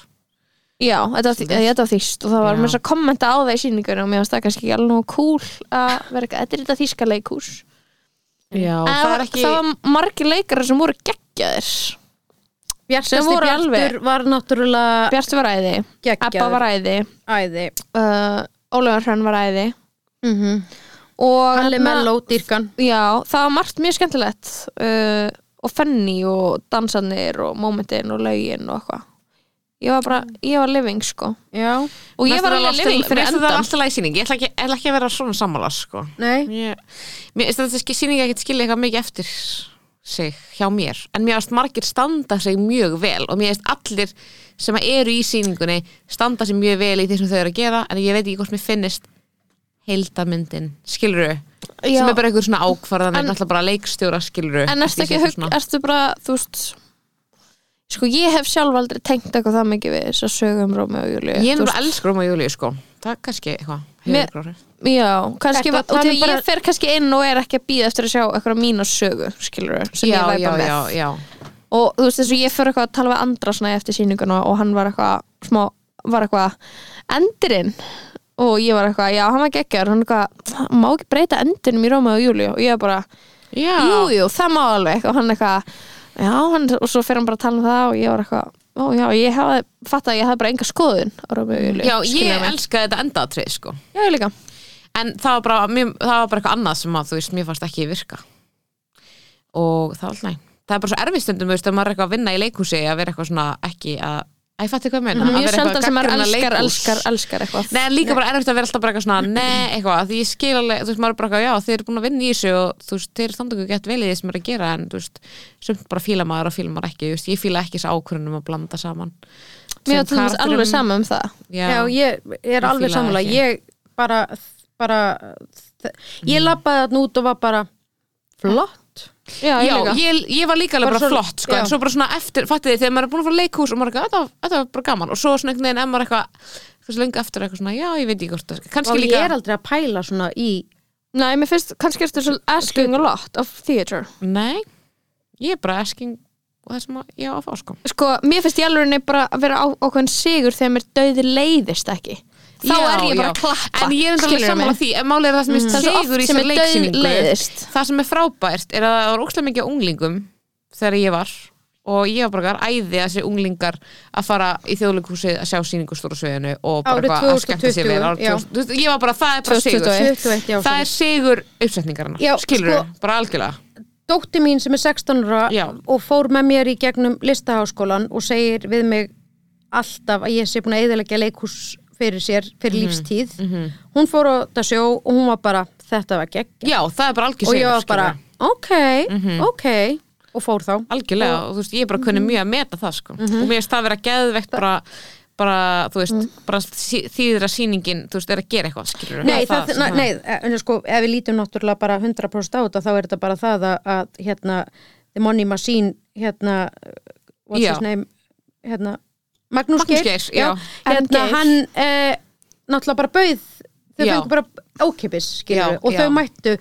Speaker 3: já, þetta var, þý- eh, þetta var þýst og það var
Speaker 4: Já.
Speaker 3: mér svo kommenta á það í sýningunum og mér varst það kannski ekki alveg nú cool að vera eitthvað, þetta er þetta þýska leikús
Speaker 4: Já,
Speaker 3: en
Speaker 4: það er ekki
Speaker 3: það var margir leikara sem voru geggjaðir Sem
Speaker 5: Bjartasti
Speaker 3: voru alveg-
Speaker 5: Bjartur var náttúrulega
Speaker 3: Bjartu var æði, Ebba var
Speaker 5: geggjaður
Speaker 3: æði
Speaker 5: Æði
Speaker 3: uh, Ólafur Hrönn var æði
Speaker 5: mm -hmm.
Speaker 3: og hérna-
Speaker 5: Allir
Speaker 3: þarna-
Speaker 5: með lótýrkan
Speaker 3: já, það var margt mjög skemmtilegt uh, og fenni og dansarnir og momentin og lögin og eitthvað ég var bara, ég var living sko
Speaker 5: Já,
Speaker 3: og ég var alveg living fyrir
Speaker 4: Það er
Speaker 3: endan
Speaker 4: alltaf læsýning, ég ætla ekki, ætla ekki að vera svona sammála sko.
Speaker 5: nei
Speaker 4: Ég- Mér finnst þetta sýning að geta skilja eitthvað mikið eftir sig hjá mér en mér finnst margir standa sig mjög vel og mér finnst allir sem að eru í sýningunni standa sig mjög vel í því sem þau eru að gera en ég veit ekki hvort mér finnist heildamyndin, skilur
Speaker 3: Já.
Speaker 4: sem er bara einhver svona ákvarðan en,
Speaker 3: En-
Speaker 4: náttúrulega bara leikstjóra skilur
Speaker 3: en ertu ekki, hug, ertu bara, þú veist sko, ég hef sjálf aldrei tengt eitthvað það mikið við þess að sögum Rómi og Júli
Speaker 4: ég er bara elskur um að júli sko það er kannski eitthvað hefur
Speaker 3: Mér-
Speaker 4: einhver áhrif.
Speaker 3: Já, kannski,
Speaker 5: Ertu að
Speaker 3: og
Speaker 5: tala um
Speaker 3: þegar
Speaker 5: bara-
Speaker 3: ég fer kannski inn og er ekki að býða eftir að sjá eitthvað mína sögu, skilur sem
Speaker 4: já,
Speaker 3: ég væpa
Speaker 4: já,
Speaker 3: með
Speaker 4: já, já
Speaker 3: og þú veist eins og ég fyrir eitthvað að tala við andra svona eftir sýninguna og hann var eitthvað smá, var eitthvað endurinn og ég var eitthvað, já hann var geggjör hann eitthvað, má ekki breyta endinum í Róma og Júli og ég var bara,
Speaker 4: já,
Speaker 3: jú, jú, það má alveg og hann eitthvað, já hann, og svo fyrir hann bara að tala um það og ég var eitthvað ó já, ég hafði, fatt að ég hafði bara enga skoðun á Róma og Júli,
Speaker 4: já
Speaker 3: skilurðu
Speaker 4: ég
Speaker 3: mig?
Speaker 4: elska þetta endaatrið sko
Speaker 3: já, ég líka,
Speaker 4: en það var bara, mér, það var bara eitthvað annað sem að þú veist, mér fannst ekki virka og það var alltaf næ það er bara svo erfið stundum, þú veist, að maður er eitthvað að vinna í leikhúsi að vera eitthvað svona ekki að æ, fætti hvað ég meina, að
Speaker 3: Mhm, mjög
Speaker 4: vera
Speaker 3: sjaldan sem maður
Speaker 4: gagnrýna
Speaker 3: elskar,
Speaker 4: leikhús.
Speaker 3: elskar, elskar eitthvað
Speaker 4: Nei, en líka bara erfitt að vera alltaf bara eitthvað svona Nei, eitthvað, því ég skil alveg, þú veist, maður er bara eitthvað Já, þið eru búin að vinna í þessu og þú veist, þið eru standað ekki gett vel í því sem er að gera En þú veist, sumt bara fíla maður og fíla maður ekki þú veist, Ég fíla ekki þessu ákvörunum að blanda saman
Speaker 3: mér var
Speaker 4: sem
Speaker 3: til dæmis
Speaker 4: karakterum.
Speaker 3: alveg sama um það
Speaker 4: Já,
Speaker 5: Já, ég er
Speaker 4: fíla
Speaker 5: alveg
Speaker 4: það
Speaker 5: sammála
Speaker 4: ekki.
Speaker 5: Ég bara, bara
Speaker 4: Mm.
Speaker 5: Ég labbaði þarna út og var bara flott
Speaker 3: já,
Speaker 4: Já, ég, ég var líka alveg
Speaker 5: Bara
Speaker 4: bara,
Speaker 5: svo-
Speaker 4: flott sko, en
Speaker 5: já.
Speaker 4: svo bara svona eftir, fattið þið, þegar maður er búin að fara á leikhús og maður er eitthvað, þetta var- þetta var bara gaman og svo svona einhvern veginn, ef maður er eitthvað, eitthvað lengi eftir eitthvað svona, já, ég veit ekki hvort það,
Speaker 5: Og
Speaker 4: kannski
Speaker 5: ég
Speaker 4: líka
Speaker 5: er aldrei að pæla svona í
Speaker 3: Nei, mér finnst kannski eftir svo asking a lot of theatre
Speaker 4: Nei, ég er bara asking og það sem að ég á að fá sko
Speaker 3: Sko, mér finnst ég alveg bara að vera á, ákveðin sigur þegar mér dauði leiðist ekki Þá
Speaker 4: Já,
Speaker 3: er ég bara
Speaker 4: já.
Speaker 3: að klappa
Speaker 4: En ég er enda alveg
Speaker 3: skilurðu
Speaker 4: sammála
Speaker 3: mig?
Speaker 4: því, en málið er það sem
Speaker 3: Það er
Speaker 4: er
Speaker 3: svo
Speaker 4: sigur
Speaker 3: oft sem
Speaker 4: í þessari
Speaker 3: er dauð
Speaker 4: leiksýningu
Speaker 3: leiðist
Speaker 4: Það sem er frábært er að það var ókslega mikið af unglingum þegar ég var og ég var bara eitthvað æði að þessi unglingar að fara í þjóðleikhúsið að sjá sýningu á stóra sviðinu og bara
Speaker 5: Árið
Speaker 4: eitthvað að skemmta sér
Speaker 5: 2020,
Speaker 4: vel árið
Speaker 5: já.
Speaker 4: 2000 Þú veist, ég var bara, það er bara
Speaker 3: 2021.
Speaker 4: sigur
Speaker 5: 21 já,
Speaker 4: það er sigur uppsetningarna,
Speaker 5: Já,
Speaker 4: skilur við,
Speaker 5: sko-
Speaker 4: bara algjörlega
Speaker 5: dótti mín sem er 16 ára
Speaker 4: Já.
Speaker 5: og fór með mér í gegnum listaháskólan og segir við mig alltaf að ég sé búin að eðalegja leikhús fyrir sér,
Speaker 4: Mhm.
Speaker 5: fyrir lífstíð hún fór á þetta sjó og hún var bara þetta var gegn
Speaker 4: já, það er bara algjör
Speaker 5: og
Speaker 4: sigur
Speaker 5: ég var bara,
Speaker 4: skilurðu. Mhm.
Speaker 5: ok, ok og fór þá
Speaker 4: algjörlega, og þú veist, ég bara kunni
Speaker 5: Mhm.
Speaker 4: mjög að meta það sko, og mér finnst það vera geðvegt bara, bara, þú veist
Speaker 5: Mhm.
Speaker 4: bara sí- þýðir að sýningin, þú veist, er að gera eitthvað skilur
Speaker 5: Nei, það, það, nei, en sko, ef við lítum náttúrulega bara 100% á þetta, þá er þetta bara það að, að hérna, The Money Machine hérna, what's
Speaker 4: Já.
Speaker 5: his name hérna, Magnús,
Speaker 4: Magnús Geir, já.
Speaker 3: En
Speaker 5: hérna,
Speaker 3: Geir.
Speaker 5: hann eh, náttúrulega bara bauð þau
Speaker 4: Já.
Speaker 5: fengur bara ókipis skilur,
Speaker 4: Já,
Speaker 5: og
Speaker 4: já.
Speaker 5: þau mættu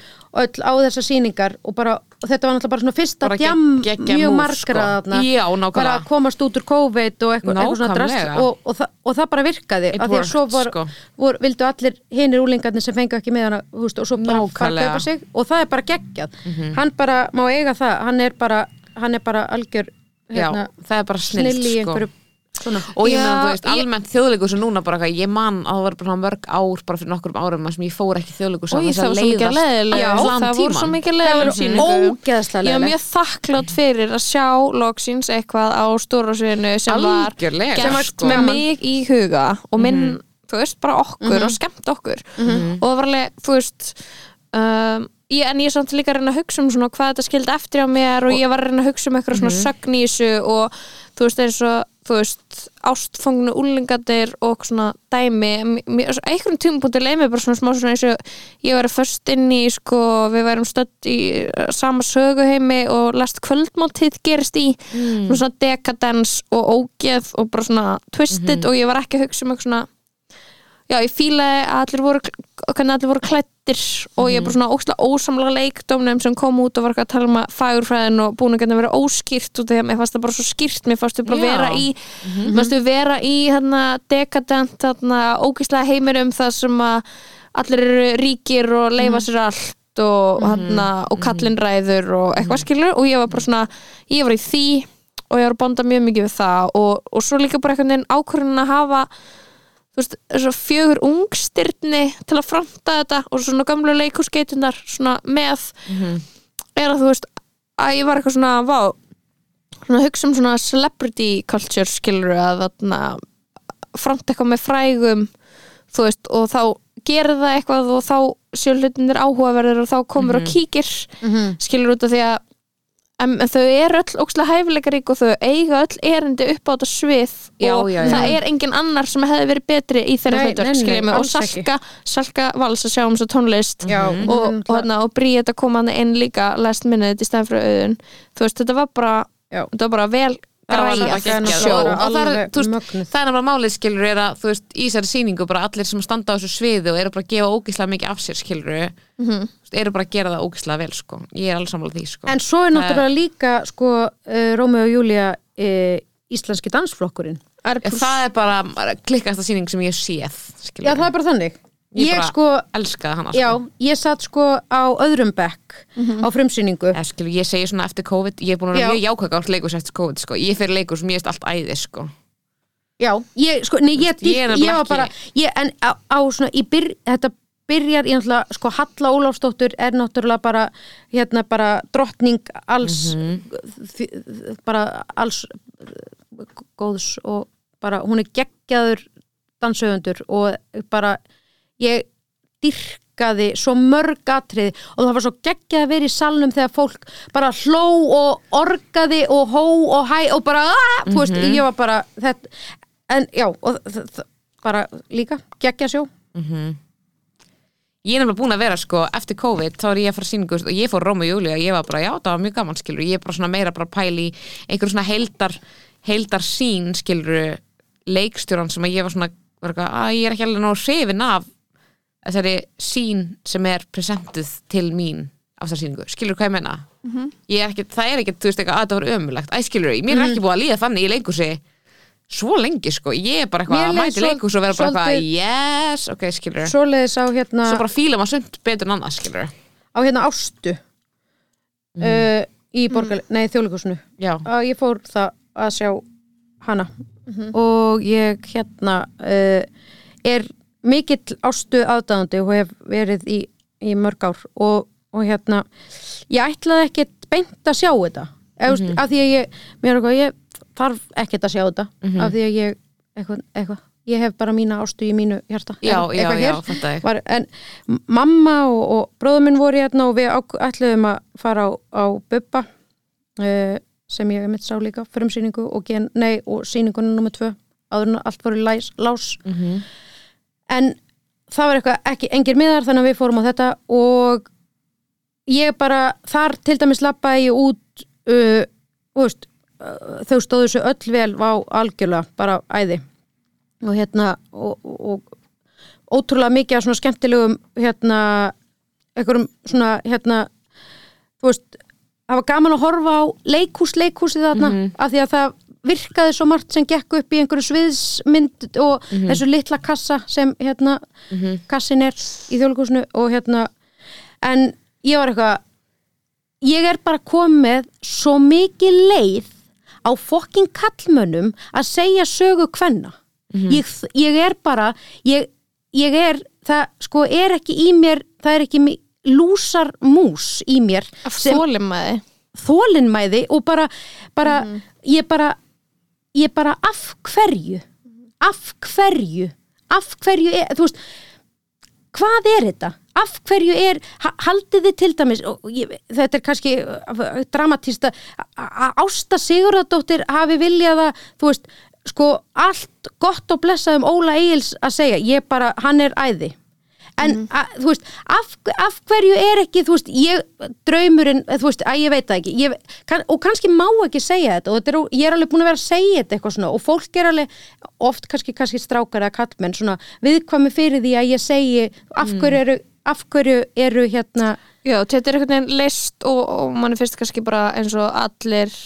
Speaker 5: öll á þessar sýningar og, bara, og þetta var náttúrulega bara svona fyrsta
Speaker 4: Bara
Speaker 5: djam
Speaker 4: gegg- geggja
Speaker 5: mjög
Speaker 4: múf,
Speaker 5: margra
Speaker 4: sko.
Speaker 5: þarna
Speaker 4: Já, nákvæmlega.
Speaker 5: bara að komast út úr COVID og eitthvað, eitthvað svona drast
Speaker 4: Nákvæmlega.
Speaker 5: og, og, það, og það bara virkaði
Speaker 4: It
Speaker 5: af því að svo
Speaker 4: worked,
Speaker 5: var,
Speaker 4: sko.
Speaker 5: vor, vildu allir hinir úlingarnir sem fengu ekki með hana húst, og svo bara fara að
Speaker 4: Nákvæmlega. Mhm.
Speaker 5: kaupa sig og það er bara geggjað hann bara má eiga það, hann er bara, hann er bara algjör
Speaker 4: já, það er bara sko. snill
Speaker 5: snill hérna, í einhverju svona
Speaker 4: og ég meðan
Speaker 3: Já,
Speaker 4: þú veist,
Speaker 3: ég-
Speaker 4: almennt þjóðleikus og núna bara eitthvað, ég man að það var bara mörg ár bara fyrir nokkur árum þar sem ég fór ekki þjóðleikus
Speaker 3: Új, það var svo mikið leðileg
Speaker 4: já,
Speaker 3: það voru svo mikið leðileg
Speaker 5: ógeðslega
Speaker 3: Ég var
Speaker 5: leiðilegt.
Speaker 3: mjög þakklátt fyrir að sjá loksins eitthvað á stóra sviðinu sem var Mhm.
Speaker 4: algjörlega
Speaker 3: gert
Speaker 4: sko.
Speaker 3: með mig í huga og minn, þú veist, bara okkur og skemmt okkur og það var alveg, þú veist um, ég, en ég samt líka að reyna að hugsa um svona hvað þetta skildi eftir á mér og, ég var að reyna að hugsa um eitthvað svona sögn í þessu og þú veist eins og þú veist, ástfóngnu úlingadir og svona dæmi M- mér- svo- einhverjum tímapunkti leið mér bara svona smá svona eins og ég væri först inn í sko, við værum stödd í eh, sama söguheimi og last kvöldmáltíð gerist í mm. svona dekadens og ógeð og bara svona twisted og ég var ekki að hugsa um eitthvað svona já, ég fílaði að allir voru hvernig allir voru klættir og ég er bara svona óslega ósamlega leikdómnum sem kom út og var eitthvað að tala um að fagurfræðin og búin að geta verið óskýrt út af því að mér fannst það bara svo skýrt mér fannst þau bara
Speaker 4: Já.
Speaker 3: vera í mér fannst þau vera í þarna dekadent þarna ógíslega heiminum það sem að allir eru ríkir og leifa sér allt og þarna og kallinn ræður og eitthvað skilur og ég var bara svona, ég var í því og ég var að bonda mjög mikið við það og, og svo líka bara einhvern veginn ákvörðin að hafa þú veist, svo fjögur ungstyrni til að framta þetta og svona gamlu leikurskeitunar svona með er að þú veist að ég var eitthvað svona, vá svona hugsa um svona celebrity culture skilur að þarna framta eitthvað með frægum þú veist, og þá gerir það eitthvað og þá séu hlutinir áhugaverðir og þá komur
Speaker 5: Mhm.
Speaker 3: og kíkir skilur út af því að En, en þau eru öll ókslega hæfileikarík og þau eiga öll erindi upp á þetta svið
Speaker 4: Já,
Speaker 3: og
Speaker 4: já, já.
Speaker 3: það er engin annar sem hefði verið betri í þeirra
Speaker 5: Nei, nei,
Speaker 3: hlutverk
Speaker 5: nei,
Speaker 3: skiljum og
Speaker 5: alls
Speaker 3: salka, salka vals að sjá um svo tónlist
Speaker 5: Já, mhm.
Speaker 3: og, og, hana, og bríða að koma hann inn líka last minute í stæðan fyrir auðun þú veist, þetta var bara,
Speaker 5: Já.
Speaker 3: þetta var bara vel
Speaker 4: Það var
Speaker 3: græja
Speaker 4: bara geggjað.
Speaker 3: sjó
Speaker 4: Og það er,
Speaker 5: Alveg
Speaker 4: þú veist,
Speaker 5: mögnuð.
Speaker 4: það er bara málið skilur er að þú veist, í þessari sýningu bara allir sem standa á þessu sviði og eru bara að gefa ógislega mikið af sér skilur
Speaker 3: Mhm.
Speaker 4: eru bara að gera það ógislega vel sko. ég er alveg sammála því sko.
Speaker 5: en svo er náttúrulega líka sko uh, Rómeo og Júlia uh, íslenski dansflokkurinn
Speaker 4: Ég, það er bara klikkasta sýning sem ég hef séð skilur.
Speaker 5: já það er bara þannig
Speaker 4: ég,
Speaker 5: ég,
Speaker 4: bara
Speaker 5: sko,
Speaker 4: elskaði hana sko. Mhm.
Speaker 5: já, ég satt sko á öðrum bekk á frumsýningu
Speaker 4: Eða, skilur, ég segi svona eftir COVID ég er búin að vera
Speaker 5: Já.
Speaker 4: mjög jákvæða allt leikus eftir COVID sko. ég fer leikus, mér erst allt æði sko.
Speaker 5: já, ég sko, nei, ég,
Speaker 4: Ég er
Speaker 5: ég,
Speaker 4: nefnilega
Speaker 5: var
Speaker 4: ekki-
Speaker 5: bara ég, en á, á svona, í byr, þetta byrjar ég náttúrulega, sko Halla Ólafsdóttur er náttúrulega bara, hérna bara drottning alls
Speaker 4: Mhm.
Speaker 5: þi- þi- bara alls góðs og bara hún er geggjaður dansöfundur og bara ég dyrkaði svo mörg atrið og það var svo geggjað að vera í salnum þegar fólk bara hló og orgaði og hó og hæ og bara aah, þú veist,
Speaker 4: Mhm.
Speaker 5: ég var bara þetta, en já, og þ- þ- bara líka geggjað sjó
Speaker 4: ég er nefnilega búin að vera sko, eftir COVID þá er ég að fara síningu og ég fór Róma og Júli og ég var bara, já það var mjög gaman skilur ég er bara svona meira bara að pæla í einhver svona heildar, heildar sín skilur leikstjóran sem að ég var svona var eitthvað, að ég er ekki alveg nóg hrifin af þessari sín sem er presentuð til mín af þessar síningu, skilur hvað ég menna
Speaker 5: Mhm.
Speaker 4: ég er ekki, það er ekki, þú veist eitthvað að það var ömulegt æ skilur, mér er ekki búið að líða þannig í leikursi svo lengi sko, ég er bara eitthvað
Speaker 5: Mér
Speaker 4: að
Speaker 5: leið
Speaker 4: mæti
Speaker 5: svol-
Speaker 4: leikus og vera bara eitthvað
Speaker 5: svolítið-
Speaker 4: yes, ok skilur
Speaker 5: svoleiðis á hérna
Speaker 3: Ah.
Speaker 4: svo bara fíla maður sumt betur en annað skilur
Speaker 5: á hérna ástu
Speaker 4: Mhm.
Speaker 5: uh, í borgar, nei þjóðleikusinu
Speaker 4: já,
Speaker 5: að ég fór það að sjá hana og ég hérna uh, er mikill ástu aðdáðandi og hef verið í, í mörg ár og, og hérna ég ætlaði ekkit beint að sjá þetta mm
Speaker 4: Mhm.
Speaker 5: -hmm. af því að ég, mér er eitthvað ég þarf ekkit að sjá þetta
Speaker 4: Mhm.
Speaker 5: af því að ég, eitthvað, eitthvað ég hef bara mína ástu í mínu hjarta
Speaker 4: já,
Speaker 5: Eitthvað
Speaker 4: já,
Speaker 5: hér
Speaker 4: já, þetta er
Speaker 5: var, en mamma og, og bróður minn voru hérna og við ák- ætluðum að fara á, á Bubba uh, sem ég mitt sá líka frumsýningu og, gen, nei, og sýningunum nummer tvö áður en allt voru læs, lás en það var eitthvað ekki engir miðar þannig að við fórum á þetta og ég bara þar til dæmis labbaði ég út uh, þú veist, uh, þau stóðu svo öll vel á algjörlega bara æði og hérna og, og ótrúlega mikið af svona skemmtilegum hérna einhverjum svona hérna þú veist, það var gaman að horfa á leikhús, leikhúsið þarna af því að það virkaði svo margt sem gekk upp í einhverju sviðsmynd og þessu litla kassa sem hérna kassin er í þjóðleikhúsinu og hérna en ég var eitthvað ég er bara komið svo mikið leið á fokkin kallmönnum að segja sögu kvenna ég, ég er bara ég, ég er, það sko er ekki í mér, það er ekki mi- lúsar mús í mér
Speaker 3: Af þólimaði
Speaker 5: þólinmæði og bara, bara ég bara ég bara af hverju af hverju af hverju er, þú veist hvað er þetta? Af hverju er ha- haldið þið til dæmis og ég, þetta er kannski uh, dramatísta að Ásta Sigurðardóttir hafi viljað að, þú veist sko, allt gott og blessað um Óla Egils að segja, ég bara, hann er æði en, að, þú veist af, af hverju er ekki, þú veist ég, draumurinn, eh, þú veist, að ég veit það ekki ég, kann, og kannski má ekki segja þetta og þetta er, ó- ég er alveg búin að vera að segja þetta eitthvað svona og fólk er alveg, oft kannski, kannski strákar eða kallmenn, svona viðkvæmi fyrir því að ég segi af hverju eru, af hverju eru hérna
Speaker 3: Já, þetta er einhvern veginn list og, og mann finnst kannski bara eins og allir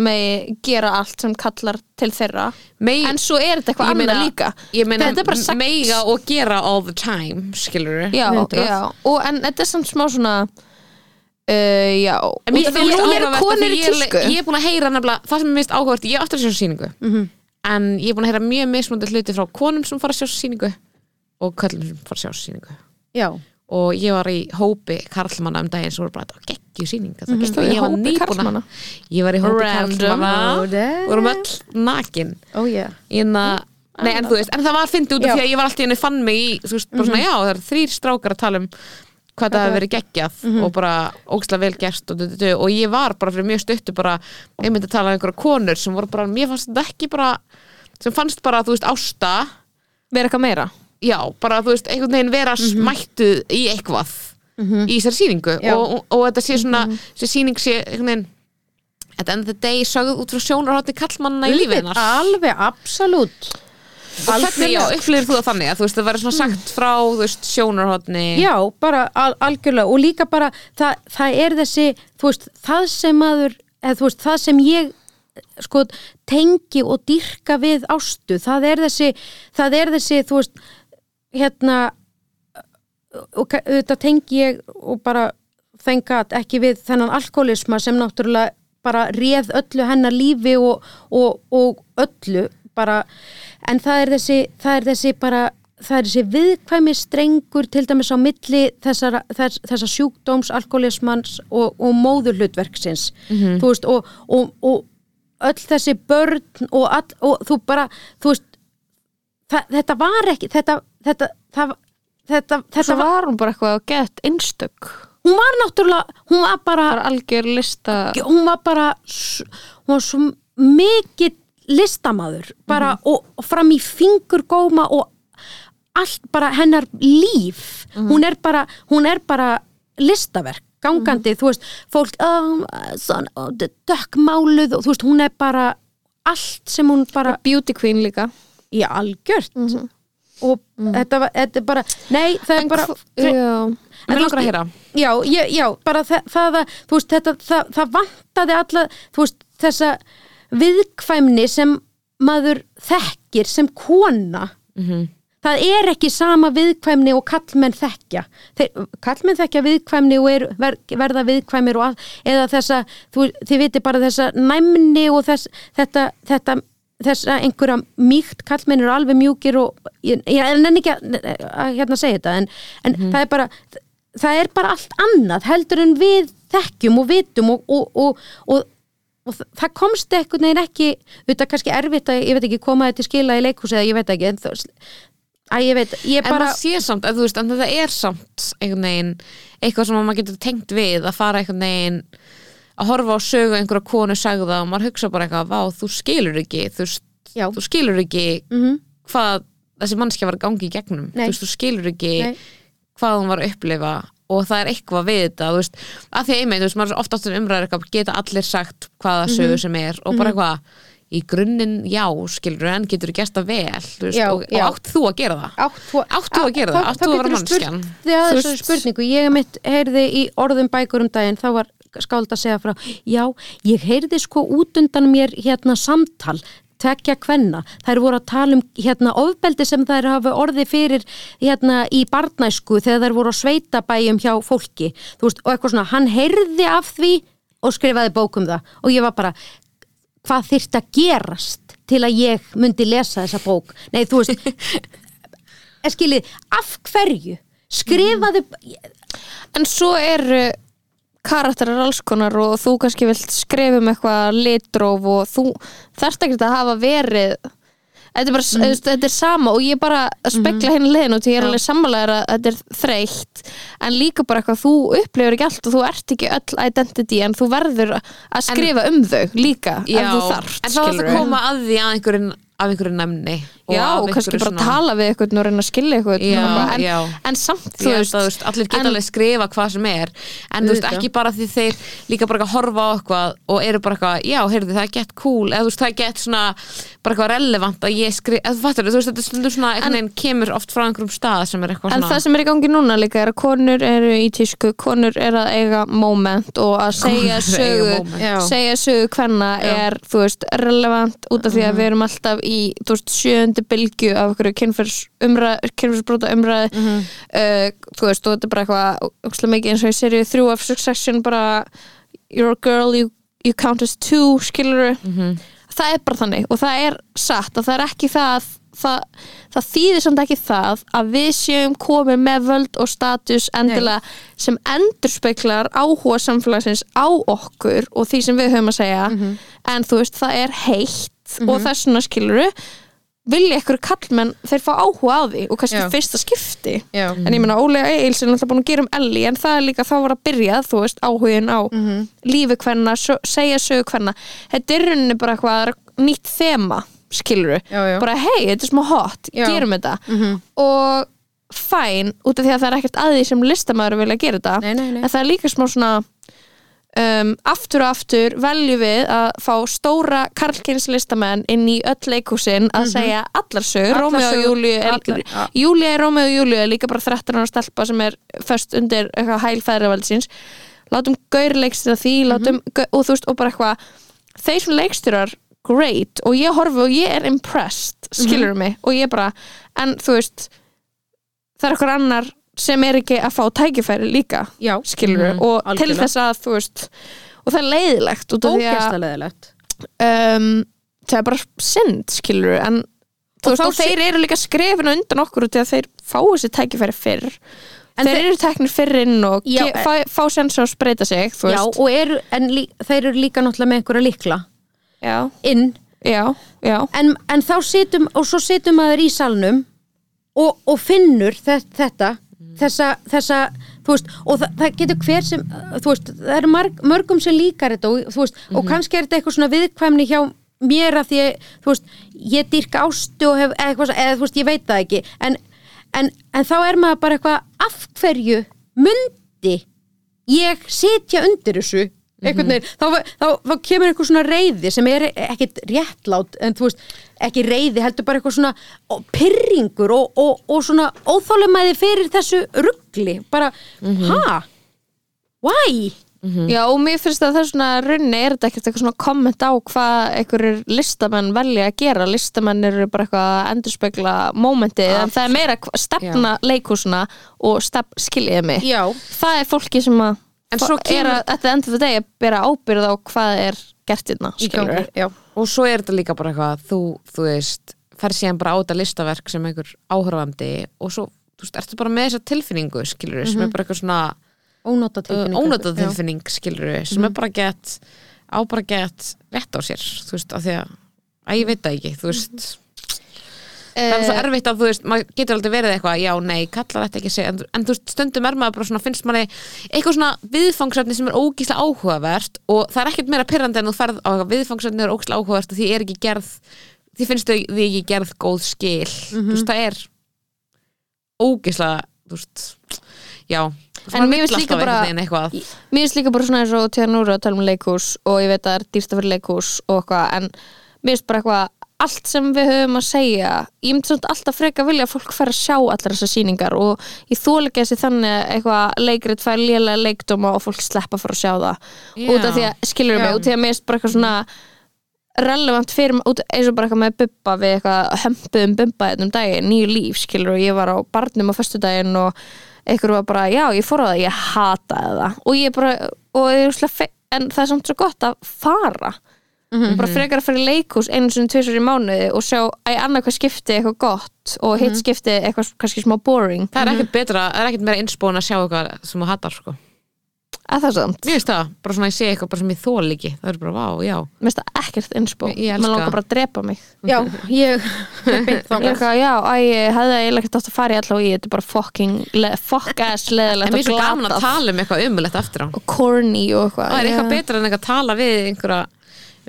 Speaker 3: megi gera allt sem kallar til þeirra
Speaker 4: Megi-
Speaker 3: en svo er þetta eitthvað
Speaker 4: Ég meina-
Speaker 3: annað líka
Speaker 4: ég meina
Speaker 3: þetta er bara sex
Speaker 4: mega og gera all the time skilur
Speaker 3: já, já, og en þetta er samt smá svona uh, já
Speaker 4: En mér
Speaker 3: Út af því
Speaker 4: finnst
Speaker 3: að nú eru
Speaker 4: áhugavert af
Speaker 3: konur
Speaker 4: því
Speaker 3: í
Speaker 4: ég, er-
Speaker 3: tísku
Speaker 4: ég er búin að heyra nefnilega, það sem mér finnst áhugavert ég er aftur að sjá sýningu
Speaker 3: Mhm.
Speaker 4: en ég er búin að heyra mjög mismunandi hluti frá konum sem fara að sjá sýningu og köllum sem fara að sjá sýningu
Speaker 5: já,
Speaker 4: og ég var í hópi karlmanna um daginn sem voru bara að geggju sýning mm -hmm.
Speaker 3: Varstu Mhm. í
Speaker 4: ég var
Speaker 3: hópi
Speaker 4: nýbúna
Speaker 3: karlmanna?
Speaker 4: ég var í hópi
Speaker 3: Random.
Speaker 4: karlmanna
Speaker 5: Oh, damn.
Speaker 4: vorum öll nakin
Speaker 5: ó já
Speaker 4: Inna, hérna, nei, Mm, en, þú veist, en það var fyndið út af
Speaker 5: Já.
Speaker 4: því að ég var alltaf henni fann mig í þú veist, bara svona, já, það eru þrýr strákar að tala um hvað það Mhm. hefur verið geggjað og bara ógstlega vel gert og, du, du, du, og ég var bara fyrir mjög stuttu bara einmitt að tala um einhverja konur sem voru bara, mér fannst þetta ekki bara sem fannst bara, þú veist, ásta
Speaker 3: vera eitthvað meira
Speaker 4: já, bara, þú veist, einhvern veginn vera smættuð í eitthvað í þessari sýningu
Speaker 5: Já.
Speaker 4: og, og, og þetta sé svona, þessi sýning sé einhvern veginn at the end of the day sögð út frá sjónarhótti kallmannina í lífi hennar
Speaker 5: alveg, absolutt
Speaker 4: og hvernig já, upplýðir þú það þannig að þú veist það væri svona sagt frá þú veist sjónarhóttni
Speaker 5: já, bara al algjörlega og líka bara, það, það er þessi þú veist, það sem maður eða, þú veist, það sem ég sko, tengi og dýrka við ástu, það er þessi það er þessi, þú veist hérna og ka- auðvitað tengi ég og bara þenga ekki við þennan alkoholisma sem náttúrulega bara réð öllu hennar lífi og, og, og öllu bara, en það er þessi það er þessi bara það er þessi viðkvæmi strengur til dæmis á milli þessar, þess, þessar sjúkdóms alkoholismans og, og móðurhlutverksins þú veist og, og, og öll þessi börn og, all, og þú bara þú veist, það, þetta var ekki þetta, þetta, það, þetta, þetta
Speaker 3: svo var hún bara eitthvað gett einstök
Speaker 5: hún var náttúrulega hún var bara,
Speaker 3: það er algjör lista
Speaker 5: hún var bara s- hún var svo mikill listamaður bara og, og fram í fingurgóma og allt bara hennar líf hún er bara hún er bara listaverk gangandi, þú veist, fólk um, svona, ó, d- dökkmáluð og þú veist, hún er bara allt sem hún bara,
Speaker 3: beauty queen líka
Speaker 5: já, algjört og þetta var, þetta er bara nei, það er bara
Speaker 3: já,
Speaker 5: Mhm.
Speaker 4: mér
Speaker 5: En þú
Speaker 4: langar að
Speaker 5: veist,
Speaker 4: heyra
Speaker 5: já, ég, já, bara það, það að þú veist, þetta, það, það vantaði alla þú veist, þessa viðkvæmni sem maður þekkir sem kona það er ekki sama viðkvæmni og kallmenn þekkja Þeir, kallmenn þekkja viðkvæmni og er, ver, verða viðkvæmir og all, eða þessa, þú, þið viti bara þessa næmni og þess, þetta, þetta þessa einhverja mýkt kallmenn eru alveg mjúkir og ég, ég nenni ekki að, að hérna segja þetta en, en það er bara það er bara allt annað heldur en við þekkjum og vitum og, og, og, og, og þa- það komst eitthvað neginn ekki þetta er kannski erfitt að, ég veit ekki, koma þetta til skila í leikhúsi eða ég veit ekki en það, að ég veit, ég
Speaker 4: en
Speaker 5: bara
Speaker 4: það sé samt, en þú veist, en þetta er samt einhvern veginn, eitthvað sem maður getur tengt við að fara einhvern veginn að horfa á sögu einhverja konu sagða og maður hugsa bara eitthvað, vá, þú skilur ekki þú, veist,
Speaker 5: Já.
Speaker 4: þú skilur ekki
Speaker 3: Mhm.
Speaker 4: -hmm. hvað þessi mannskja var að gangi í gegnum þú
Speaker 5: Nei.
Speaker 4: veist, þú skilur ekki
Speaker 5: Nei.
Speaker 4: hvað hún var að upplifa og það er eitthvað við þetta, þú veist, að því að einmitt, þú veist, maður er oft áttur umræður eitthvað, geta allir sagt hvaða
Speaker 3: Mhm.
Speaker 4: sögu sem er og bara eitthvað í grunninn, já, skilur en getur þú gert það vel, þú veist,
Speaker 5: Já,
Speaker 4: og,
Speaker 5: já.
Speaker 4: og átt þú að gera það
Speaker 5: átt þú
Speaker 4: Átt þú að gera það? Átt þú að vera manneskjan?
Speaker 5: Já,
Speaker 4: Þú
Speaker 5: þessu
Speaker 4: veist-
Speaker 5: spurningu, ég mitt heyrði í orðum bækur um daginn, þá var skáld að segja frá, já, ég heyrði sko út undan mér hérna samtal tvekja kvenna, þær voru að tala um hérna ofbeldi sem þær hafa orði fyrir hérna í barnæsku þegar þær voru á sveitabæjum hjá fólki þú veist, og eitthvað svona, hann heyrði af því og skrifaði bók um það og ég var bara hvað þyrft að gerast til að ég myndi lesa þessa bók nei þú veist er skilið, af hverju skrifaðu,
Speaker 3: Mm. En svo eru karakterar alls konar og þú kannski vilt skrifa um eitthvað litróf og þú þarft ekkert að hafa verið Þetta er, bara, mm. Mhm. þetta er sama og ég er bara að spekla henni leiðin og því ég er alveg sammálaður að þetta er þreytt en líka bara eitthvað þú upplifir ekki allt og þú ert ekki öll identity en þú verður að skrifa um þau líka ef þú þarft
Speaker 4: en þá þarf
Speaker 3: skilurðu.
Speaker 4: að koma að því að einhverjum af einhverju nefni og
Speaker 3: Já,
Speaker 4: af
Speaker 3: og kannski
Speaker 4: einhverju
Speaker 3: bara tala við eitthvað og reyna að skilja eitthvað
Speaker 4: Já,
Speaker 3: en,
Speaker 4: já.
Speaker 3: en samt,
Speaker 4: Ég
Speaker 3: þú
Speaker 4: held
Speaker 3: veist,
Speaker 4: að, þú veist, allir geta alveg skrifa hvað sem er en þú veist,
Speaker 5: Auðvitað.
Speaker 4: ekki bara því þeir líka bara eitthvað horfa á eitthvað og eru bara eitthvað, já, heyrðu, það er gett cool eða þú veist, það er gett svona, bara eitthvað relevant að ég skrifa, eða þú fattur, þú veist, þetta stundur svona einhvern veginn kemur oft frá einhverjum stað sem er eitthvað
Speaker 3: En
Speaker 4: svona
Speaker 3: það sem er í gangi núna líka er að konur eru í tísku, konur eru að eiga moment og að segja
Speaker 4: Konur eiga
Speaker 3: sögu,
Speaker 4: moment.
Speaker 5: Já.
Speaker 3: segja sögu hvenna er, þú veist, relevant út af því
Speaker 4: Mhm.
Speaker 3: að við erum alltaf í, þú veist, sjöundu bylgju af okkur kynfyrsbróta umræði,
Speaker 4: Mhm.
Speaker 3: uh, þú veist, og þetta er bara eitthvað, ógstlega mikið eins og í serið þrjú af Succession, bara you're a girl, you, you count as two, skilur
Speaker 4: Mhm.
Speaker 3: það er bara þannig og það er satt og það er ekki það að Það, það þýðir samt ekki það að við séum komið með völd og status endilega sem endurspeklar áhuga samfélagsins á okkur og því sem við höfum að segja en þú veist það er heitt og þess vegna skiluru vilja ykkur kallmenn þeir fá áhuga á því og kannski
Speaker 5: Já.
Speaker 3: fyrsta skipti
Speaker 5: Já.
Speaker 3: en ég meina Ólega Eils er náttúrulega búin að gera um Ellie en það er líka þá var að byrja þú veist áhugin á
Speaker 5: Mhm.
Speaker 3: lífi hvenna, segja sögu hvenna þetta er í rauninni bara eitthvað nýtt þema skiluru
Speaker 5: Já, já.
Speaker 3: bara hei, þetta er smá hot,
Speaker 5: Já. Mhm.
Speaker 3: gerum þetta og fæn út af því að það er ekkert að því sem listamaður vilja gera þetta
Speaker 5: Nei, nei, nei.
Speaker 3: en það er líka smá svona um, aftur og aftur veljum við að fá stóra karlkins listamenn inn í öll leikúsin að segja allar sögur,
Speaker 5: Mhm. Allar
Speaker 3: Rómeo og
Speaker 5: sögur,
Speaker 3: Júlíu er,
Speaker 5: allar- ja.
Speaker 3: Júlíu er Rómeo og Júlíu er líka bara 13 ára stelpa sem er föst undir eitthvað hælfæðravaldsins látum gaur leikstýra
Speaker 5: Mhm.
Speaker 3: því látum, mm og þú veist, og bara eitthvað þeir sem leikstýrar, great og ég horfi og ég er impressed skilur
Speaker 5: Mhm.
Speaker 3: mig, og ég bara en þú veist, það er eitthvað annar sem er ekki að fá tækifæri líka
Speaker 5: já,
Speaker 3: skilur og til
Speaker 5: algjörlega.
Speaker 3: þess að þú veist og það er leiðilegt út af því að
Speaker 5: ógæstaleðilegt
Speaker 3: um, það er bara synd skilur en þú veist, og þeir eru líka skrefin á undan okkur út í að þeir fá þessi tækifæri fyrr þeir,
Speaker 5: þeir-
Speaker 3: eru teknir fyrr inn og
Speaker 5: Já, e-
Speaker 3: ge- fá, fá sens á að spreita sig þú
Speaker 5: já,
Speaker 3: veist
Speaker 5: og eru, en lí, þeir eru líka náttúrulega með einhverja líkla
Speaker 3: já,
Speaker 5: inn
Speaker 3: já, já,
Speaker 5: en, en þá situm og svo situm maður í salnum og, og finnur þe- þetta
Speaker 3: Mm.
Speaker 5: þessa, þessa þú veist, og það, það getur hver sem þú veist, það eru marg, mörgum sem líkar þetta og, þú veist, og
Speaker 3: Mhm.
Speaker 5: kannski er þetta eitthvað svona viðkvæmni hjá mér að því ég, þú veist, ég dýrka ástu og hef eða eitthvað, svo- eða þú veist, ég veit það ekki en, en, en þá er maður bara eitthvað af hverju mundi ég sitja undir þessu einhvern veginn, þá, þá, þá kemur einhver svona reyði sem er ekkit réttlát en þú veist, ekki reyði heldur bara eitthvað svona ó, pyrringur og, og, og svona óþólumæði fyrir þessu ruggli, bara ha? Why?
Speaker 3: já og mér finnst að það er svona runni er þetta ekkert eitthvað svona komment á hvað einhverjir listamenn velja að gera listamenn eru bara eitthvað að endurspegla momentið, en það er meira hva- stefna leikhúsuna og stef, skiljiði mig
Speaker 5: Já,
Speaker 3: það er fólki sem að
Speaker 4: En svo kemur-
Speaker 3: er að, at the end of the day að bera ábyrð á hvað er gert hérna
Speaker 5: í gangi,
Speaker 3: skilurðu.
Speaker 5: já
Speaker 4: og svo er þetta líka bara eitthvað þú, þú veist, fer síðan bara á þetta listaverk sem einhver áhörfandi og svo, þú veist, ertu bara með þessa tilfinningu skilur, sem
Speaker 3: Mhm.
Speaker 4: er bara eitthvað svona
Speaker 5: Ónota tilfinning
Speaker 3: Uh,
Speaker 4: ónötað tilfinning skilur, sem
Speaker 3: Mhm.
Speaker 4: er bara gett á bara gett rétt á sér þú veist, af því að, að ég veit það ekki þú veist, það er svo
Speaker 3: Eh.
Speaker 4: erfitt að þú veist, maður getur aldrei verið eitthvað já, nei, kallar þetta ekki sig, en, en þú veist, stundum er maður bara svona, finnst manni eitthvað svona viðfangsefni sem er ógíslega áhugavert og það er ekkert meira pyrrandi en þú ferð á eitthvað viðfangsefni er ógíslega áhugavert og því er ekki gerð því finnst þau því ekki gerð góð skil þú
Speaker 3: Mhm.
Speaker 4: veist, það er ógíslega, þú veist já,
Speaker 3: En mér finnst líka bara-
Speaker 4: eitthvað,
Speaker 3: mér finnst líka bara svona eins og tíðan úr að tala um leikhús og ég veit að það er dýrst að vera leikhús og eitthvað en mér finnst bara eitthvað allt sem við höfum að segja ég myndi svona alltaf freka vilja að fólk fær að sjá allar þessar sýningar og ég þóla ekki þessi þannig að eitthvað leikrit fær lélega leikdóma og fólk sleppa fyrir að sjá það
Speaker 4: Já.
Speaker 3: út af því að skilur mig, út af því að mér finnst bara eitthvað svona relevant fyrir út, eins og bara eitthvað með bubba við eitthvað hömpuðum bubba þetta um daginn, nýju líf skilur og ég var á barnum á föstudaginn og einhver var bara, já ég fór á það ég hataði það og ég bara, og ég er ógeðslega fe- en það er samt svo gott að fara bara
Speaker 4: Mhm.
Speaker 3: frekar að fara í leikús einu sinni tvisur í mánuði og sjá að annað hvað skipti eitthvað gott og
Speaker 4: Mhm.
Speaker 3: hitt skipti eitthvað kannski smá boring
Speaker 4: Það er ekkert betra, það er ekkert meira innspóin að sjá eitthvað sem þú hattar sko.
Speaker 3: að það er samt
Speaker 4: Mér finnst það, bara svona að ég sé eitthvað bara sem ég þól ekki Það er bara, vá, já
Speaker 3: mér finnst það ekkert innspó
Speaker 4: Ég- ég elska
Speaker 3: maður langar
Speaker 4: það.
Speaker 3: bara að drepa mig
Speaker 5: Já, ég er beint
Speaker 3: ég er
Speaker 5: þangað.
Speaker 3: eitthvað, já, æ, ég hefði eiginlega ekkert átt að fara í allavega í þetta er bara fucking le- fuck ass
Speaker 4: En
Speaker 3: leðilegt
Speaker 4: mér
Speaker 3: og
Speaker 4: finnst það gaman að
Speaker 3: glatað
Speaker 4: tala um eitthvað umulegt eftir á
Speaker 3: og corny og eitthvað
Speaker 4: Það er
Speaker 3: Já.
Speaker 4: eitthvað betra en eitthvað að tala við einhverja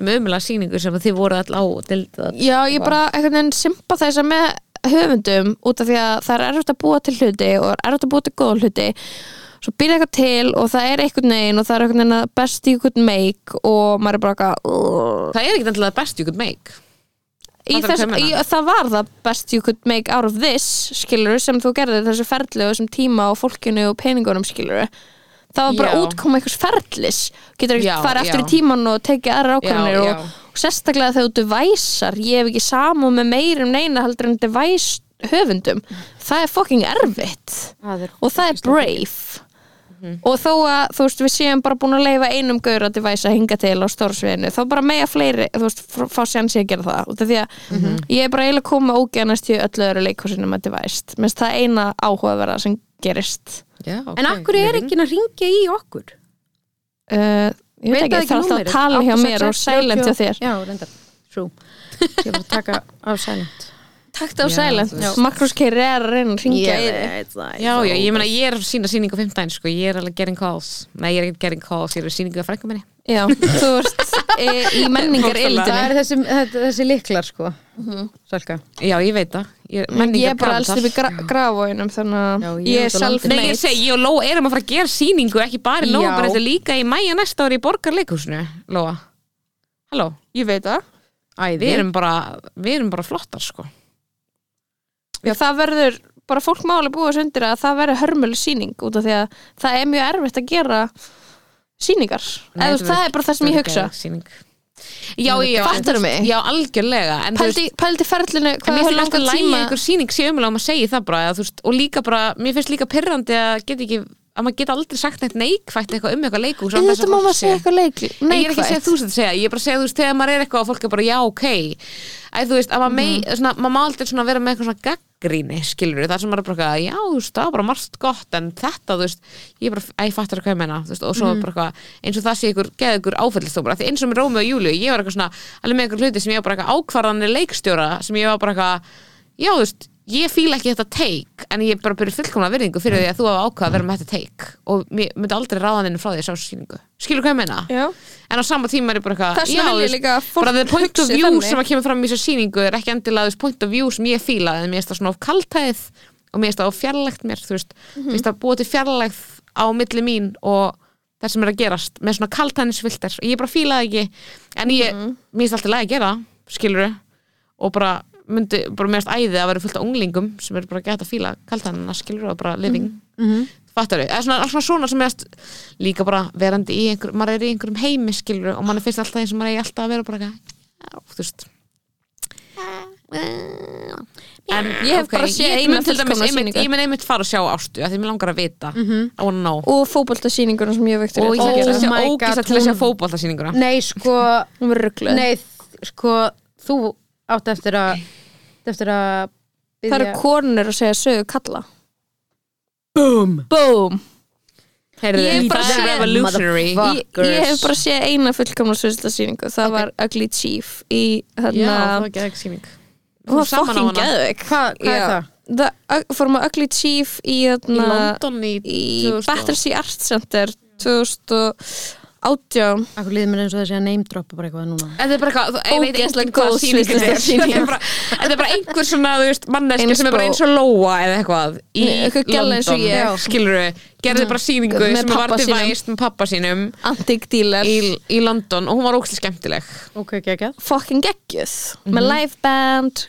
Speaker 4: um umulega sýningu sem þið voru all á og sko. deildu það
Speaker 3: Já, ég bara einhvern veginn sympa þess að með höfundum út af því að það er erfitt að búa til hluti og er erfitt að búa til góða hluti svo býr eitthvað til og það er einhvern veginn og það er einhvern veginn að best í einhvern meik og maður er bara eitthvað
Speaker 4: Það er ekkert endilega best you could make
Speaker 3: í
Speaker 4: Fattar
Speaker 3: þess,
Speaker 4: hvað ég
Speaker 3: í,
Speaker 4: meina?
Speaker 3: það var það best you could make out of this skilur sem þú gerðir þessu ferli og þessum tíma og fólkinu og peningunum skilur það var bara
Speaker 4: Já.
Speaker 3: útkoma einhvers ferlis getur ekki
Speaker 4: Já,
Speaker 3: farið aftur
Speaker 4: já.
Speaker 3: í tíman og tekið aðra ákvæmir
Speaker 4: Já, já.
Speaker 3: og, og sérstaklega þegar þú væsar ég hef ekki samúð með meirum neina heldur en þetta væs höfundum það er fucking erfitt
Speaker 5: Það er-
Speaker 3: og það er brave og þó að þú veist við séum bara búin að leifa einum gaur að device að hinga til á stórsviðinu þá bara mega fleiri, þú veist, fr- fá sjansi að gera það út af því að ég er bara eiginlega koma ógjarnast í öllu öðru leikhosinum að device minnst það eina áhugaverða sem gerist
Speaker 4: Já, ok
Speaker 5: En akkur er enginn að ringja í okkur?
Speaker 3: uh, ég veit ekki, það er alltaf að
Speaker 5: númerið.
Speaker 3: tala hjá
Speaker 5: 866
Speaker 3: mér og silent hjá þér
Speaker 5: Já, reyndar, trú Ég var að taka á silent
Speaker 3: takt á
Speaker 4: Já,
Speaker 3: silent,
Speaker 4: þú veist.
Speaker 3: Magnús Keir er að reyna að ringa í þig
Speaker 5: veit það
Speaker 4: Já, já, ég meina ég er að sína sýningu á 15 sko, ég er alveg getting calls Nei, ég er ekkert getting calls, ég er að sýningu á frænku minni
Speaker 3: já, þú veist, í, í Mhm. menningar
Speaker 5: Það
Speaker 3: eildinni
Speaker 5: er þessi, þetta- þessi liklar sko Salka
Speaker 4: Já, ég veit það Ég, menning
Speaker 3: ég er bara
Speaker 4: grafaltar.
Speaker 3: alls upp í gra grafóinum þannig
Speaker 5: Já,
Speaker 3: að
Speaker 5: ég
Speaker 3: ég er
Speaker 5: er út á landi.
Speaker 4: Nei, ég
Speaker 3: self-made
Speaker 4: segi, ég og Lóa erum að fara að gera sýningu ekki bara í
Speaker 5: Já.
Speaker 4: Lóa, bara þetta er líka í mæja næsta ári í borgarleikhúsinu, Lóa Halló,
Speaker 3: ég veit það
Speaker 4: við erum bara, við erum bara flottar sko
Speaker 3: Já, það verður, bara fólk máli búið undir að það verður hörmuleg sýning út af því að það er mjög erfitt að gera sýningar Nei, Eða,
Speaker 4: Nei, þetta
Speaker 3: þú veist, það er bara það sem ég hugsa
Speaker 4: Geðveik sýning. Já, já,
Speaker 3: Fattarðu
Speaker 4: en-
Speaker 3: mig?
Speaker 4: Já, algjörlega En þú
Speaker 3: Pældi,
Speaker 4: veist,
Speaker 3: pældi ferlinu,
Speaker 4: en
Speaker 3: hvað
Speaker 4: mér
Speaker 3: hefur
Speaker 4: finnst alltaf
Speaker 3: langan
Speaker 4: lægi
Speaker 3: tíma
Speaker 4: einhver sýning sé umlega um að maður segi það bara að, þú veist, og líka bara, mér finnst líka pyrrandi að geta ekki, að maður geta aldrei sagt neitt neikvætt eitthvað um eitthvað leikhús án
Speaker 3: En
Speaker 4: þess að
Speaker 3: þetta má
Speaker 4: fólk
Speaker 3: maður segja eitthvað leik
Speaker 4: Nei, ég er ekki að segja
Speaker 3: neikvætt
Speaker 4: þú sem þetta segja, ég er bara að segja þú veist þegar maður er eitthvað og fólk er bara já, ok Æ, þú veist, að maður megi, svona, maður má aldrei svona vera með eitthvað svona gaggríni, skilur þar sem maður er bara eitthvað, já, þú veist, það var bara margt gott en þetta, þú veist, ég er bara, æ, ég fattar hvað ég menna, þú veist, og svo bara eitthvað eins og það sé ykkur, geða ykkur áfællstómur því eins og með Rómi og Júliu, ég var eitthvað svona alveg með ykkur hluti sem ég var bara eitthvað ákvarðanir leikstjóra sem ég var bara eitthvað, já, þú veist ég fíla ekki þetta teik en ég bara byrja fullkomna virðingu fyrir því að þú hafa ákvað að vera með þetta teik og mér myndi aldrei ráða henni frá því að sjá sýningu skilur hvað ég meina?
Speaker 3: Já.
Speaker 4: en á sama tíma er ég bara eitthvað
Speaker 3: Þess vegna
Speaker 4: já,
Speaker 3: vil ég
Speaker 4: þú
Speaker 3: líka að
Speaker 4: veist,
Speaker 3: fólk
Speaker 4: bara the point of
Speaker 3: hugsi
Speaker 4: view
Speaker 3: þannig.
Speaker 4: sem að kemur fram í þessu sýningu er ekki endilega þess point of view sem ég fíla en mér finnst það svona of kaltæð og mér finnst það of fjarlægt mér þú veist, mér finnst það búið til fjarlægð á milli mín og það sem er að gerast með svona kaltæðnisviltar ég bara fíla það ekki en ég,
Speaker 3: Mhm.
Speaker 4: mér finnst alltaf læg að gera skilur og bara myndi, bara mér finnst æði að vera fullt af unglingum sem eru bara gett að fíla kaltæðnina skilur og bara living
Speaker 3: Mhm.
Speaker 4: fattaru, eða svona, svona svona sem ég líka bara verandi í einhver maður er í einhverjum heimi skilur og mann finnst alltaf eins og maður er alltaf að vera bara eitthvað, já, þú veist en
Speaker 3: Ég hef bara séð
Speaker 4: ég
Speaker 3: eina
Speaker 4: mun til dæmis
Speaker 3: fullkomna sýningu.
Speaker 4: einmitt,
Speaker 3: Mhm.
Speaker 4: ég mun einmitt fara að sjá ástu af því mér langar að vita mm -hmm. oh no
Speaker 3: Og fótboltasýninguna sem ég hef vektur
Speaker 4: og ég
Speaker 5: Oh
Speaker 4: ætla að sjá
Speaker 5: my
Speaker 4: ógísa
Speaker 5: God,
Speaker 4: til að sjá
Speaker 5: hún-
Speaker 4: fótballtasýninguna
Speaker 5: Nei, sko
Speaker 3: Hún verður ruggluð
Speaker 5: Nei, þ- sko Þú átt eftir að eftir að
Speaker 3: Það eru
Speaker 5: biðja-
Speaker 3: konur að segja sögu kalla Boom Boom Ég hef bara
Speaker 4: það er
Speaker 3: séð-
Speaker 4: revolutionary
Speaker 3: Ég, ég hef bara séð eina fullkomna sögustasýningu Það var Ugly Chief í
Speaker 4: já, það
Speaker 3: hérna
Speaker 4: var geðveik sýning
Speaker 3: Hún var
Speaker 4: Fórum saman á
Speaker 3: fucking
Speaker 4: hana.
Speaker 3: geðveik
Speaker 5: Hvað- hvað er
Speaker 3: Já.
Speaker 5: það?
Speaker 3: Það fórum að Ugly Chief í,
Speaker 4: í
Speaker 3: þarna,
Speaker 4: London í,
Speaker 3: í
Speaker 4: 2000
Speaker 3: Battersea Art Center 2018
Speaker 5: Akkur líður mér eins og þessi að name droppa bara eitthvað núna
Speaker 4: En það er bara eitthvað, þú- ég veit
Speaker 3: Ógeðslega
Speaker 4: ekki hvað
Speaker 3: góð
Speaker 4: sýningin er
Speaker 3: sviðsljóðsýning.
Speaker 4: Þetta er bara- þetta er bara einhver svona, þú veist, manneski
Speaker 3: Eins
Speaker 4: sem er bara
Speaker 3: og-
Speaker 4: eins og Lóa eða eitthvað í
Speaker 3: Nei, eitthvað gæla eins og ég.
Speaker 4: London, skilur við gerði bara sýningu
Speaker 3: Með
Speaker 4: sem var
Speaker 3: pabba sínum.
Speaker 4: devæst með pappa sínum
Speaker 3: Antique Dealer
Speaker 4: í, í London og hún var ókslega skemmtileg
Speaker 5: Ok, ekki, ekki
Speaker 3: fucking geggjöð
Speaker 4: Mhm.
Speaker 3: með live band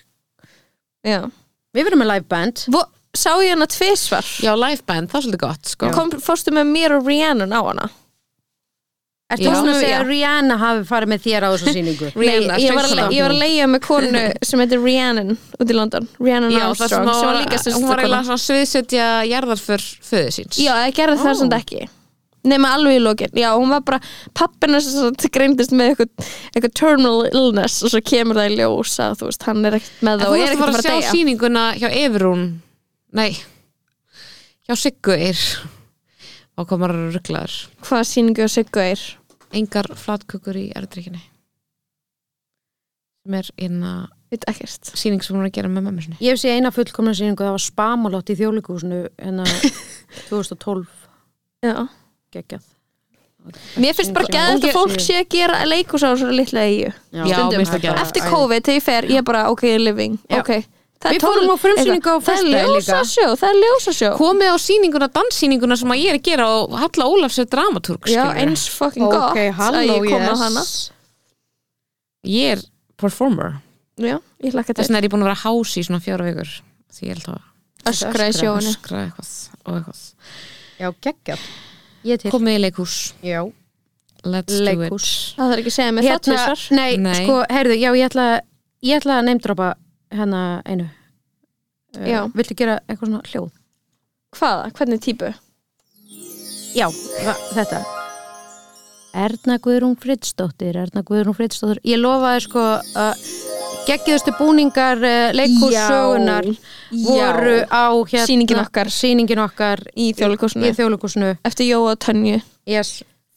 Speaker 3: Já
Speaker 5: Við verðum með live band
Speaker 3: Vo, Sá ég hana tvisvar
Speaker 4: Já, live band, það er svolítið gott, sko
Speaker 3: Kom, Fórstu með mér og Rihanna á hana
Speaker 5: Ertu
Speaker 4: Já.
Speaker 5: þú svona að
Speaker 3: Já.
Speaker 5: segja að Rihanna hafi farið með þér á þessu sýningu?
Speaker 4: Rihanna,
Speaker 3: Nei, ég, var að,
Speaker 4: sveinsona.
Speaker 3: ég var að leiða með konu sem heitir Rhiannon út í London Rhiannon
Speaker 4: Já, það sem
Speaker 3: Armstrong sko, sem var líka
Speaker 4: hún var
Speaker 3: sýstakona
Speaker 4: eiginlega svona sviðsetja jarðar fyrr föðu síns
Speaker 3: Já, það gerði það
Speaker 5: Ó.
Speaker 3: samt ekki nema alveg í lokin, já, hún var bara pappina sem greindist með eitthvað, eitthvað terminal illness og svo kemur það í ljós að þú veist, hann er ekkert með
Speaker 4: En
Speaker 3: það
Speaker 4: þú
Speaker 3: og er
Speaker 4: varst að
Speaker 3: ekkert að
Speaker 4: fara að
Speaker 3: fara að
Speaker 4: sjá
Speaker 3: deyja
Speaker 4: sýninguna hjá Efrún Nei Hjá Sigguir Og komar að rugglaður
Speaker 3: hvaða sýningu og siggu er
Speaker 4: Engar flatkökur í erðrykkinni sem er einna
Speaker 3: veit ekkert
Speaker 4: sýning sem hún er að gera með mömmu sinni
Speaker 5: Ég hef séð eina fullkomna sýningu, það var spamalott í þjóðleikúsinu hérna 2012
Speaker 3: já.
Speaker 5: geggjað.
Speaker 3: mér finnst bara gæðið
Speaker 5: Ungi-
Speaker 3: að fólk sé að gera leikús á svo litla eigu
Speaker 4: Já,
Speaker 3: Stundum.
Speaker 4: mér finnst það geggjað.
Speaker 3: eftir COVID þegar ég fer, ég bara ok, living
Speaker 5: Já.
Speaker 3: ok, það
Speaker 5: Við fórum
Speaker 3: tól-
Speaker 5: á frumsýningu
Speaker 3: eitthvað.
Speaker 5: á föstudaginn
Speaker 3: það er
Speaker 5: líka.
Speaker 3: ljósasjó, það er ljósasjó
Speaker 4: Komið á sýninguna, danssýninguna sem að ég er að gera og Halla Ólafs er dramatúrk
Speaker 3: já,
Speaker 4: skilurðu.
Speaker 3: eins fucking gott að ég kom á hana
Speaker 4: Ég er performer
Speaker 3: já, ég hlakka
Speaker 4: Þess
Speaker 3: til
Speaker 4: vegna er ég búin að vera hási í svona fjóra vikur Því ég er alltaf
Speaker 3: öskra í
Speaker 4: að
Speaker 3: sjóinu
Speaker 4: öskra eitthvað og eitthvað
Speaker 5: Já, geggjað. Ég til.
Speaker 4: Komið í leikhús
Speaker 5: Já.
Speaker 4: Let's
Speaker 5: Leikhús.
Speaker 3: það þarf ekki að segja mig það
Speaker 5: Hérna,
Speaker 3: tvisvar
Speaker 5: nei,
Speaker 4: Nei.
Speaker 5: sko, heyrðu, já, ég ætla, ég ætla að neymdrapa hérna einu. Uh,
Speaker 3: Já.
Speaker 5: Viltu gera eitthvað svona hljóð?
Speaker 3: hvaða, hvernig típu
Speaker 5: Já, va- þetta Erna Guðrún Fridsdóttir Erna Guðrún Fridsdóttir Ég lofaði sko að geggiðustu búningar leikússögunar voru á hérna,
Speaker 3: Sýningin okkar.
Speaker 5: sýningin okkar
Speaker 3: í
Speaker 5: í
Speaker 3: þjóðleikúsinu
Speaker 5: þjóðleikusinu
Speaker 3: eftir Jóa og Tönju
Speaker 5: yes.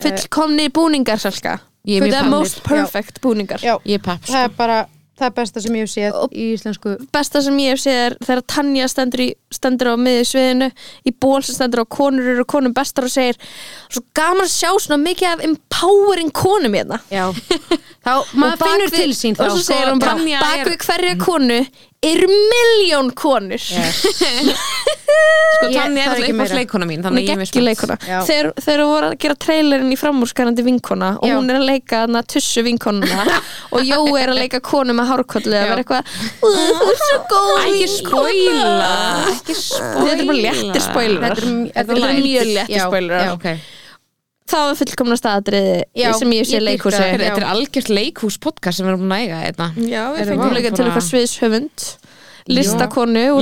Speaker 3: fullkomni búningar salka
Speaker 4: Ég er mjög
Speaker 3: the
Speaker 4: pannir.
Speaker 3: most perfect búningar
Speaker 5: Já.
Speaker 4: Ég er pepp sko.
Speaker 5: Það er bara það er besta sem ég hef séð í íslensku
Speaker 3: besta sem ég hef séð er þegar Tanja stendur, í, stendur á miðju sviðinu í ból sem stendur á konur eru konum bestar og segir svo gaman að sjá svona mikið af empowering konum hérna
Speaker 5: Já Þá, maður
Speaker 3: bak
Speaker 5: finnur
Speaker 3: við-
Speaker 5: til sín þá
Speaker 3: og svo
Speaker 5: sko.
Speaker 3: segir hún bara,
Speaker 4: Tanya
Speaker 3: bak
Speaker 4: er-
Speaker 3: við hverja konu eru miljón konur
Speaker 4: Sko
Speaker 5: Ég-
Speaker 4: Tanja er
Speaker 5: það er ekki
Speaker 4: alltaf
Speaker 5: meira.
Speaker 4: uppáðs leikona mín
Speaker 3: hún
Speaker 4: Þannig
Speaker 3: er
Speaker 4: að ég er mjög
Speaker 3: geggi leikona
Speaker 5: Já.
Speaker 3: þegar þegar hún voru að gera trailerinn í framúrskarandi vinkona og
Speaker 5: Já.
Speaker 3: hún er að leika hana tussu vinkonuna og Jó er að leika konu með hárkollu að vera eitthvað "Ú, þú er svo góð
Speaker 4: Ekki
Speaker 3: vinkona."
Speaker 4: spoila Ekki spoila
Speaker 3: þetta er bara léttir spoiler þetta
Speaker 5: Þetta er-
Speaker 3: er
Speaker 5: light.
Speaker 3: mjög léttir
Speaker 5: Já,
Speaker 3: spoiler
Speaker 5: já.
Speaker 4: okay.
Speaker 3: það var fullkomna staðatriði
Speaker 5: Já,
Speaker 3: sem ég sé
Speaker 5: ég
Speaker 3: leikhúsi
Speaker 5: dýrka
Speaker 4: Þetta er algjört leikhús podcast sem við erum búin að eiga hérna. einna.
Speaker 3: já, við
Speaker 5: Þetta
Speaker 3: fengum
Speaker 5: var
Speaker 3: líka til
Speaker 4: bara-
Speaker 3: eitthvað sviðshöfund listakonu úr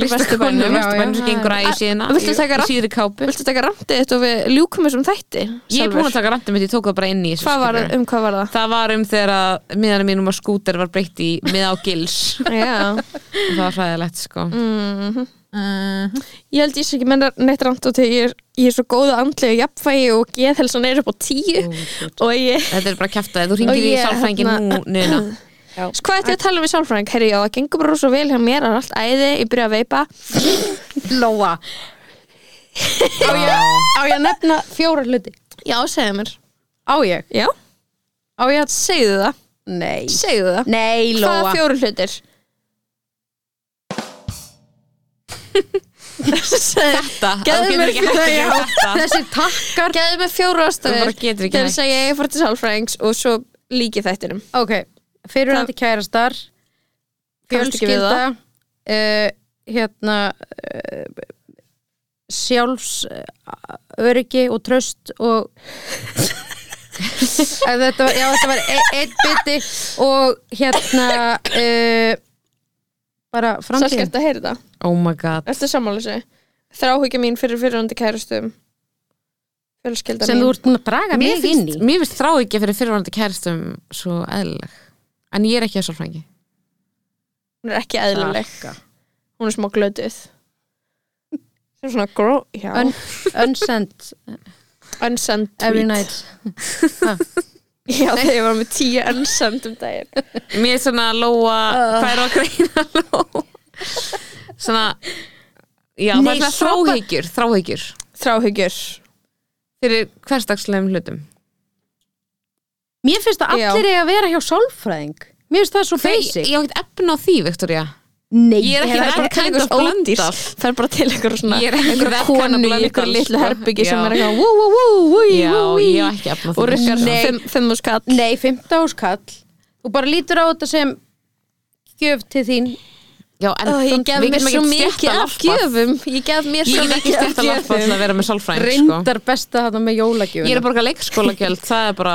Speaker 3: vesturbænum
Speaker 4: Listakonu,
Speaker 5: já,
Speaker 4: listakonu sem
Speaker 5: já.
Speaker 4: gengur að í
Speaker 3: A-
Speaker 4: síðina
Speaker 3: viltu
Speaker 4: í-
Speaker 3: taka
Speaker 4: í
Speaker 3: rann-
Speaker 4: síðri kápu
Speaker 3: viltu taka randið þetta og við ljúkum þessum þætti
Speaker 4: Ég er búin að taka randum mitt, ég tók það bara inn í þessu,
Speaker 3: hvað var,
Speaker 4: skilurðu.
Speaker 3: um hvað var það?
Speaker 4: Það var um þegar að miðanum mínum að skúter var breytt í miða á gils
Speaker 3: Já.
Speaker 4: og það var hræðilegt sko
Speaker 3: ég held ég sé ekki menna neitt rand og þegar ég, er- ég er svo góða andlega jafnvægi og geðhelsan er upp á tíu og ég
Speaker 4: Þetta er bara að kæfta Þú ringir
Speaker 3: Og
Speaker 4: í
Speaker 3: ég,
Speaker 4: sálfrængin nú,
Speaker 3: hérna-
Speaker 4: núna
Speaker 3: Hvað ætti ég að tala um í sálfræðing? Herri, já, það gengur bara rosa vel hjá mér, það er allt æði, ég byrja að veipa.
Speaker 5: Lóa Á ég að nefna fjóra hluti
Speaker 3: Já, segðu mér.
Speaker 5: Á ég?
Speaker 3: Já,
Speaker 5: Á ég að
Speaker 3: segðu það,
Speaker 5: Nei
Speaker 3: segðu það.
Speaker 5: Nei,
Speaker 3: Hvaða
Speaker 5: Lóa
Speaker 3: fjóru hlutir? Segðu
Speaker 4: Þetta,
Speaker 3: Gefðu
Speaker 4: þú getur
Speaker 3: mér
Speaker 4: ekki hægt að gera þetta
Speaker 5: Þessi takkar
Speaker 3: mig fjóru
Speaker 4: Þú
Speaker 3: ástöður
Speaker 4: bara getur ekki
Speaker 3: til
Speaker 4: hægt.
Speaker 3: þess að ég fór til sálfræðings og svo líki þættinum.
Speaker 5: Ok, fyrirhandi kærastar
Speaker 3: Kannast ekki við
Speaker 5: fjölskylda uh, hérna uh, sjálfs uh, öryggi og tröst og Eh, þetta var, já, þetta var e einn biti og hérna uh, bara
Speaker 3: Svo
Speaker 5: framtíðin
Speaker 3: skemmt að heyra það.
Speaker 4: Oh my god
Speaker 3: Eftir sammála sig. Þráhyggja mín fyrir fyrirhandi kærustum. Fjölskylda
Speaker 5: sem
Speaker 3: mín.
Speaker 5: þú ert búin að draga
Speaker 4: Mér
Speaker 5: mig inn
Speaker 4: finnst,
Speaker 5: í
Speaker 4: mér finnst þrá ekki fyrir fyrirvænandi kæristum svo eðlileg En ég er ekki að sálfrængi
Speaker 3: Hún er ekki eðlileg. Hún er smá glötuð. Sem svona gró... Já.
Speaker 5: Un, unsend
Speaker 3: unsend
Speaker 5: every
Speaker 3: tweet.
Speaker 5: night
Speaker 3: Já, þegar ég var með tíu unsend um daginn.
Speaker 4: Mér er svona lóa, hvað er á að greina lóa Svona Já, það
Speaker 5: Nei,
Speaker 4: er svona
Speaker 5: svo bara-
Speaker 4: þráhyggjur Þráhyggjur
Speaker 3: Þráhyggjur.
Speaker 4: fyrir hversdagslegum hlutum
Speaker 5: mér finnst að
Speaker 3: Já.
Speaker 5: allir eiga að vera hjá sálfræðing mér finnst það svo
Speaker 4: Ég,
Speaker 5: basic
Speaker 4: ég hef ekkert efna á því, Viktoria
Speaker 5: Nei,
Speaker 4: Ég er ekki
Speaker 3: Það er bara til
Speaker 4: verið kind of
Speaker 3: einhvers ódýrs
Speaker 4: blöndal
Speaker 3: Það er bara til einhver svona
Speaker 4: Ég er ekki
Speaker 3: einhver
Speaker 4: that kind of
Speaker 3: konu í
Speaker 4: Blöndal,
Speaker 3: einhver litlu
Speaker 4: sko.
Speaker 3: herbyggi sem
Speaker 4: Já.
Speaker 3: er eitthvað wú, wú, wú, wú,
Speaker 4: Já,
Speaker 3: wú, wú
Speaker 4: ég hef ekki efna á því
Speaker 3: og rukkar
Speaker 4: sko.
Speaker 3: fimm, fimm og skall
Speaker 5: Nei, 15 áskall og bara lítur á þetta sem gjöf til þín
Speaker 4: Já, en
Speaker 3: Ó, Ég gef
Speaker 4: við
Speaker 3: mér
Speaker 4: getum
Speaker 3: svo
Speaker 4: ekkert
Speaker 3: mikið
Speaker 4: stéttað
Speaker 3: af
Speaker 4: varpað.
Speaker 3: gjöfum Ég gef mér
Speaker 4: Ég
Speaker 3: svo
Speaker 4: get ekki
Speaker 3: mikið af
Speaker 4: stjætt að lappa til
Speaker 3: gjöfum
Speaker 4: að vera með sálfræðing sko.
Speaker 5: reyndar besta þarna með
Speaker 4: Ég er
Speaker 5: jólagjöfuna
Speaker 4: að borga leikskólagjöld, það er bara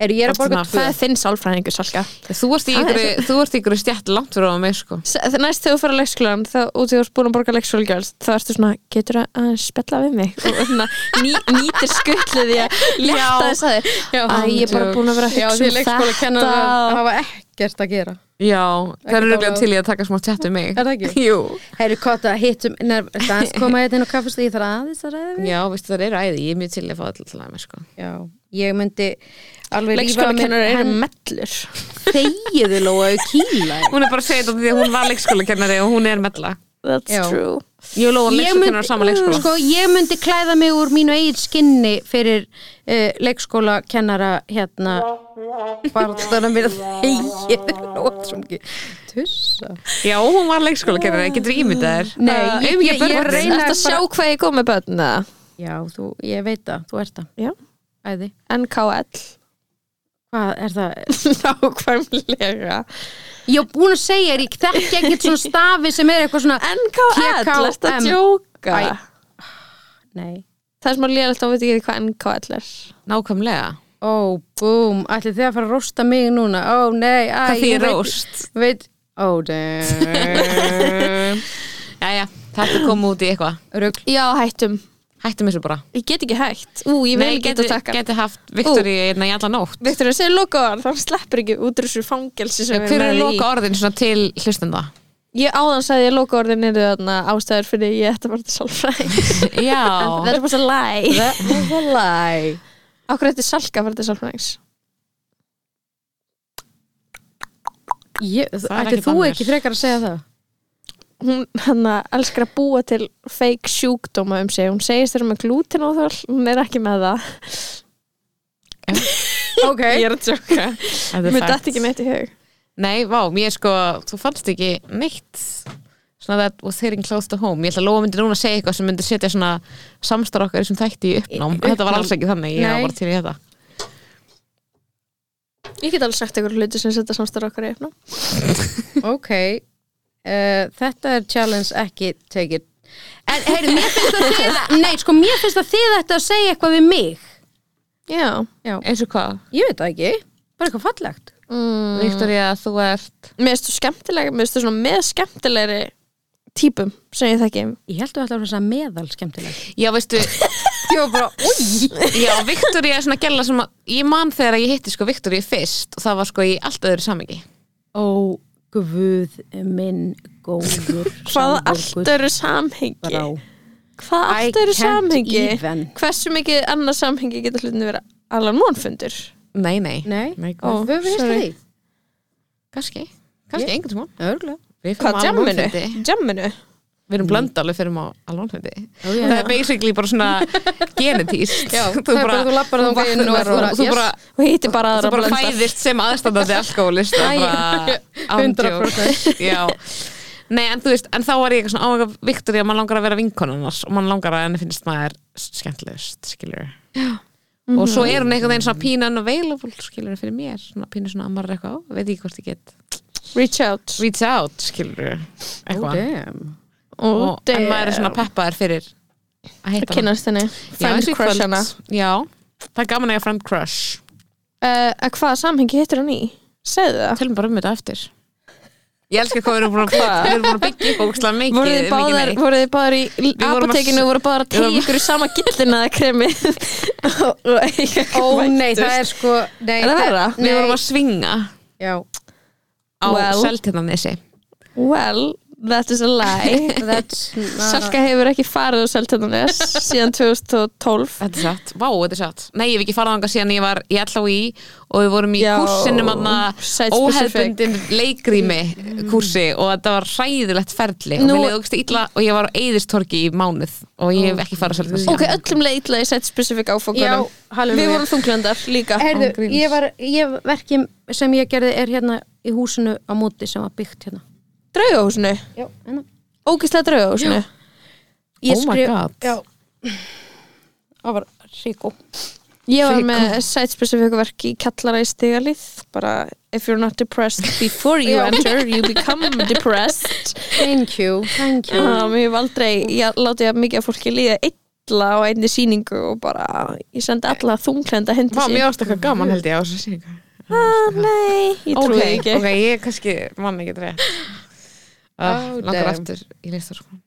Speaker 5: er ég er að borga
Speaker 3: Það
Speaker 5: tvö
Speaker 3: er þinn sálfræðingur, Salka
Speaker 4: Þú ert í
Speaker 3: Það er
Speaker 4: ykkur, þú ert í ykkur stjætt langt fyrir á mig sko.
Speaker 3: S- Næst þegar þú fyrir að leikskólan þá, og þegar þú ert búin að borga leikskólagjald þá ertu svona, getur að spella við mig og svona, ný, nýtir skutlið í að létta þess að þér Æ, ég er bara búin að vera að
Speaker 5: Já,
Speaker 3: hugsa
Speaker 5: því
Speaker 3: um
Speaker 5: leikskóla
Speaker 3: þetta og-
Speaker 5: hafa ekkert að gera
Speaker 4: Já, það
Speaker 5: Ekki
Speaker 4: eru
Speaker 5: dálega.
Speaker 4: röglega til í að taka smá tjætt um mig
Speaker 5: Er það ekki?
Speaker 4: Jú
Speaker 5: Herri Kotta, hittum, neðan koma hérna inn á kaffestu, ég þarf aðeins að ræða við
Speaker 4: Já, veistu það eru æði, ég er mjög til í að fá alltaf til að mig sko.
Speaker 5: Já, ég myndi alveg rífa mér
Speaker 3: Leikskólakennar eru mellur
Speaker 5: þegiðu lóa og kýla
Speaker 4: Hún er bara að segja þetta því að hún var leikskólakennari og hún er mella
Speaker 3: That's
Speaker 5: Já.
Speaker 3: true
Speaker 4: Ég og Lóa
Speaker 5: Ég myndi-
Speaker 4: leikskólakennar á sama leikskóla
Speaker 5: sko, ég myndi klæða mig úr mínu eigin skinni fyrir uh, leikskóla kennara hérna barðana mér þegiðu lóa sem ekki tussa
Speaker 4: Já, hún var leikskólakennari, getur ímyndað þér
Speaker 5: Nei,
Speaker 4: Uh,
Speaker 5: ég-
Speaker 4: umhyggja
Speaker 5: ég- ég
Speaker 4: börnin.
Speaker 5: reyni- Einar
Speaker 3: Þetta sjá
Speaker 5: bara-
Speaker 3: hvað ég kom með börn eða?
Speaker 5: Já, þú, ég veit það, þú ert það,
Speaker 3: Já.
Speaker 5: æði
Speaker 3: NKL
Speaker 5: Hvað er það?
Speaker 3: Nákvæmlega
Speaker 5: Ég er búin að segja, þér, ég þekki ekkert svona stafi sem er eitthvað svona
Speaker 3: NKL,
Speaker 5: TKM.
Speaker 3: þetta djóka
Speaker 5: Æ. Nei
Speaker 3: Það er smá lélegt að hún veit ekki hvað NKL er
Speaker 4: Nákvæmlega
Speaker 5: Ó, búm, ætli þið að fara að rosta mig núna Ó, nei, æ
Speaker 4: Hvað
Speaker 5: ég
Speaker 4: þýðir
Speaker 5: veit-
Speaker 4: róst?
Speaker 5: Veit, ó, damn
Speaker 4: Jæja, þetta kom út í eitthvað
Speaker 5: Rugl
Speaker 3: Já, hættum
Speaker 4: Hættum þessu bara
Speaker 3: Ég get ekki hægt Ú, ég vil ekki
Speaker 4: geti,
Speaker 3: þetta taka
Speaker 4: geti haft Viktori hérna í alla nótt
Speaker 3: Viktor, það segir loka orð, þá sleppur ekki út úr þessu fangelsi sem
Speaker 4: Hver
Speaker 3: með
Speaker 4: eru
Speaker 3: í.
Speaker 4: loka orðin svona til hlustenda?
Speaker 3: Ég áðan sagði að loka orðin eru þarna ástæður fyrir ég ætti að fara til sálfræðing
Speaker 4: Já
Speaker 3: er bara svo læg
Speaker 5: That was a lie
Speaker 3: Akkur eftir salka að fara til sálfræðings
Speaker 5: Ég,
Speaker 4: Það er
Speaker 5: ætli
Speaker 4: ekki
Speaker 5: þú
Speaker 4: bannað.
Speaker 5: ekki frekar að segja það
Speaker 3: Hún hann elskar að búa til fake sjúkdóma um sig Hún segist þeirra með glútin og þvall Hún er ekki með það
Speaker 5: Ok
Speaker 3: Ég er að tjóka Mér dætt ekki neitt í hug
Speaker 4: Nei, vá, mér sko, þú fannst ekki neitt svona that was hitting close to home Ég ætla að Lóa myndi núna að segja eitthvað sem myndi setja svona samstarf okkar sem þætti í uppnám
Speaker 5: Í-
Speaker 4: Þetta var
Speaker 5: uppnám.
Speaker 4: alls ekki þannig, ég
Speaker 5: Nei.
Speaker 4: var bara til í þetta
Speaker 3: Ég get alveg sagt ykkur hluti sem setja samstarf okkar í efnum
Speaker 5: Ok uh, Þetta er challenge ekki take it En heyrðu, mér finnst að þið Nei, sko, mér finnst að þið ætti að segja eitthvað við mig
Speaker 3: Já
Speaker 4: Eins og hvað?
Speaker 5: Ég veit það ekki, bara eitthvað fallegt
Speaker 3: mm.
Speaker 4: Mm. Viktoria, þú ert
Speaker 3: Mér finnst þú skemmtilega Mér finnst þú svona með skemmtilegri típum sem ég þekki
Speaker 5: Ég held að það var þess að meðal skemmtileg
Speaker 4: Já, veistu,
Speaker 5: Ég var bara, oi
Speaker 4: já, Viktoria er svona gæla sem að Ég man þegar ég hitti sko Viktoria fyrst og það var sko í allt öðru samingi
Speaker 5: Ó, guð minn góður
Speaker 3: Hvað
Speaker 5: samvigur
Speaker 3: allt eru samhengi
Speaker 5: brá.
Speaker 3: Hvað
Speaker 5: I
Speaker 3: allt eru
Speaker 5: can't
Speaker 3: samhengi
Speaker 5: even.
Speaker 3: Hversu mikið annað samhengi getur hlutinu vera allan mónfundur
Speaker 4: Nei, nei,
Speaker 5: Nei,
Speaker 4: Nei,
Speaker 5: Ó,
Speaker 4: guð.
Speaker 5: við höfum hýst
Speaker 3: sorry.
Speaker 5: því
Speaker 4: kannski, kannski einhvern tímann
Speaker 5: Örgulega
Speaker 4: Við förum
Speaker 3: Hvað,
Speaker 4: á
Speaker 3: jamminu?
Speaker 4: almannafundi.
Speaker 3: Jamminu?
Speaker 4: Við erum blönd alveg fyrir maður á lónfundi
Speaker 5: já.
Speaker 4: Það er basically bara svona genetíst
Speaker 5: Já, það er bara þú lappar þangað inn og
Speaker 4: vaknar
Speaker 5: þú bara,
Speaker 4: og þú
Speaker 5: yes.
Speaker 4: bara,
Speaker 3: Og hitti bara
Speaker 4: þú
Speaker 3: aðra
Speaker 4: bara
Speaker 3: blöndar.
Speaker 4: fæðist sem aðstandandi alkoholist Það er bara án
Speaker 5: 100%.
Speaker 4: djóks. Já Nei, en þú veist, en þá var ég eitthvað svona áhengar Viktoria, maður langar að vera vinkonunars og maður langar að henni finnst maður skemmtilegust skilur og svo
Speaker 5: Mhm.
Speaker 4: er hún einhvern veginn svona pínan og veilafól skilur fyrir mér, svona pínu svona að maður er eitthvað "Ó, veit ekki hvort ég get
Speaker 3: Reach out
Speaker 4: reach out skilur eitthvað
Speaker 5: Damn
Speaker 3: oh,
Speaker 4: og, en maður er svona peppaðar fyrir að hitta hana.
Speaker 3: Kynnast henni
Speaker 4: Já, eins
Speaker 3: Friend
Speaker 4: og í kvöld.
Speaker 3: crush hana
Speaker 4: já, það er gaman að eiga friend crush
Speaker 3: uh, að Hvaða samhengi hittir hann í? Segðu það
Speaker 4: tölum bara um þetta eftir ég elska hvað við erum búin að, við erum búin að byggja upp ógstlega mikið
Speaker 3: Voruð þið
Speaker 4: mikið
Speaker 3: báðar,
Speaker 4: meir.
Speaker 3: voru þið báðar í
Speaker 4: vorum að-
Speaker 3: apotekinu og voru báðar að
Speaker 4: við vorum-
Speaker 3: tegja ykkur í sama gillina eða kremi
Speaker 5: Ó
Speaker 4: Oh.
Speaker 3: Ó
Speaker 5: nei, það er sko nei,
Speaker 3: Er það verra?
Speaker 5: Nei,
Speaker 4: við vorum að svinga
Speaker 5: já,
Speaker 4: á
Speaker 3: Well.
Speaker 4: well. seltinnanissi
Speaker 3: Well, that is a lie
Speaker 5: that's not
Speaker 3: Salka hefur ekki farið á Seltjarnanes síðan 2012
Speaker 4: þetta er satt, vá, þetta er satt nei, ég hef ekki farað ánga síðan ég var í LHI og við vorum í
Speaker 3: Já,
Speaker 4: kursinum aðna
Speaker 3: site specific.
Speaker 4: óhefbundin leikrými kursi og þetta var hræðilegt ferli
Speaker 3: Nú-
Speaker 4: og mér leiði ógst illa og ég var á eyðistorki í mánuð og ég hef ekki farað seltinnanissi
Speaker 3: Ok, öllum leið illa í sett spesifik áfokunum
Speaker 5: Já, halleluja.
Speaker 3: Við vorum þunglendar líka
Speaker 5: Herðu,
Speaker 4: Án gríns.
Speaker 5: ég var, ég verki sem ég gerði er hérna í húsinu á móti sem var byggt hérna
Speaker 3: Draugahúsinu,
Speaker 5: Já, hérna
Speaker 3: ógislega draugahúsinu
Speaker 5: Ég
Speaker 4: Oh my
Speaker 5: skrif-
Speaker 4: God.
Speaker 5: Já Það var ríkó
Speaker 3: Ég var með sett spesifik verk í kallara í stigalið bara if you're not depressed before you
Speaker 5: Já.
Speaker 3: enter you become depressed
Speaker 5: Thank you, thank you
Speaker 3: um, Ég hef aldrei, ég láti að mikið af fólki líða illa alla á einni sýningu og bara, ég sendi alla þunglenda hendi Ah,
Speaker 4: Vá, mér ást eitthvað gaman held ég á þessu sýningu
Speaker 3: Nei, ég trúi
Speaker 4: Ok,
Speaker 3: okay, ekki
Speaker 4: ok, ég kannski mann ekki dreið
Speaker 5: Oh,
Speaker 4: Langar
Speaker 5: damn.
Speaker 4: aftur í listarskólan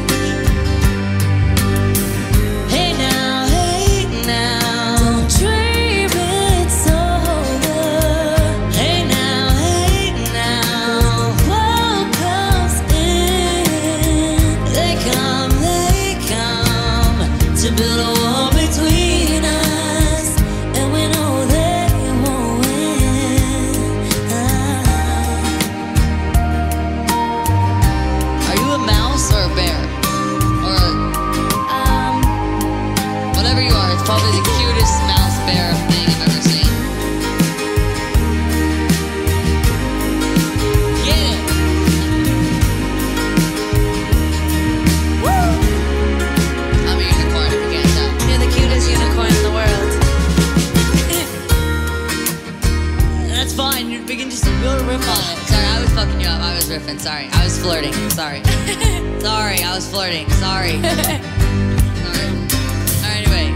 Speaker 6: Hey now, hey now, don't dream it's over. Hey now, hey now, world comes in. They come, they come to build a wall between us, and we know they won't win. Are you a mouse or a bear or a? Um. Whatever you are, it's probably the cutest mouse bear thing I've ever seen. Get it! Woo! I'm a unicorn if you can't tell. You're the cutest unicorn in the world. That's fine, you begin just to build a riff on it. Sorry, I was fucking you up. I was riffing, sorry. I was flirting, sorry. sorry, I was flirting, sorry. sorry. Alright, anyway.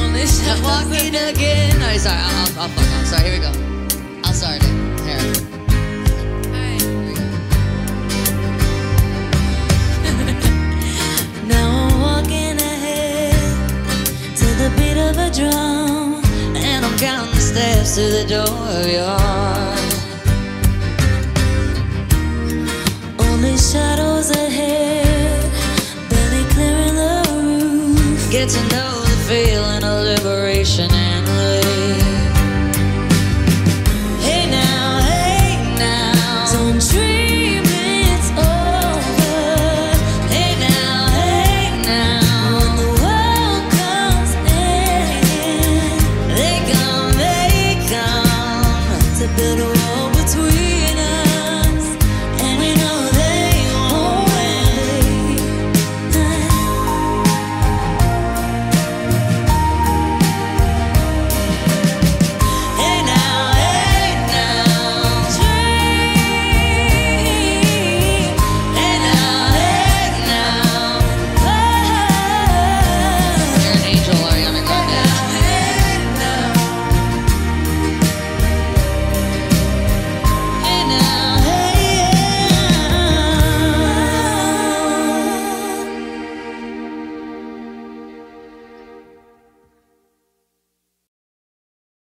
Speaker 6: On this I'm walking again. Alright, Oh, sorry, I'll, I'll, I'll fuck off. Sorry, here we go. I'll start it. Here. Alright, here we go. Now I'm walking ahead to the beat of a drum, and I'm counting the steps to the door of your heart. Only shadows ahead, barely clearing the roof. Get to know the feeling of liberation